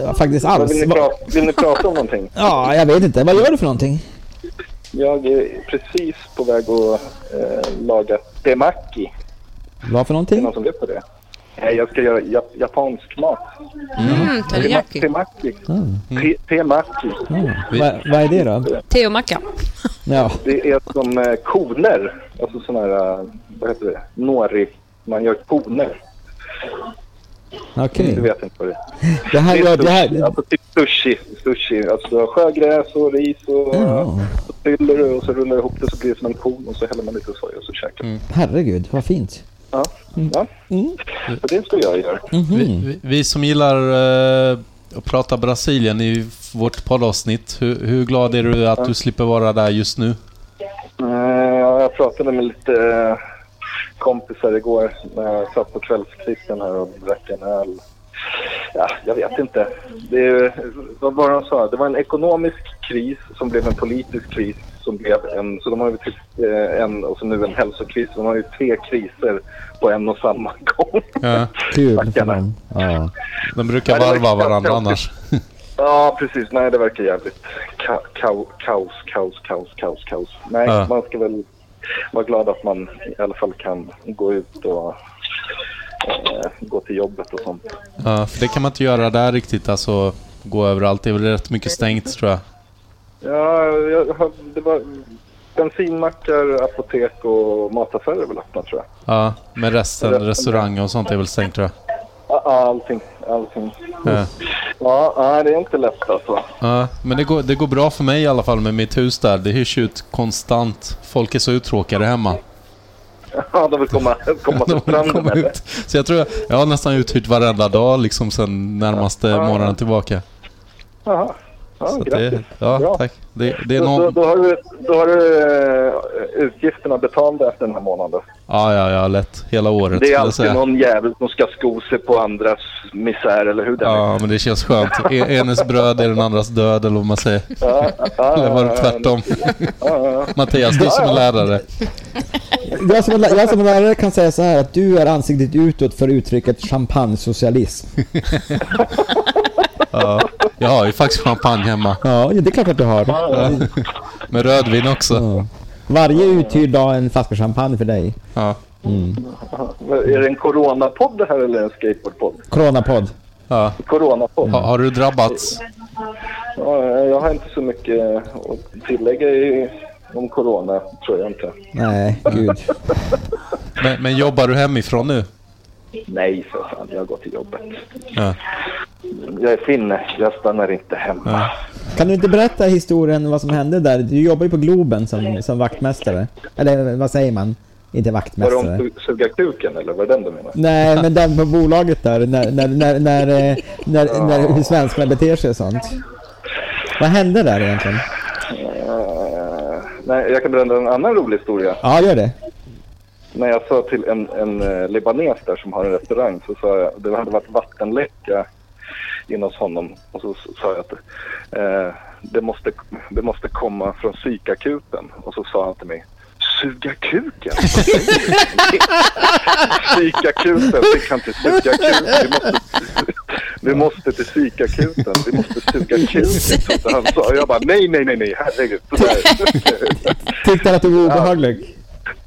S6: eh, faktiskt
S11: Vad
S6: alls.
S11: Vill ni,
S6: Va-
S11: prata, vill ni prata om någonting?
S6: Ja, jag vet inte. Vad gör du för någonting?
S11: Jag är precis på väg att eh, laga temaki.
S6: Vad för
S11: Är det
S6: någonting?
S11: någon som vet på det? Nej, jag ska göra jap- japansk mat.
S1: Mm, teriyaki.
S11: Temaki.
S6: Mm.
S11: Te- Temaki.
S6: Vad vad är det då?
S1: Te och macka.
S6: Ja.
S11: Det är som eh, koner. Alltså sådana här, eh, vad heter det? Nori. Man gör koner.
S6: Okej.
S11: Du vet inte vad det är.
S6: Det här
S11: Det
S6: gör... Det
S11: är sushi.
S6: här...
S11: Alltså typ sushi. sushi. Alltså du har sjögräs och ris och
S6: Ja.
S11: så fyller du och så rullar du ihop det så blir det som en kon och så häller man lite soja och så käkar
S6: Mm.
S11: man.
S6: Herregud, vad fint.
S11: Ja.
S6: Mm.
S11: ja. Så det ska jag göra.
S6: Mm-hmm.
S2: Vi, vi, vi som gillar eh, att prata Brasilien i vårt poddavsnitt. Hur, hur glad är du att du slipper vara där just nu?
S11: Eh, ja, jag pratade med lite eh, kompisar igår när jag satt på kvällskvisten här och drack en öl. Ja, jag vet inte. Det är, ju- vad var det de sa? Det var en ekonomisk kris som blev en politisk kris som blev en, så de har ju typ, eh, en och så nu en hälsokris. De har ju tre kriser på en och samma gång.
S2: Ja.
S6: Kul för
S11: Stackarna.
S6: dem. Ja.
S2: De brukar
S11: Ja, det var
S2: varva varandra
S11: kaos.
S2: annars.
S11: Ja, precis. Nej, det verkar jävligt ka- kao- kaos, kaos, kaos, kaos, kaos. Nej,
S2: Ja.
S11: man ska väl vara glad att man i alla fall kan gå ut och eh, gå till jobbet och sånt.
S2: Ja, för det kan man inte göra där riktigt. Alltså gå överallt. Det är väl rätt mycket stängt tror jag.
S11: Ja, jag, har- det var bensinmackar, apotek och mataffärer är väl öppna, tror jag.
S2: Ja, men resten, restauranger och sånt är väl stängt tror jag.
S11: Ja, ja, Allting, allting.
S2: Ja.
S11: Ja, nej, det är inte lätt alltså.
S2: Ja, men det går, det går bra för mig i alla fall med mitt hus där. Det hyrs ut konstant. Folk är så uttråkade hemma.
S11: Ja, de vill komma, komma till
S2: De vill
S11: stranden
S2: komma
S11: eller?
S2: ut. Så jag tror jag, jag har nästan uthyrt varenda dag liksom sen närmaste månaden tillbaka.
S11: Jaha. Ja,
S2: Så att
S11: grattis.
S2: det, ja,
S11: Bra.
S2: tack. Det, det är
S11: Då, då,
S2: någon...
S11: då har du, då har du eh, utgifterna betalda efter den här månaden.
S2: Ja, ja, ja, lätt. Hela året
S11: Det är
S2: skulle jag
S11: alltid
S2: säga.
S11: någon jävel som ska sko sig på andras misär eller hur det är.
S2: Ja, men det känns skönt. E- Enes bröd är den andras död, eller vad man säger.
S11: Ja, ja,
S2: Eller var det
S11: ja,
S2: tvärtom?
S11: ja,
S2: Mattias, du som är lärare.
S6: Jag som, är lä- jag som är lärare kan säga så här att du är ansiktet utåt för uttrycket champagnesocialism.
S2: Ja. Jag har ju faktiskt champagne hemma.
S6: Ja, det är klart att du har.
S2: Med rödvin också.
S6: Ja. Varje uthyrd dag en flaska champagne för dig.
S2: Ja.
S6: Mm.
S11: ja. Men Är det en coronapodd det här eller en skateboardpodd?
S6: Coronapod.
S2: Ja.
S11: Coronapodd.
S2: Ha, har du drabbats?
S11: Ja, jag har inte så mycket att tillägga i, om corona, tror jag inte.
S6: Nej, gud.
S2: Men, men jobbar du hemifrån nu?
S11: Nej, för fan, jag går till jobbet.
S2: Ja.
S11: Jag är finne, jag stannar inte hemma.
S2: Ja.
S6: Kan du inte berätta historien vad som hände där? Du jobbar ju på Globen som, som vaktmästare. Eller vad säger man? Inte
S11: Var det
S6: vaktmästare.
S11: om su- suga kuken eller var det den du menade?
S6: Nej, men den på bolaget där, när, när, när, när, eh, när, när hur svenskarna beter sig och sånt. Vad hände där egentligen?
S11: Eh, nej, jag kan berätta en annan rolig historia.
S6: Ja, gör det.
S11: när jag sa till en, en eh, libanes där som har en restaurang så sa jag, det hade varit vattenläcka inne hos honom och så s- sa jag att eh, det, måste, det måste komma från psykakuten och så sa han till mig Suga kuken? Vad säger du? Psykakuten, fick han till psykakuten. Vi måste, vi måste till psykakuten, vi måste suga kuken. Så han sa, och jag bara nej, nej, nej, nej, herregud. Så där.
S6: Tyckte han att du var obehaglig?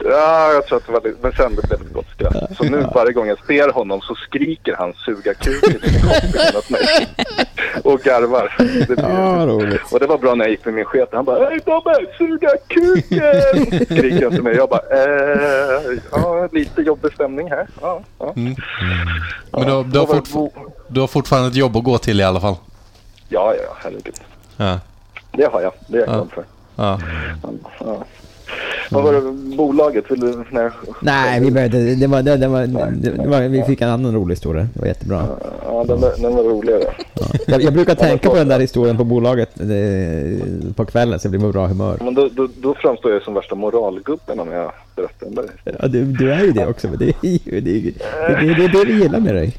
S11: Ja, jag tror att det var lite, men sen blev det ett gott skratt. Så nu varje gång jag ser honom så skriker han suga kuken i kompisen åt mig. Och garvar. Det blir-
S6: Ja, roligt.
S11: Och det var bra när jag gick med min chef. Han bara Hej Tobbe, suga kuken! skriker han till mig. Jag bara eh, ja, lite jobbig stämning här. Ja, ja.
S2: Mm. Men du, har- du, har fortfar- du har fortfarande ett jobb att gå till i alla fall?
S11: ja, ja, ja, herregud.
S2: Ja.
S11: Det har jag. Det är jag
S2: Ja.
S11: glad för.
S2: ja.
S11: Ja. Vad var det bolaget? Vill du, nej.
S6: Nej, vi behövde, det var, det, det var, det, det var, vi fick en annan rolig historia. Det var jättebra.
S11: Ja, den, där- den var roligare.
S6: Jag, jag brukar tänka på den där historien på bolaget eh, på kvällen så jag blir på bra humör.
S11: Men då, då, då framstår jag som värsta moralgubben om jag berättar den där
S6: Ja, du, du är ju det också, men det är ju det, är ju- det, det, det, är det vi gillar med dig.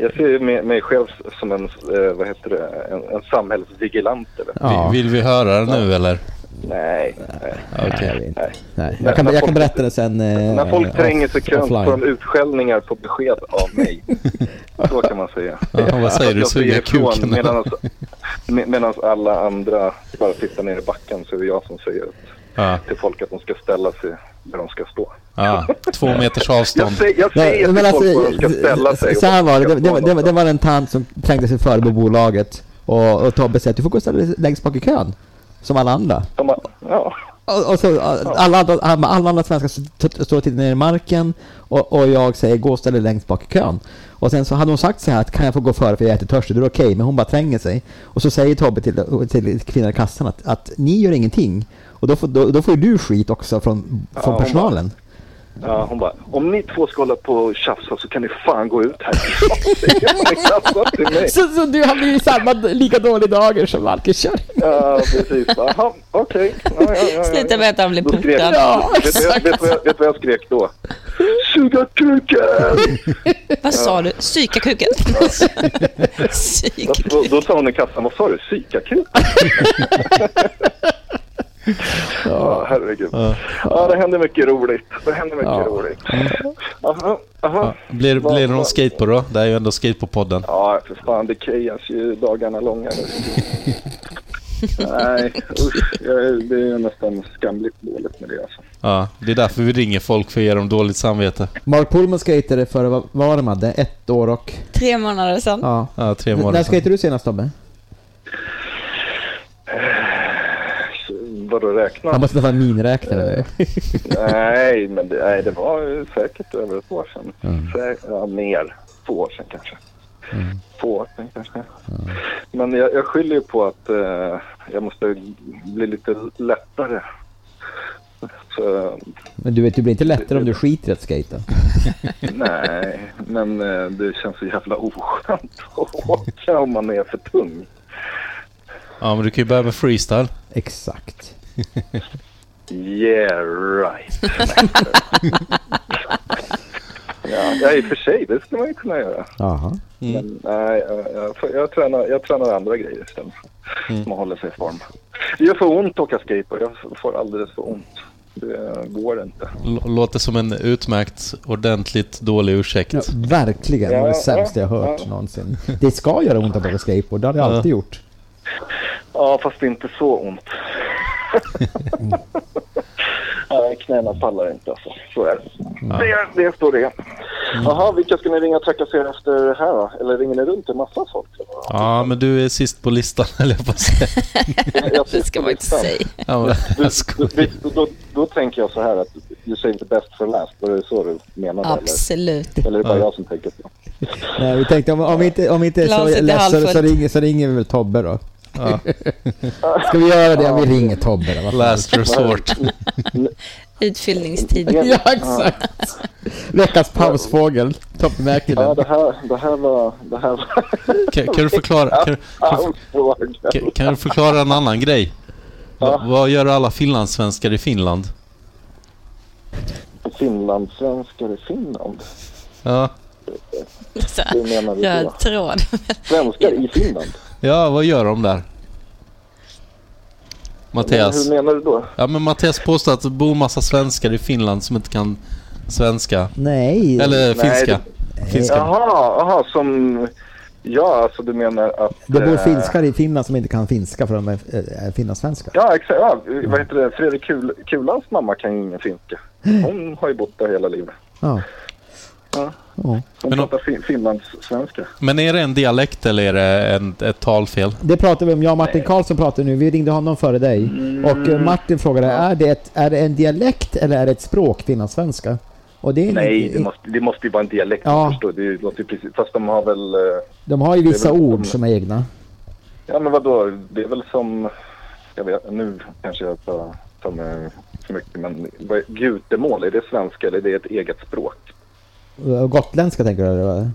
S11: Jag ser ju mig, mig själv som en, eh, vad heter det, en, en samhällsvigilant eller?
S2: Vi- Vill vi höra det nu eller?
S11: Nej. nej.
S6: Okej. Nej, jag, kan, jag kan berätta det sen. Eh,
S11: När folk tränger sig i kön så
S6: offline.
S11: får de utskällningar på besked av mig. Så kan man säga.
S2: Ja, vad säger du?
S11: Jag säger
S2: Suga
S11: ifrån
S2: kuken?
S11: medans- me- Medan alla andra bara tittar ner i backen så är det jag som säger
S2: Ja.
S11: till folk att de ska ställa sig där de ska stå.
S2: ja. Två meters avstånd.
S11: Jag säger, jag säger
S6: Nej,
S11: till
S6: men
S11: folk
S6: alltså,
S11: var de ska ställa sig.
S6: så här var det. Det, det, det, var- det var en tant som trängde sig före på bolaget och, och Tobbe sa att du får gå och ställa dig längst bak i kön. Som alla andra.
S11: De har- ja.
S6: Och, och så, alla, andra, alla andra svenskar st- st- står och tittar ner i marken och, och jag säger gå och ställ dig längst bak i kön. Och sen så hade hon sagt så här att kan jag få gå före för jag är jättetörstig, då är det okej. Men hon bara tränger sig. Och så säger Tobbe till, till kvinnan i kassan att, att ni gör ingenting. Och då får, då, då får ju du skit också från,
S11: Ja,
S6: från
S11: hon bara-
S6: personalen.
S11: Ja, hon bara, om ni två ska hålla på och tjafsa så kan ni fan gå ut här.
S6: Så, så du har blivit samma, lika dålig dager som Valke kör.
S11: Ja, precis. Jaha, okej. Ja, ja, ja, ja.
S1: Sluta med att han blir
S11: Då skrek
S1: puttad.
S11: jag. Vet du vad jag- vet du vad jag- vet du vad jag skrek då? Suga kuken!
S1: Vad sa du? Psyka kuken? Psyk.
S11: Då, då sa hon i kassan, vad sa du? Psykakut? Ja, herregud. Ja, det händer mycket roligt. Det händer mycket
S2: Ja. Mm.
S11: roligt. Aha, aha.
S2: Ja. Blir, blir det någon skateboard då? Det är ju ändå skateboardpodden.
S11: Ja, för fan, det kejas ju dagarna långa nu. Nej, usch, jag, det är nästan skamligt dåligt med det alltså.
S2: Ja, det är därför vi ringer folk för att ge dem dåligt samvete.
S6: Mark Pullman skejtade för vad var de hade? Ett år och...
S1: Tre månader sedan.
S6: Ja.
S2: Ja, tre
S6: N-
S2: månader
S6: När
S2: sedan.
S6: skejtade du senast Tobbe?
S11: Vadå räkna?
S6: Han måste nästan ha en miniräknare.
S11: Nej, men det, nej, det var ju säkert över ett år sedan.
S6: Mm.
S11: Sä- ja, mer. Två år sedan kanske. Två år sedan kanske. Men jag, jag skyller ju på att eh, jag måste bli lite lättare. Så,
S6: Men du vet, du blir inte lättare om du skiter i att skejta.
S11: nej, men eh, det känns så jävla oskönt att åka om man är för tung.
S2: Ja, men du kan ju börja med freestyle.
S6: Exakt.
S11: Yeah right. ja, ja, i och för sig, det skulle man ju kunna göra.
S6: Jaha.
S11: Men nej, jag, jag, jag, tränar, jag tränar andra grejer istället. Mm. Man håller sig i form. Det gör för ont att åka skateboard. Jag får alldeles för ont. Det går inte.
S2: L- låter som en utmärkt, ordentligt dålig ursäkt.
S6: Ja, verkligen, det var det
S11: Ja,
S6: sämsta jag hört någonsin. Det ska göra ont att åka skateboard, det har det
S2: Ja.
S6: alltid gjort.
S11: Ja, fast det är inte så ont. nej, knäna pallar inte alltså. Så är det. Det, det står det. Jaha, vilka ska ni ringa och trakassera efter det här då? Eller ringer ni runt till massa folk?
S2: Ja, men du är sist på listan, höll jag på att säga.
S11: Det ska man inte säga.
S2: Ja, men, jag skojar.
S11: Då, då, då tänker jag så här att du säger inte bäst för läst. Var det så du menade? eller?
S1: Absolut.
S11: Eller är det bara jag som tänker så?
S6: Nej, vi tänkte om, om vi inte, om vi inte är så
S1: Glaset är
S6: ledsna så,
S1: halvfullt.
S6: ringer, så ringer vi väl Tobbe då.
S2: Ja.
S6: Ska vi göra det? Vi ringer Tobbe då. vad fan.
S2: Last resort.
S1: Utfyllningstid.
S6: Ja, exakt. Veckans pausfågel. Tobbe
S11: Ja,
S6: Mäkinen.
S11: det här, det här var... Det här var...
S2: Kan, kan, du förklara, kan,
S11: Ja, fråga.
S2: kan, kan du förklara en annan grej? Va, vad gör alla finlandssvenskar i Finland?
S11: finlandssvenskar i Finland?
S2: Ja.
S1: Så,
S11: Hur menar vi
S1: jag
S11: då?
S1: tråd.
S11: Svenskar i Finland?
S2: ja, vad gör de där? Mattias.
S11: Men hur menar du då?
S2: Ja, men Mattias påstår att det bor massa svenskar i Finland som inte kan svenska.
S6: Nej.
S2: Eller
S11: Nej,
S2: finska.
S11: det-
S2: Finska.
S11: Jaha, jaha, som... Ja, alltså du menar att...
S6: Det bor
S11: eh,
S6: finskar i Finland som inte kan finska för de är, eh, är finlandssvenskar.
S11: Ja, exakt. Ja, vad heter det? Fredrik Kul Kulans mamma kan ju ingen finska. Hon har ju bott där hela livet.
S6: Ja.
S11: Ja.
S6: Ja.
S11: Hon pratar fin finlandssvenska.
S2: Men är det en dialekt eller är det en, ett talfel?
S6: Det pratar vi om. Jag och Martin Karlsson pratar nu. Vi ringde honom före dig.
S11: Mm.
S6: Och eh, Martin frågade, är, det ett, är det en dialekt eller är det ett språk, finlandssvenska? Och det är
S11: Nej,
S6: inte-
S11: det måste, det måste ju vara en dialekt.
S6: Ja.
S11: Förstår. du? Det låter ju precis, fast de har väl... eh,
S6: De har ju vissa
S11: det är väl-
S6: ord som är egna.
S11: Ja, men vadå? Det är väl som... Jag vet, nu kanske jag tar, tar med för mycket, men vad, gutemål, är det svenska eller är det ett eget språk?
S6: Eh, Gotländska tänker du? eller vad?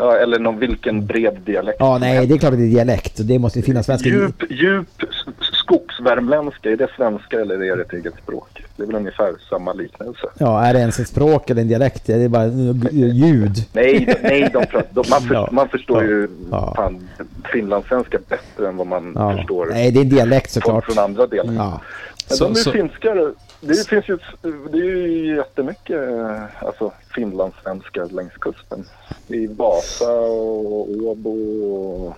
S11: Ja, eller någon, vilken bred dialekt.
S6: Ja, nej, det är klart att det är dialekt. och Det måste ju finnas svenska.
S11: Djup, djup s- skogsvärmländska, är det svenska eller är det ett eget språk? Det är väl ungefär samma liknelse.
S6: Ja, är det ens ett språk eller en dialekt? Det är bara eh, ljud.
S11: Nej, de- nej de pratar, de, man, för,
S6: Ja.
S11: man förstår ju
S6: Ja.
S11: fan, finlandssvenska bättre än vad man
S6: Ja.
S11: förstår
S6: Nej, det är en dialekt såklart.
S11: folk från andra delar.
S6: Ja.
S11: Men
S6: Så-
S11: de är
S6: så-
S11: så, finskar. Det är- finns ju, ett- det är ju jättemycket eh, alltså, finlandssvenskar längs kusten. I Vasa och Åbo och,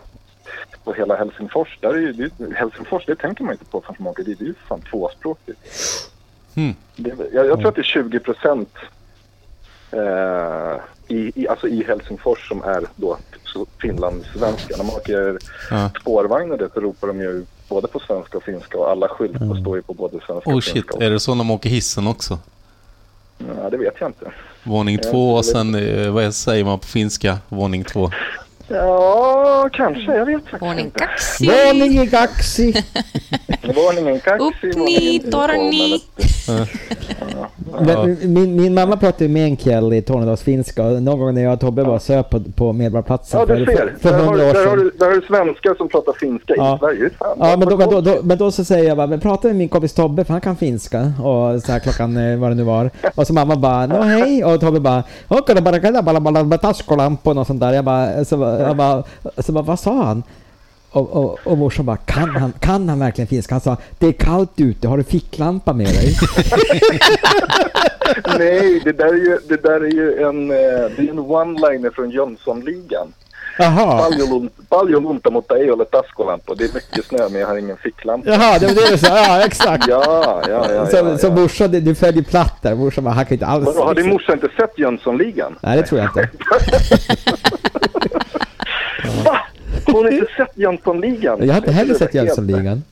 S11: och hela Helsingfors. Där är ju, det, är ju- Helsingfors, det tänker man inte på förrän man åker dit. Det är ju fan tvåspråkigt.
S2: Hmm.
S11: Det, är- jag, jag tror att det är 20 procent eh, i, i, alltså i Helsingfors som är då så finlandssvenska. När man åker
S2: Ja.
S11: spårvagn och det så ropar de ju både på svenska och finska och alla skyltar
S6: Mm.
S11: står ju på både svenska
S2: Oh
S11: och
S2: shit,
S11: finska.
S2: är det så när man åker hissen också?
S11: Ja, det vet jag inte.
S2: Våning
S11: Ja,
S2: två
S11: jag
S2: och
S11: vet
S2: sen, eh, vad säger man på finska? Våning två.
S11: Ja, kanske. Jag vet faktiskt
S1: Våning kaxi.
S6: Våningen kaxi.
S11: Våningen kaxi.
S1: Upp
S11: våningen
S1: ni,
S11: två,
S1: torni.
S6: Men Min, min mamma pratade ju meänkieli, i tornedalsfinska. och Någon gång när jag och Tobbe var och söp på, på Medborgarplatsen
S11: Ja, du
S6: för-
S11: ser.
S6: för
S11: Där har, du-
S6: hundra år
S11: där, har
S6: sedan.
S11: du, där har du svenskar som pratar finska
S6: Ja.
S11: i Sverige. Fan,
S6: Ja, men då, men,
S11: vad
S6: då,
S11: coolt.
S6: då, men då så säger jag bara, men prata med min kompis Tobbe för han kan finska. Och så här klockan eh, vad det nu var. Och så mamma bara, nå hej. Och Tobbe bara, okada bara kada bara bara bara taskolampo och något sånt där. Jag bara, så, bara- jag bara, så bara, vad sa han? Och, och, och morsan bara, kan han, kan han verkligen finska? Han sa, det är kallt ute, har du ficklampa med dig?
S11: Nej, det där är ju, det där är ju en, eh, det är en one-liner från Jönssonligan.
S6: Jaha.
S11: Paljolun- Paljolunta, mutta ei ole taskolampa. Det är mycket snö, men jag har ingen ficklampa.
S6: Jaha, det var det du sa. Ja, exakt.
S11: Ja, ja, ja.
S6: så
S11: ja,
S6: så
S11: ja.
S6: morsan, du, du följer platt där. Morsan bara, han kan inte alls. liksom-
S11: Vadå, har din morsa inte sett Jönssonligan?
S6: Nej, det tror jag inte.
S11: Va? Har hon inte sett Jönssonligan?
S6: Jag har inte heller sett Jönssonligan.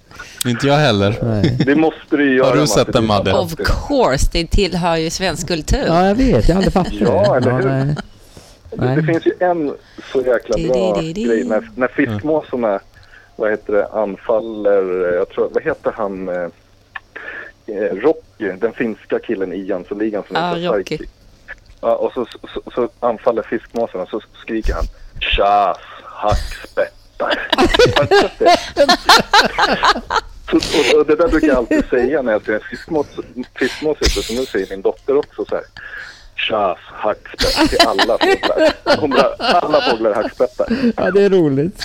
S2: Inte jag heller.
S11: Det måste du ju göra.
S2: Har du
S11: Matti.
S2: sett den Madde?
S1: Of course, det tillhör ju svensk kultur.
S6: Ja, jag vet. Jag har aldrig fattat
S11: Ja, eller hur?
S6: nej.
S11: Det, det finns ju en så jäkla bra
S1: Di-di-di-di.
S11: grej när, när fiskmåsarna, vad heter det, anfaller, eh, jag tror, vad heter han, eh, eh, Rocky, den finska killen i Jönssonligan som
S1: Ja,
S11: heter
S1: Rocky.
S11: Saiki. Ja, och så, så, så anfaller fiskmåsarna så skriker han Tjas, hackspettar. Har du sett det? Så- och, och det där brukar jag alltid säga när jag ser en fiskmås- fiskmås ute, så nu säger min dotter också så här. Tjas, hackspett till alla fåglar. Hon bara, alla fåglar är hackspettar.
S6: Ja, det är roligt.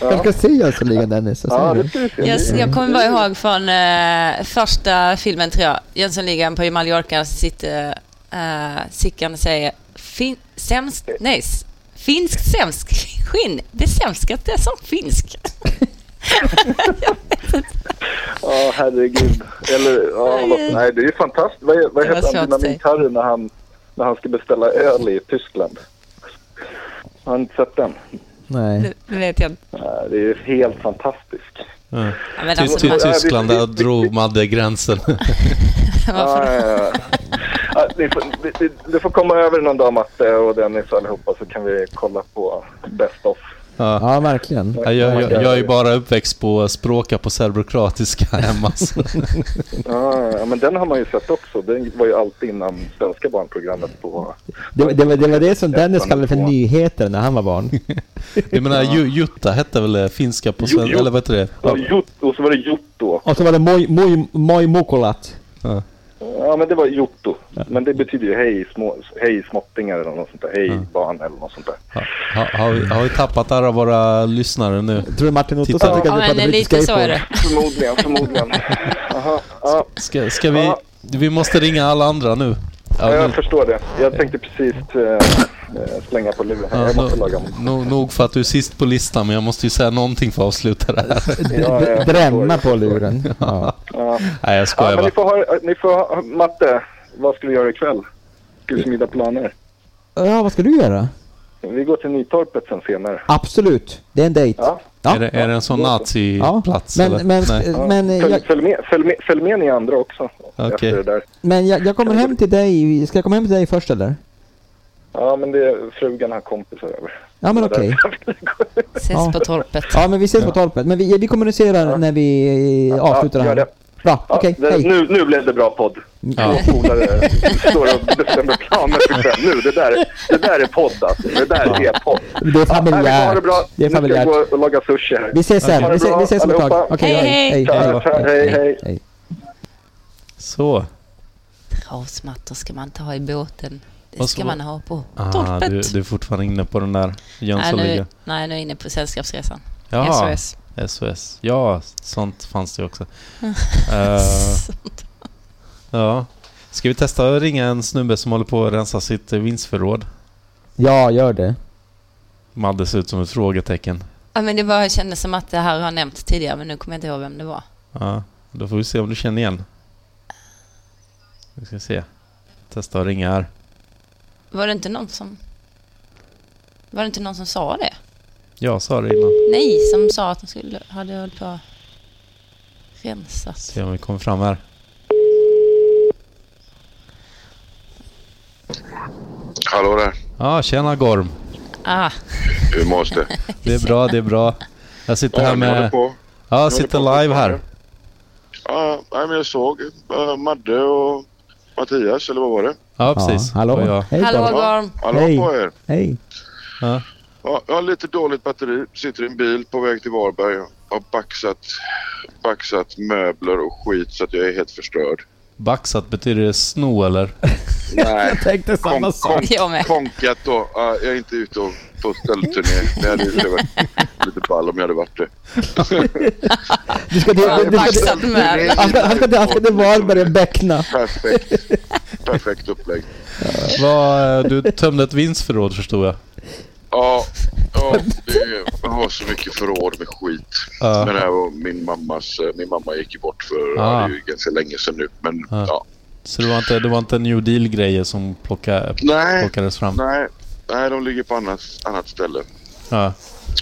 S6: Jag ska se Jönssonligan Dennis. Jag
S11: Ja,
S6: säger
S11: det ska vi se.
S1: Jag,
S11: Det-
S1: jag kommer bara ihåg från eh, första filmen, tror jag. Jönssonligan på Mallorca sitter eh, Sickan och säger fin, sämst, nej, s- finsk sämsk skinn. Det sämskaste som finsk.
S11: Ja, herregud. Eller, ja, vad, nej, det är ju fantastiskt. Vad, är- vad
S1: Det var
S11: heter han,
S1: svårt att säga.
S11: Dynamit-Harry, när han, när han ska beställa öl i Tyskland? Har ni inte sett den?
S6: Nej.
S1: Det det vet jag inte.
S11: Ja, Eh, det är ju helt fantastiskt.
S2: Ja.
S1: Ja, men
S2: Till,
S1: alltså,
S2: till
S1: man-
S2: Tyskland, där drog Madde gränsen.
S1: Varför
S11: Ja, ja, ja. Ja, ni får, ni- ni, du får komma över någon dag, Matte och Dennis och allihopa, så kan vi kolla på Best of.
S2: Ja.
S6: Ja, verkligen.
S2: Ja, jag, jag, jag är bara uppväxt på språka på serbokroatiska hemma. så-
S11: Ja, ja, men den har man ju sett också. Den var ju alltid innan svenska barnprogrammet på...
S6: Det, var- det, var, det var det som Dennis kallade för nyheter när han var barn.
S2: Jag menar, ju- jutta hette väl det, finska på
S11: Ju- ju-
S2: svenska, eller vad heter det?
S11: Ja, Jot- och så var det Jotto.
S6: Och så var det Moj, moj, moj Mokolat.
S2: Ja.
S11: Ja, Ja, men det var jotto. Men det betyder ju hej, små, hej småttingar eller något sånt där. Hej barn eller något sånt där.
S2: Ha, har, vi, har vi tappat alla våra lyssnare nu?
S6: Tror du Martin
S2: Otto
S6: Ottosson tycker att vi pratar brittiska
S11: Förmodligen, förmodligen. Aha, ja.
S2: Ska, ska vi... Vi måste ringa alla andra nu.
S11: Ja,
S2: Ja,
S11: jag
S2: nu-
S11: förstår det. Jag tänkte precis eh, slänga på luren. här.
S2: ja,
S11: Jag måste
S2: no-
S11: laga mat.
S2: no- nog för att du är sist på listan, men jag måste ju säga någonting för att avsluta det här.
S11: Ja, ja.
S6: Drämma på luren. Ja.
S11: Ja.
S2: Nej, jag skojar
S11: ja, men
S2: bara.
S11: ni får, ha, ni får ha, Matte, vad ska du göra ikväll? Ska vi smida planer?
S6: ja, vad ska du göra?
S11: Vi går till Nytorpet sen senare.
S6: Absolut, det är en dejt.
S11: Ja.
S2: Är, det, är det en sån nazi-plats?
S6: Men-
S2: eller?
S6: men-
S2: Nej.
S6: Ja. Men, eh,
S11: följ,
S6: jag-
S11: följ, med, följ, med, följ med ni andra också.
S2: Okej.
S11: Efter det där.
S6: Men jag, jag kommer hem till dig. Ska jag komma hem till dig först eller?
S11: Ja, men det, frugan har kompisar över.
S6: Ja, men
S11: Det där-
S6: okej.
S1: Ses på torpet.
S6: Ja, men vi ses på torpet. Men vi, vi kommunicerar när vi eh, avslutar det
S11: gör
S6: här. Bra,
S11: Ja,
S6: okej,
S11: det,
S6: hej.
S11: nu, nu blev det bra podd.
S6: Ja.
S11: Två polare står och bestämmer planer för själv. Nu, det där, det där är podd alltså. Det där är podd.
S6: Det är
S11: Nej, men ha det
S6: familjärt.
S11: bra.
S6: Det är
S11: Nu ska jag
S6: familjärt.
S11: gå och laga sushi här.
S6: Vi ses sen.
S11: Ha det
S6: Vi ses-
S11: bra,
S6: vi ses om ett tag.
S11: allihopa.
S6: Okej, Hej, hej. hej, hej.
S11: Tja, tja, hej, hej.
S1: Travsmattor ska man inte ha i båten. Det
S2: Vad
S1: ska
S2: ska-
S1: man ha på
S2: Ah,
S1: torpet.
S2: du, du är fortfarande inne på den där
S1: nej, nu,
S2: Jönssonligan.
S1: nej, nu är jag inne på Sällskapsresan.
S2: Ja,
S1: SOS.
S2: SOS. Ja, sånt fanns det ju också.
S1: Mm.
S2: Eh, ja. Ska vi testa att ringa en snubbe som håller på att rensa sitt eh, vinstförråd?
S6: Ja, gör det.
S2: Madde ser ut som ett frågetecken.
S1: Ja, men det var, jag kände som att det här har nämnts tidigare, men nu kommer jag inte ihåg vem det var.
S2: Ja, då får vi se om du känner igen. Vi ska se. Testa att ringa här.
S1: Var det inte någon som... Var det inte någon som sa det?
S2: Jag sa det innan.
S1: Nej, som sa att de skulle... Hade hållit på att rensa.
S2: Se om vi kommer fram här.
S12: Hallå där.
S2: Ja, tjena Gorm.
S1: Ah,
S12: Hur mås det?
S2: Det är bra, det är bra. Jag sitter
S12: Ja,
S2: här
S12: ni håller
S2: med...
S12: på.
S2: Ja, jag
S12: håller på
S2: sitter live här.
S12: Ja, nej, men jag såg eh, Madde och Mattias, eller vad var det?
S2: Ja, precis.
S6: hallå.
S2: Det var jag.
S6: Hej, Hallå, Gorm. Gorm.
S12: Ja, hallå
S6: Hej.
S12: på er.
S6: Hej.
S2: Ja.
S12: Ja, jag har lite dåligt batteri. Sitter i en bil på väg till Varberg. Har baxat, baxat möbler och skit så att jag är helt förstörd.
S2: Baxat, betyder det sno eller?
S12: Nej. Jag
S6: tänkte
S2: samma sak. Jag med.
S12: Konkat då. Ja, jag är inte ute och på ställturné. Det hade ju varit lite ball om jag hade varit det.
S6: Du ska till...
S12: Ja,
S6: Du ska till
S12: baxat med.
S6: han, ska, han, ska till, han ska till Varberg och bäckna.
S12: Perfekt. Perfekt upplägg.
S2: Vad, eh, du tömde ett vinstförråd förstod jag.
S12: Ja, ja det, jag har så mycket förråd med skit.
S2: Ja.
S12: Men det här var min mammas... eh, Min mamma gick ju bort för
S2: Ah.
S12: ja. det är ju ganska länge sedan nu. Men
S2: Ja.
S12: ja.
S2: Så det var inte, det var inte New Deal-grejer som plocka,
S12: Nej,
S2: plockades fram?
S12: nej, nej, de ligger på annat, annat ställe.
S2: Ja.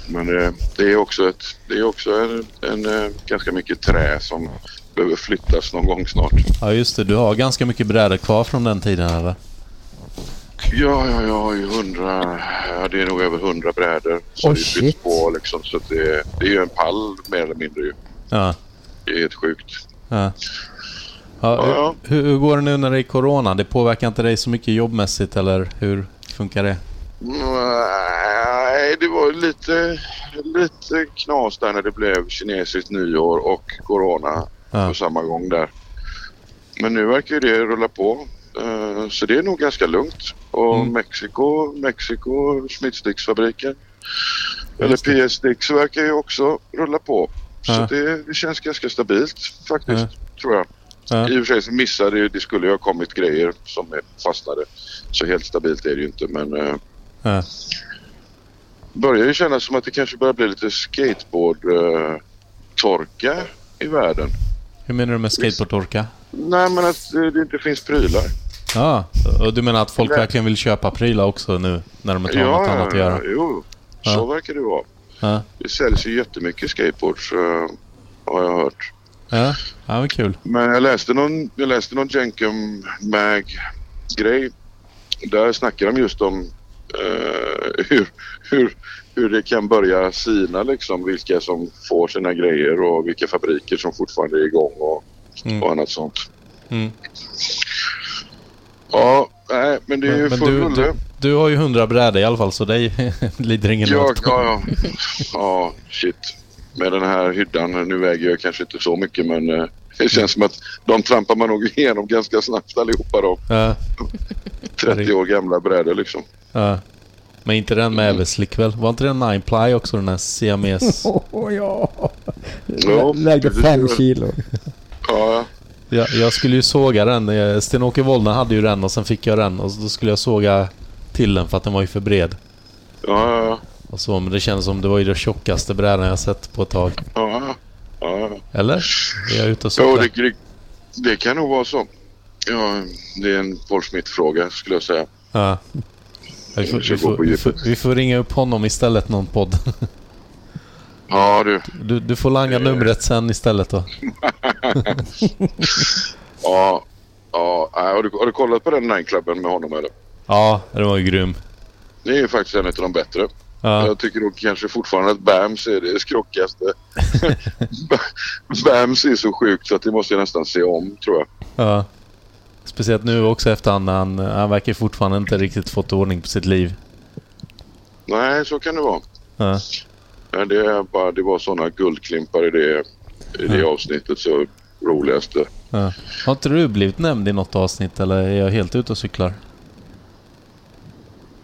S12: Men eh, det är också, ett, det är också en, en, eh, ganska mycket trä som behöver flyttas någon gång snart.
S2: ja, just det. Du har ganska mycket brädor kvar från den tiden eller?
S12: Ja, ja, jag har ju hundra, ja, det är nog över hundra brädor. Så
S2: Åh,
S12: det flytts på liksom. Så att det, det är ju en pall mer eller mindre ju.
S2: Ja.
S12: Det är helt sjukt.
S2: ja. ja,
S12: Ja,
S2: hur, hur hur går det nu när det är corona? Det påverkar inte dig så mycket jobbmässigt eller hur funkar det?
S12: Nej, det var lite, lite knas där när det blev kinesiskt nyår och corona på samma gång där. Men nu verkar ju det rulla på. eh, Så det är nog ganska lugnt. Och
S2: Mm.
S12: Mexiko, Mexiko smittsticksfabriken. Eller PS-sticks verkar ju också rulla på. Så
S2: Ja.
S12: det, det känns ganska stabilt faktiskt, tror jag.
S2: Ja.
S12: I och för sig så missade ju, det skulle ju ha kommit grejer som är- fastnade. Så helt stabilt är det ju inte men eh,
S2: Ja.
S12: börjar ju kännas som att det kanske börjar bli lite skateboard-torka i världen.
S2: Hur menar du med skateboardtorka?
S12: Nej, men att eh, det inte finns prylar.
S2: Ja, och du menar att folk
S12: Nej.
S2: verkligen vill köpa prylar också nu när de inte har något annat att göra?
S12: Jo, så
S2: Ja.
S12: verkar det vara.
S2: Ja,
S12: Det säljs ju jättemycket skateboards eh, har jag hört.
S2: ja. ja men kul.
S12: Men jag läste någon, jag läste någon Jenkem Mag grej. Där snackar de just om eh, hur, hur, hur det kan börja sina liksom. Vilka som får sina grejer och vilka fabriker som fortfarande är igång och, och annat sånt.
S2: Mm.
S12: Ja, nej, men det är ju
S2: men
S12: full
S2: du,
S12: rulle.
S2: du, du har ju hundra brädor i alla fall, så dig lider ingen
S12: Ja,
S2: nöd.
S12: ja, ja. ja, shit. Med den här hyddan, nu väger jag kanske inte så mycket men eh, Det känns som att de trampar man nog igenom ganska snabbt allihopa de
S2: Ja.
S12: 30 år gamla brädor liksom.
S2: Ja. Men inte den
S12: Mm.
S2: med överslick väl? Var inte den nine ply också den här siames?
S6: Åh ja.
S12: Ja,
S6: Vägde
S12: precis.
S6: fem kilo.
S12: Ja,
S2: Jag, jag skulle ju såga den. Eh, Sten-Åke Wollner hade ju den och sen fick jag den och så- då skulle jag såga till den för att den var ju för bred.
S12: ja, ja,
S2: Och så, men det känns som det var ju den tjockaste brädan jag sett på ett tag.
S12: ja. ja.
S2: Eller? Är jag ute och
S12: Jo,
S2: cyklar?
S12: det, det, det kan nog vara så. Ja, det är en Paul Smith-fråga skulle jag säga.
S2: Ja. Vi får, vi,
S12: Jag ska gå
S2: får,
S12: på
S2: vi, får, vi får ringa upp honom istället någon podd.
S12: Ja, du.
S2: Du, du får langa numret sen istället då.
S12: Ja, ja. nej, Har, du, har du kollat på den Nine-klubben med honom eller?
S2: Ja, det var ju grym.
S12: Det är ju faktiskt en av de bättre.
S2: Ja.
S12: Jag tycker nog kanske fortfarande att Bams är det skrockigaste. Bams är så sjukt så att det måste jag nästan se om tror jag.
S2: Ja. Speciellt nu också efterhand när han, han verkar fortfarande inte riktigt fått ordning på sitt liv.
S12: Nej, så kan det vara.
S2: Ja.
S12: Men det, är bara, det var sådana guldklimpar i det, i det avsnittet så roligaste.
S2: Ja. Har inte du blivit nämnd i något avsnitt eller är jag helt ute och cyklar?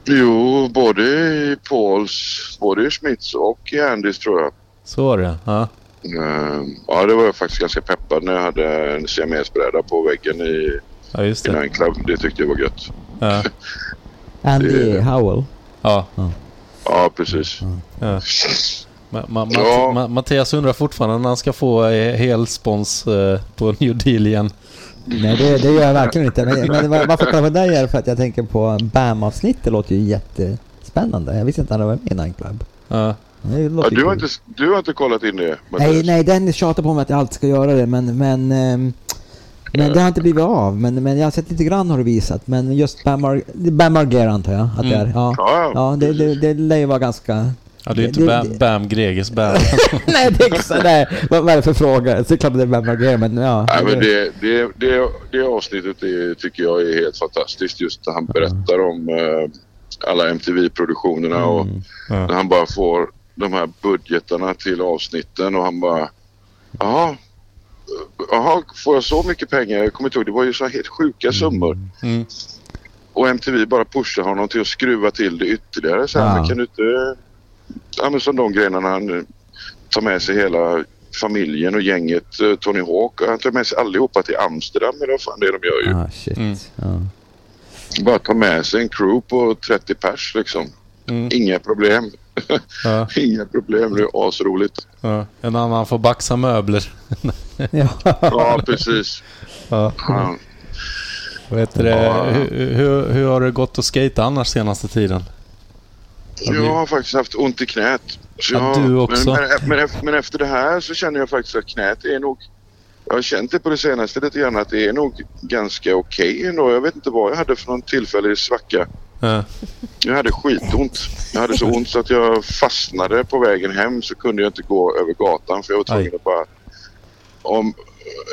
S12: Jo, både i Pauls, både i Schmitz och i Andys tror jag.
S2: Så var det ja.
S12: Ehm, Ja, det var jag faktiskt ganska peppad när jag hade en siamesbräda på väggen i,
S2: ja, just
S12: i Nine Club. Det tyckte jag var gött.
S2: ja.
S6: Andy Howell.
S2: Ja.
S12: Ja, precis.
S2: ja. Ma- ma- ma-
S12: Ja.
S2: ma- Mattias undrar fortfarande när han ska få eh, hel spons eh, på New Deal igen.
S6: Nej, det, det gör jag verkligen inte. Men, men var- varför jag kollar på dig är för att jag tänker på BAM-avsnittet. Det låter ju jättespännande. Jag visste inte att han var med i Nine Club.
S2: Ja.
S6: Det
S12: Ja,
S6: låter ju
S12: du, har
S6: kul.
S12: inte, du har inte kollat in det? Mattias?
S6: Nej, nej, Dennis tjatar på mig att jag alltid ska göra det, men... Men, ehm, men det har inte blivit av. Men, men jag har sett lite grann har du visat. Men just Bam Mar- det är Bam Margera antar jag att det är.
S2: Mm.
S6: Ja,
S2: Ja,
S6: ja det, det, det lär ju vara ganska...
S2: Ja, det är ju inte
S6: Det-
S2: Bam, Bam Greges Bam.
S6: nej, det är exakt, nej. Vad, vad är det för fråga? Så det är klart att det är Bam Margera, men ja.
S12: Nej, men det, det, det, det avsnittet är, tycker jag är helt fantastiskt. Just när han berättar om eh, alla MTV-produktionerna och när han bara får de här budgetarna till avsnitten och han bara jaha, eh, jaha får jag så mycket pengar? Jag kommer inte ihåg, det var ju så här helt sjuka summor.
S2: Mm.
S12: Och MTV bara pushar honom till att skruva till det ytterligare. Så här,
S2: Ja.
S12: men kan du inte... Ja, men som de grejerna när han eh, tar med sig hela familjen och gänget eh, Tony Hawk. Han tar med sig allihopa till Amsterdam eller vad fan det är de gör ju.
S6: Ah, shit.
S2: Mm.
S6: Ja.
S12: Bara ta med sig en crew på 30 pers liksom. Inga problem.
S2: Mm. Ja.
S12: Inga problem, det är asroligt.
S2: Ja. En annan får baxa möbler.
S12: Ja, precis.
S2: Ja.
S12: Ja.
S2: Vad heter det?
S12: Ja.
S2: Hur, hur, hur har det gått att skata annars senaste tiden?
S12: Jag har faktiskt haft ont i knät. Så
S2: Ja,
S12: jag,
S2: du också.
S12: Men, men, men, efter, men efter det här så känner jag faktiskt att knät är nog... Jag har känt det på det senaste lite grann att det är nog ganska okej ändå. Jag vet inte vad jag hade för någon tillfällig svacka.
S2: Ja.
S12: Jag hade skitont. Jag hade så ont så att jag fastnade på vägen hem så kunde jag inte gå över gatan för jag var tvungen att bara... Om,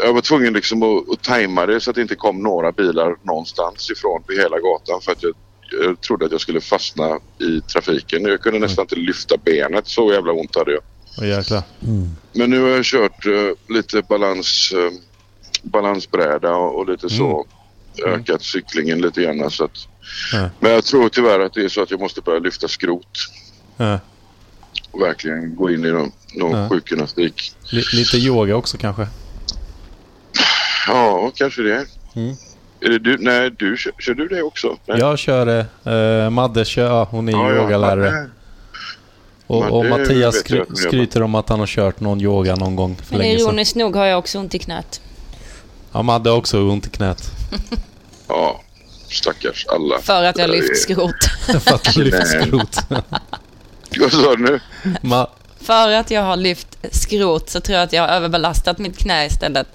S12: jag var tvungen liksom att, att tajma det så att det inte kom några bilar någonstans ifrån på hela gatan för att jag, jag trodde att jag skulle fastna i trafiken. Jag kunde nästan inte lyfta benet, så jävla ont hade jag.
S2: Åh jäklar.
S3: Mm.
S12: Men nu har jag kört eh, lite balans, eh, balansbräda och, och lite så. Ökat cyklingen lite grann så att
S2: Ja.
S12: men jag tror tyvärr att det är så att jag måste börja lyfta skrot
S2: Ja.
S12: och verkligen gå in i någon, någon
S2: Ja.
S12: sjukgymnastik.
S2: Li- lite yoga också kanske?
S12: Ja, kanske det.
S2: Mm.
S12: Är det du? Nej, du, kör, kör du det också? Nej.
S2: Jag kör det. Eh, Madde kör, ja, hon är
S12: Ja, ja,
S2: yogalärare.
S12: Madde.
S2: Och, och
S12: Madde
S2: Mattias
S12: vet jag att
S2: skry-
S12: hon jobbar.
S2: skryter om att han har kört någon yoga någon gång för
S1: Men
S2: länge sedan.
S1: ironiskt nog har jag också ont i knät.
S2: Ja, Madde har också ont i knät.
S12: Ja, stackars alla.
S1: För att jag lyft skrot.
S2: för att du lyfter
S12: Nej.
S2: skrot.
S12: Vad sa du nu?
S2: Ma-
S1: För att jag har lyft skrot så tror jag att jag har överbelastat mitt knä istället.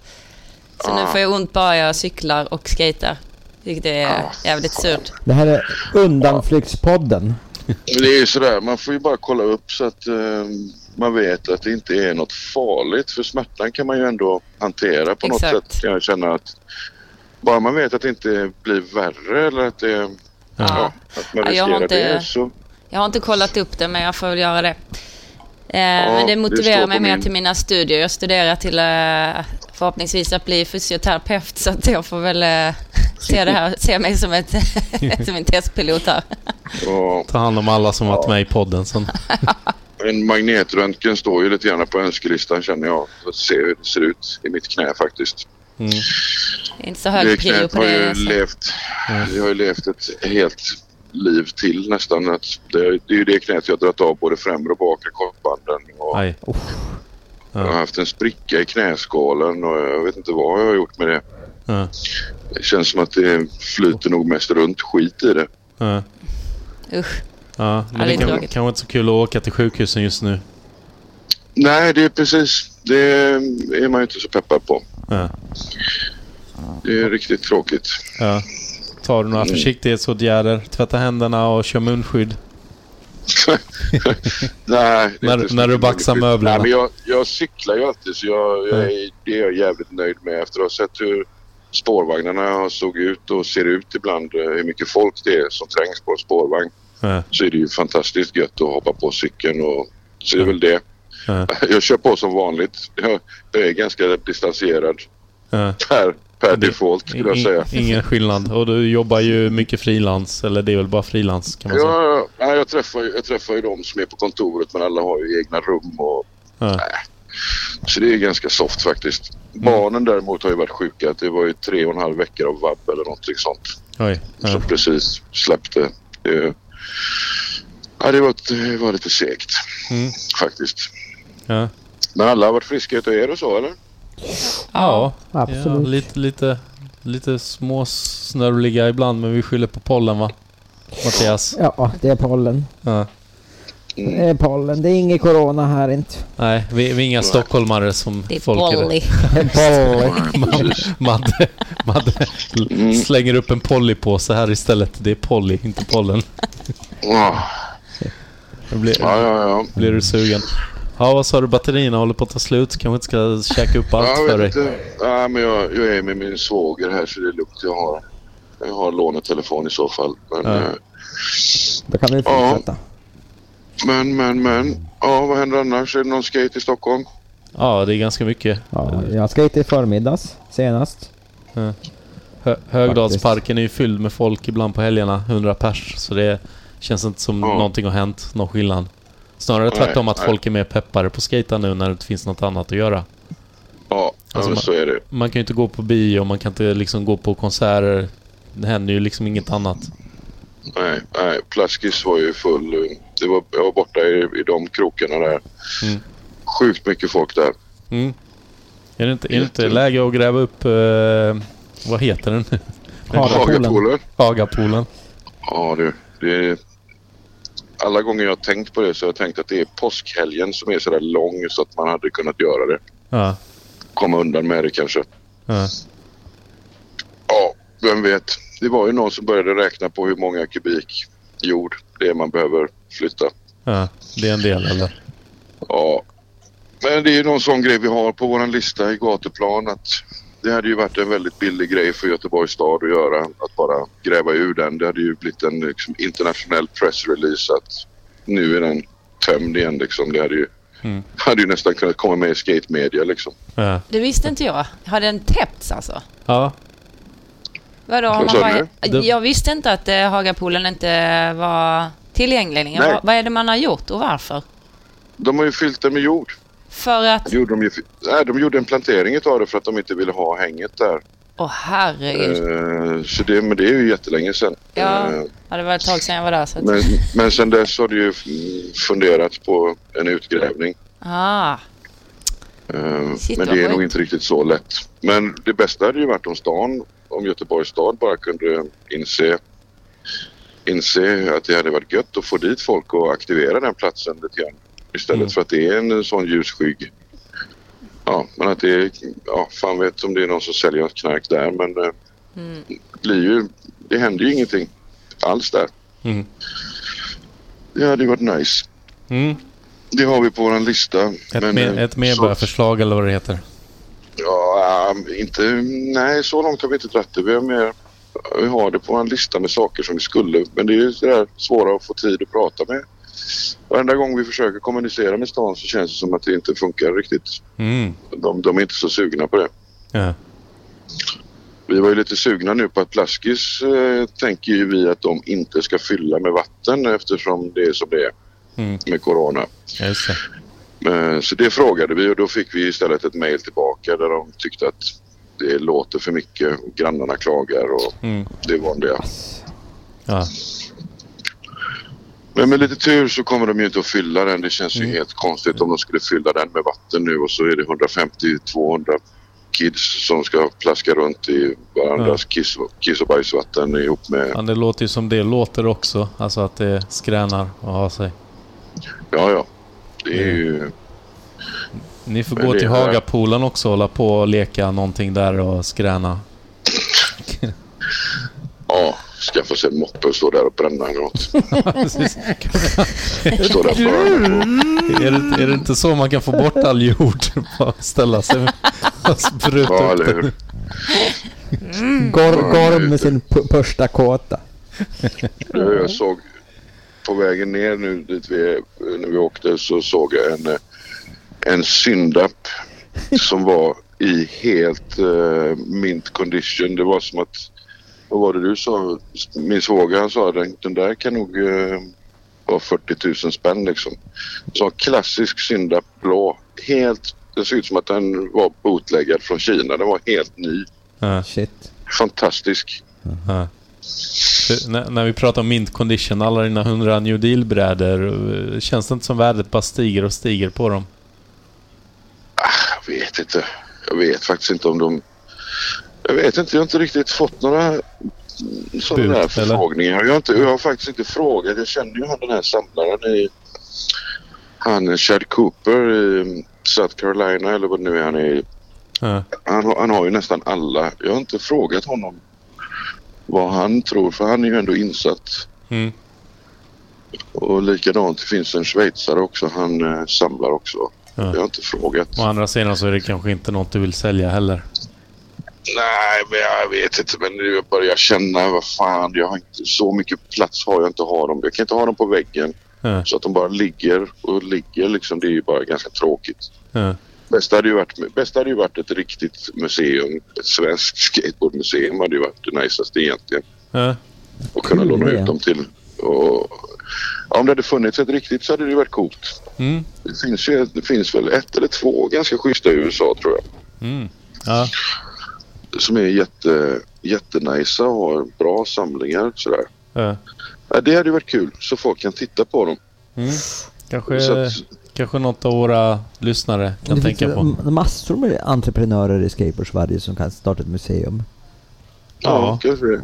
S1: Så nu
S6: Ah.
S1: får jag ont bara jag cyklar och skater. Vilket är jävligt surt.
S6: Det här är Undanflyktspodden.
S12: Men Det är ju sådär, man får ju bara kolla upp så att eh, man vet att det inte är något farligt. För smärtan kan man ju ändå hantera på något
S1: Exakt.
S12: sätt. Jag känner att bara man vet att det inte blir värre eller att, det, ja. att man
S1: Ja, jag har
S12: riskerar
S1: inte-
S12: det så...
S1: Jag har inte kollat upp det men jag får väl göra det. Eh, men
S12: det
S1: det
S12: står
S1: motiverar
S12: på
S1: mig mer
S12: min-
S1: till mina studier. Jag studerar till eh, förhoppningsvis att bli fysioterapeut så att jag får väl eh, se, det här, se mig som, ett, som en testpilot här.
S2: Ta hand om alla som varit med i podden sen.
S12: En magnetröntgen står ju lite grann på önskelistan känner jag. För att se hur det ser ut i mitt knä faktiskt.
S1: Det är inte så
S12: Det
S1: hög prio
S12: knät
S1: på
S12: har
S1: det.
S12: ju
S1: alltså.
S12: levt, jag har ju levt ett helt liv till nästan. Att Det är det är ju det knät jag har dragit av både främre och bakre korsbanden. Och
S2: Aj.
S12: Jag har haft en spricka i knäskålen och jag vet inte vad jag har gjort med det.
S2: Ja.
S12: Det känns som att det flyter nog mest runt skit i det.
S2: Ja.
S1: Usch.
S2: Ja,
S1: Ja,
S2: men
S1: det
S2: det
S1: är
S2: kan,
S1: tråkigt.
S2: kanske inte så kul att åka till sjukhusen just nu.
S12: Nej, det är precis. Det är man ju inte så peppad på.
S2: Ja.
S12: Det är riktigt tråkigt.
S2: Ja. Tar du några
S12: Mm.
S2: försiktighetsåtgärder? Tvätta händerna och kör munskydd?
S12: Nej, det är
S2: När-
S12: så
S2: när du
S12: mycket
S2: baxar
S12: möjligt.
S2: möblerna.
S12: Nej, men jag, jag cyklar ju alltid så jag, jag
S2: Mm.
S12: är, det är jag jävligt nöjd med efter att ha sett hur spårvagnarna har såg ut och ser ut ibland. eh, Hur mycket folk det är som trängs på en spårvagn.
S2: Ja.
S12: Så är det ju fantastiskt gött att hoppa på cykeln och så är det väl det.
S2: Ja.
S12: Jag kör på som vanligt. Jag, jag är ganska distanserad
S2: Ja.
S12: per, per default skulle jag
S2: In-
S12: säga.
S2: ingen skillnad. Och du jobbar ju mycket frilans. Eller det är väl bara frilans kan man säga.
S12: Ja, ja, jag, träffar, ju- jag träffar ju de som är på kontoret men alla har ju egna rum och
S2: Ja.
S12: Så det är ganska soft faktiskt. Barnen däremot har ju varit sjuka. Det var ju tre och en halv vecka av vab eller någonting sånt.
S2: Oj.
S12: Som precis släppte. Det, ja, det, var, det var lite segt
S2: Mm.
S12: faktiskt.
S2: Ja.
S12: Men alla har varit friska utav er och så eller?
S2: Ja,
S6: Absolut.
S2: Ja, lite, lite, lite småsnörvliga ibland men vi skyller på pollen va? Mattias?
S6: Ja, det är pollen.
S2: Ja.
S6: Det är pollen. Det är inget corona här inte.
S2: Nej, vi, vi är inga stockholmare som
S6: Det är
S2: folk
S6: Polly. Det är Polly.
S2: Madde, Madde, Madde slänger upp en Polly-påse här istället. Det är Polly, inte pollen. Då blir,
S12: Ja, ja, ja.
S2: blir du sugen. Ja, vad sa du? Batterierna håller på att ta slut. Kanske inte ska käka upp allt
S12: jag
S2: för dig.
S12: vet inte. Ja, men jag, jag är med min svåger här så det är lugnt. Jag har, jag har lånetelefon i så fall. Men,
S2: Ja.
S12: eh,
S6: Då kan vi
S12: Ja.
S6: fortsätta.
S12: men, men, men. Ja, vad händer annars? Är det någon skate i Stockholm?
S2: Ja, det är ganska mycket.
S6: Ja, jag ska hit i förmiddags senast.
S2: Ja. Hö- Högdalsparken är ju fylld med folk ibland på helgerna, 100 pers. Så det känns inte som
S6: Ja.
S2: någonting har hänt, någon skillnad. Snarare
S12: Nej,
S2: tvärtom att
S12: nej.
S2: folk är mer peppade på skejta nu när det inte finns något annat att göra.
S12: Ja,
S2: Alltså,
S12: men
S2: man-
S12: så är det.
S2: Man kan ju inte gå på bio, man kan inte liksom gå på konserter. Det händer ju liksom inget annat.
S12: Nej, nej, Plaskis var ju full. Det var, jag var borta i, i de krokarna där.
S2: Mm.
S12: Sjukt mycket folk där.
S2: Mm. Är det inte, är det inte läge att gräva upp... Eh, vad heter den nu?
S12: Hagapolen. Hagapolen.
S2: Hagapolen.
S12: Ja du, det är... Alla gånger jag har tänkt på det så har jag tänkt att det är påskhelgen som är sådär lång så att man hade kunnat göra det.
S2: Ja.
S12: Komma undan med det kanske.
S2: ja.
S12: Ja, vem vet. Det var ju någon som började räkna på hur många kubik jord det är man behöver flytta.
S2: Ja, det är en del eller?
S12: Ja. Men det är ju någon sån grej vi har på våran lista i gatuplan att det hade ju varit en väldigt billig grej för Göteborgs stad att göra. Att bara gräva ur den. Det hade ju blivit en liksom, internationell pressrelease att nu är den tömd igen liksom. Det hade ju,
S2: Mm.
S12: hade ju nästan kunnat komma med i skate-media liksom.
S2: Ja.
S1: Det visste inte jag. Har den täppts alltså?
S2: ja.
S1: Vadå, har
S12: Vad
S1: man
S12: sa
S1: bara...
S12: du?
S1: Jag visste inte att eh, Hagapolen inte var tillgänglig längre.
S12: Nej.
S1: Vad- Vad är det man har gjort och varför?
S12: De har ju fyllt den med jord.
S1: För att...
S12: Gjorde de, ju, nej, de gjorde en plantering utav det för att de inte ville ha hänget där.
S1: Åh herregud.
S12: Eh, så det, men det är ju jättelänge sedan.
S1: Ja.
S12: Eh,
S1: ja, det var ett tag sedan jag var där. Så att...
S12: men, men sedan dess har det ju mm, funderats på en utgrävning.
S1: Ah,
S12: Eh,
S1: Shit,
S12: men
S1: vad
S12: det är nog
S1: sjukt.
S12: inte riktigt så lätt. Men det bästa hade ju varit om stan, om Göteborgs stad bara kunde inse, inse att det hade varit gött att få dit folk och aktivera den platsen lite grann. Istället
S1: Mm.
S12: för att det är en sån ljusskygg. Ja, men att det är, ja, fan vet om det är någon som säljer knark där men eh, det blir ju, det händer ju ingenting alls där.
S2: Mm.
S12: Det hade ju varit nice.
S2: Mm.
S12: Det har vi på vår lista.
S2: Ett, med,
S12: eh,
S2: ett medborgarförslag eller vad det heter.
S12: Ja, ähm, inte, nej, så långt har vi inte dratt det. Vi har, mer, vi har det på en lista med saker som vi skulle, men det är ju sådär svåra att få tid att prata med. Varenda gång vi försöker kommunicera med stan så känns det som att det inte funkar riktigt.
S2: Mm.
S12: De, de är inte så sugna på det.
S2: Ja.
S12: Vi var ju lite sugna nu på att Plaskis eh, tänker ju vi att de inte ska fylla med vatten eftersom det är som det är
S2: Mm.
S12: med corona.
S2: Ja, just det.
S12: Eh, Så det frågade vi och då fick vi istället ett mejl tillbaka där de tyckte att det låter för mycket. och Grannarna klagar och
S2: Mm.
S12: det vanliga.
S2: Ja.
S12: Men med lite tur så kommer de ju inte att fylla den. Det känns ju helt konstigt om de skulle fylla den med vatten nu och så är det 150-200 kids som ska plaska runt i varandras kiss, kiss och bajsvatten ihop med...
S2: ja, det låter ju som det låter också. Alltså att det skränar och har sig.
S12: Ja, ja. Det är ju...
S2: Ni får
S12: Men
S2: gå
S12: det
S2: till
S12: är-
S2: Hagapolen också och hålla på och leka någonting där och skräna.
S12: Ja, skaffa sig en moppe och stå där och bränna något. Stå där på
S2: Är det, är det inte så man kan få bort all jord? Bara ställa sig och spruta
S12: Ja, eller
S2: upp
S12: hur?
S2: den.
S6: Gorm gor med sin p- första kåta.
S12: Ja, Eh, Jag såg på vägen ner nu dit vi, eh, när vi åkte så såg jag en, eh, en syndapp som var i helt eh, mint condition. Det var som att, vad var det du sa? Min svåger han sa den, den där kan nog eh, vara 40 000 spänn liksom. Så en klassisk syndapp blå. Helt, det såg ut som att den var bootleggad från Kina. Den var helt ny.
S6: Shit.
S12: Fantastisk.
S2: Ja. För När, när vi pratar om mint condition, alla dina 100 new deal-brädor, eh, känns det inte som värdet bara stiger och stiger på dem?
S12: Jag vet inte. Jag vet faktiskt inte om de... Jag vet inte. Jag har inte riktigt fått några sådana
S2: Bud,
S12: här
S2: eller?
S12: förfrågningar. Jag har, inte, jag har faktiskt inte frågat. Jag känner ju han den här samlaren i... Han Chad Cooper i um, South Carolina eller vad det nu är han är i.
S2: Ja.
S12: Han, har- han har ju nästan alla. Jag har inte frågat honom vad han tror för han är ju ändå insatt.
S2: Mm.
S12: Och likadant det finns en schweizare också. Han eh, samlar också.
S2: Ja.
S12: Jag har inte frågat.
S2: Å andra sidan så är det kanske inte något du vill sälja heller.
S12: Nej, men jag vet inte. Men nu börjar jag känna, vad fan, jag har inte, så mycket plats har jag inte att ha dem. Jag kan inte ha dem på väggen.
S2: Ja.
S12: Så att de bara ligger och ligger liksom, det är ju bara ganska tråkigt.
S2: Ja.
S12: Bäst hade ju varit, bäst hade ju varit ett riktigt museum. Ett svenskt skateboardmuseum hade ju varit det najsaste egentligen.
S2: Ja.
S12: Och kunna låna
S2: idé.
S12: ut dem till. Och, ja, om det hade funnits ett riktigt så hade det ju varit coolt.
S2: Mm.
S12: Det finns, ju, det finns väl ett eller två ganska schyssta i USA tror jag.
S2: Mm. Ja.
S12: som är jätte, jättenajsa och har bra samlingar. Sådär.
S2: Ja.
S12: Ja, det hade ju varit kul så folk kan titta på dem.
S2: Mm. Kanske,
S12: Så att-
S2: kanske något av våra lyssnare kan
S12: Det finns
S2: tänka
S12: ju-
S2: på.
S12: Mm.
S13: Massor med entreprenörer i skateboard-Sverige som kan starta ett museum.
S12: Ja, kanske det.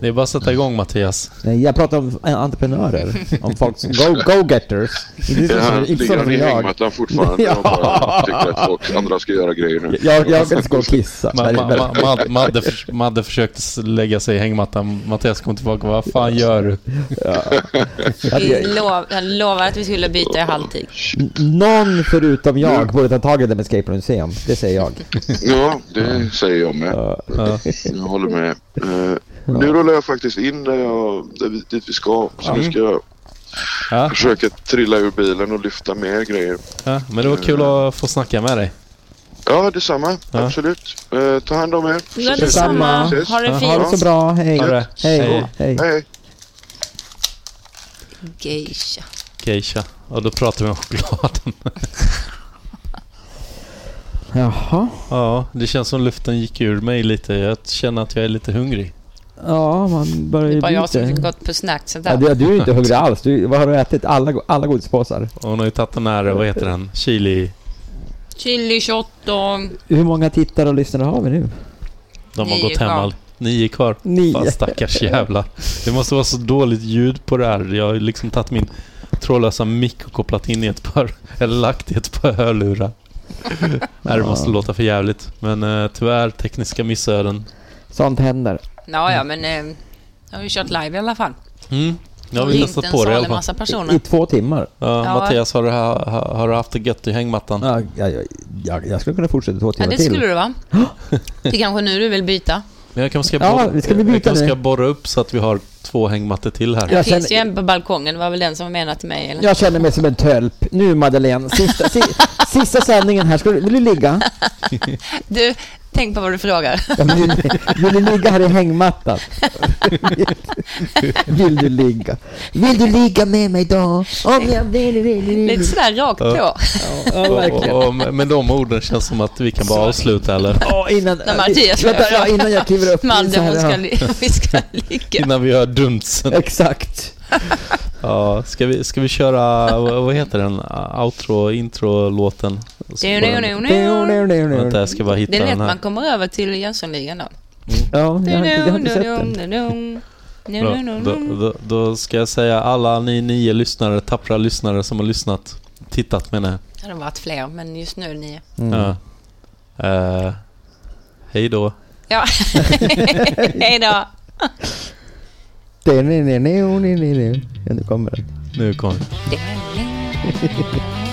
S2: Det är bara att sätta igång Mattias.
S13: Nej, jag pratar om eh, entreprenörer.
S6: Om folk som go, go-getters. Inte
S12: Ja,
S6: sådana-
S12: han
S6: inte
S12: ligger
S6: sådana
S12: han
S6: som
S12: i
S6: jag.
S12: hängmattan fortfarande och bara tycker att folk, andra ska göra grejer nu.
S6: Jag, jag ska gå och kissa.
S2: Ma- ma- ma- Mad- Madde, förs- Madde försökte s- lägga sig i hängmattan. Mattias kom tillbaka. Vad fan gör du?
S1: Vi lov, jag lovar att vi skulle byta i halvtid.
S6: N- Någon förutom jag borde ta tag i det med skateboardmuseum. Det säger jag.
S12: Ja, det säger jag med. Jag håller med. Eh, Nu rullar jag faktiskt in där jag, där vi, dit vi ska. Så
S2: Mm.
S12: nu ska jag försöka trilla ur bilen och lyfta mer grejer.
S2: Ja, men det var kul att få snacka med dig.
S12: Ja, detsamma.
S2: Ja.
S12: Absolut. Eh, ta hand om er. Så ses vi.
S6: detsamma.
S12: Ses.
S1: Ha det
S12: Ja.
S1: fint.
S6: Ha det så bra. Hej.
S2: Ha det.
S6: Hej.
S2: Hej.
S6: Hej.
S12: Hej.
S1: Geisha.
S2: Geisha. Och då pratar vi om chokladen.
S6: Jaha.
S2: Ja, det känns som luften gick ur mig lite. Jag känner att jag är lite hungrig.
S6: Ja, man börjar
S1: Det
S6: ju
S1: är bara jag
S6: bli
S1: som
S6: lite-
S1: gått på snacks och
S6: Ja,
S1: där.
S6: du, du är ju inte hungrig alls. Du, vad har du ätit? Alla, go- alla godispåsar.
S2: Hon har ju tagit den här, vad heter den? Chili.
S1: Chili shotdog.
S6: Hur många tittare och lyssnare har vi nu?
S2: De har
S1: Nio
S2: gått hem
S1: kvar.
S2: all... Nio kvar.
S6: Nio.
S2: Fan, stackars jävlar. Det måste vara så dåligt ljud på det här. Jag har ju liksom tagit min trådlösa mick och kopplat in i ett par... Eller lagt i ett par hörlurar. Nej, det måste låta för jävligt. Men eh, tyvärr, tekniska missöden.
S6: Sånt händer.
S1: Ja, ja, men eh, jag har ju kört live i alla fall.
S2: Mm. Nu har vi
S1: Ringt
S2: testat
S1: en
S2: på det i alla
S1: salig
S2: fall.
S1: massa personer. I
S6: två timmar.
S2: Ja,
S1: Ja.
S2: Mattias, har du, ha, ha- har du haft det gött i hängmattan?
S13: Ja, jag, skulle kunna fortsätta två
S1: Ja, det skulle det vara. Det är kanske nu du vill byta.
S2: Men jag kanske ska,
S6: Ja,
S2: borra,
S6: vi ska vi
S2: jag
S6: byta
S2: kanske
S6: nu?
S2: ska borra upp så att vi har två hängmattor till här.
S1: Det finns ju en på balkongen. Det var väl den som var menad till mig, eller?
S6: Jag känner mig som en tölp. Nu Madeleine, sista, si, sista sändningen här. Ska du, vill du ligga?
S1: Du, Tänk på vad du frågar.
S6: Ja, men vill, vill du ligga här i hängmattan? Vill du ligga?
S13: Vill du ligga med mig då? Om jag vill, vill, vill.
S1: Lite sådär rakt på.
S2: Ja.
S1: ja, verkligen.
S2: Och, och med med de orden känns som att vi kan bara avsluta eller?
S6: Ja, innan,
S1: När Mattias
S6: vänta, ja, innan jag kliver upp.
S1: Madde,
S6: så här,
S1: hon
S6: ja.
S1: ska, li- vi ska ligga.
S2: Innan vi hör dunsen.
S6: Exakt.
S2: Ja, ska vi, ska vi köra, vad vad heter den, outro, intro-låten? Så
S1: Det är
S2: var
S1: nu,
S2: den-
S1: nu, nu.
S2: Vänta, jag ska bara hitta
S1: Det är lätt
S2: den
S1: man
S2: här.
S1: kommer över till Jönssonligan då.
S6: Ja,
S2: jag har inte- jag har inte sett Bra. Då,
S1: den.
S2: då, då ska jag säga alla ni nio lyssnare, tappra lyssnare som har lyssnat, tittat menar jag.
S1: Det hade varit fler, men just nu är det nio.
S2: Ja. Eh, hej då.
S1: Ja, hej då.
S6: Det är- nej, nej, nej, nej, nej, nej. Ja, nu kommer den.
S2: Nu kommer
S1: Det-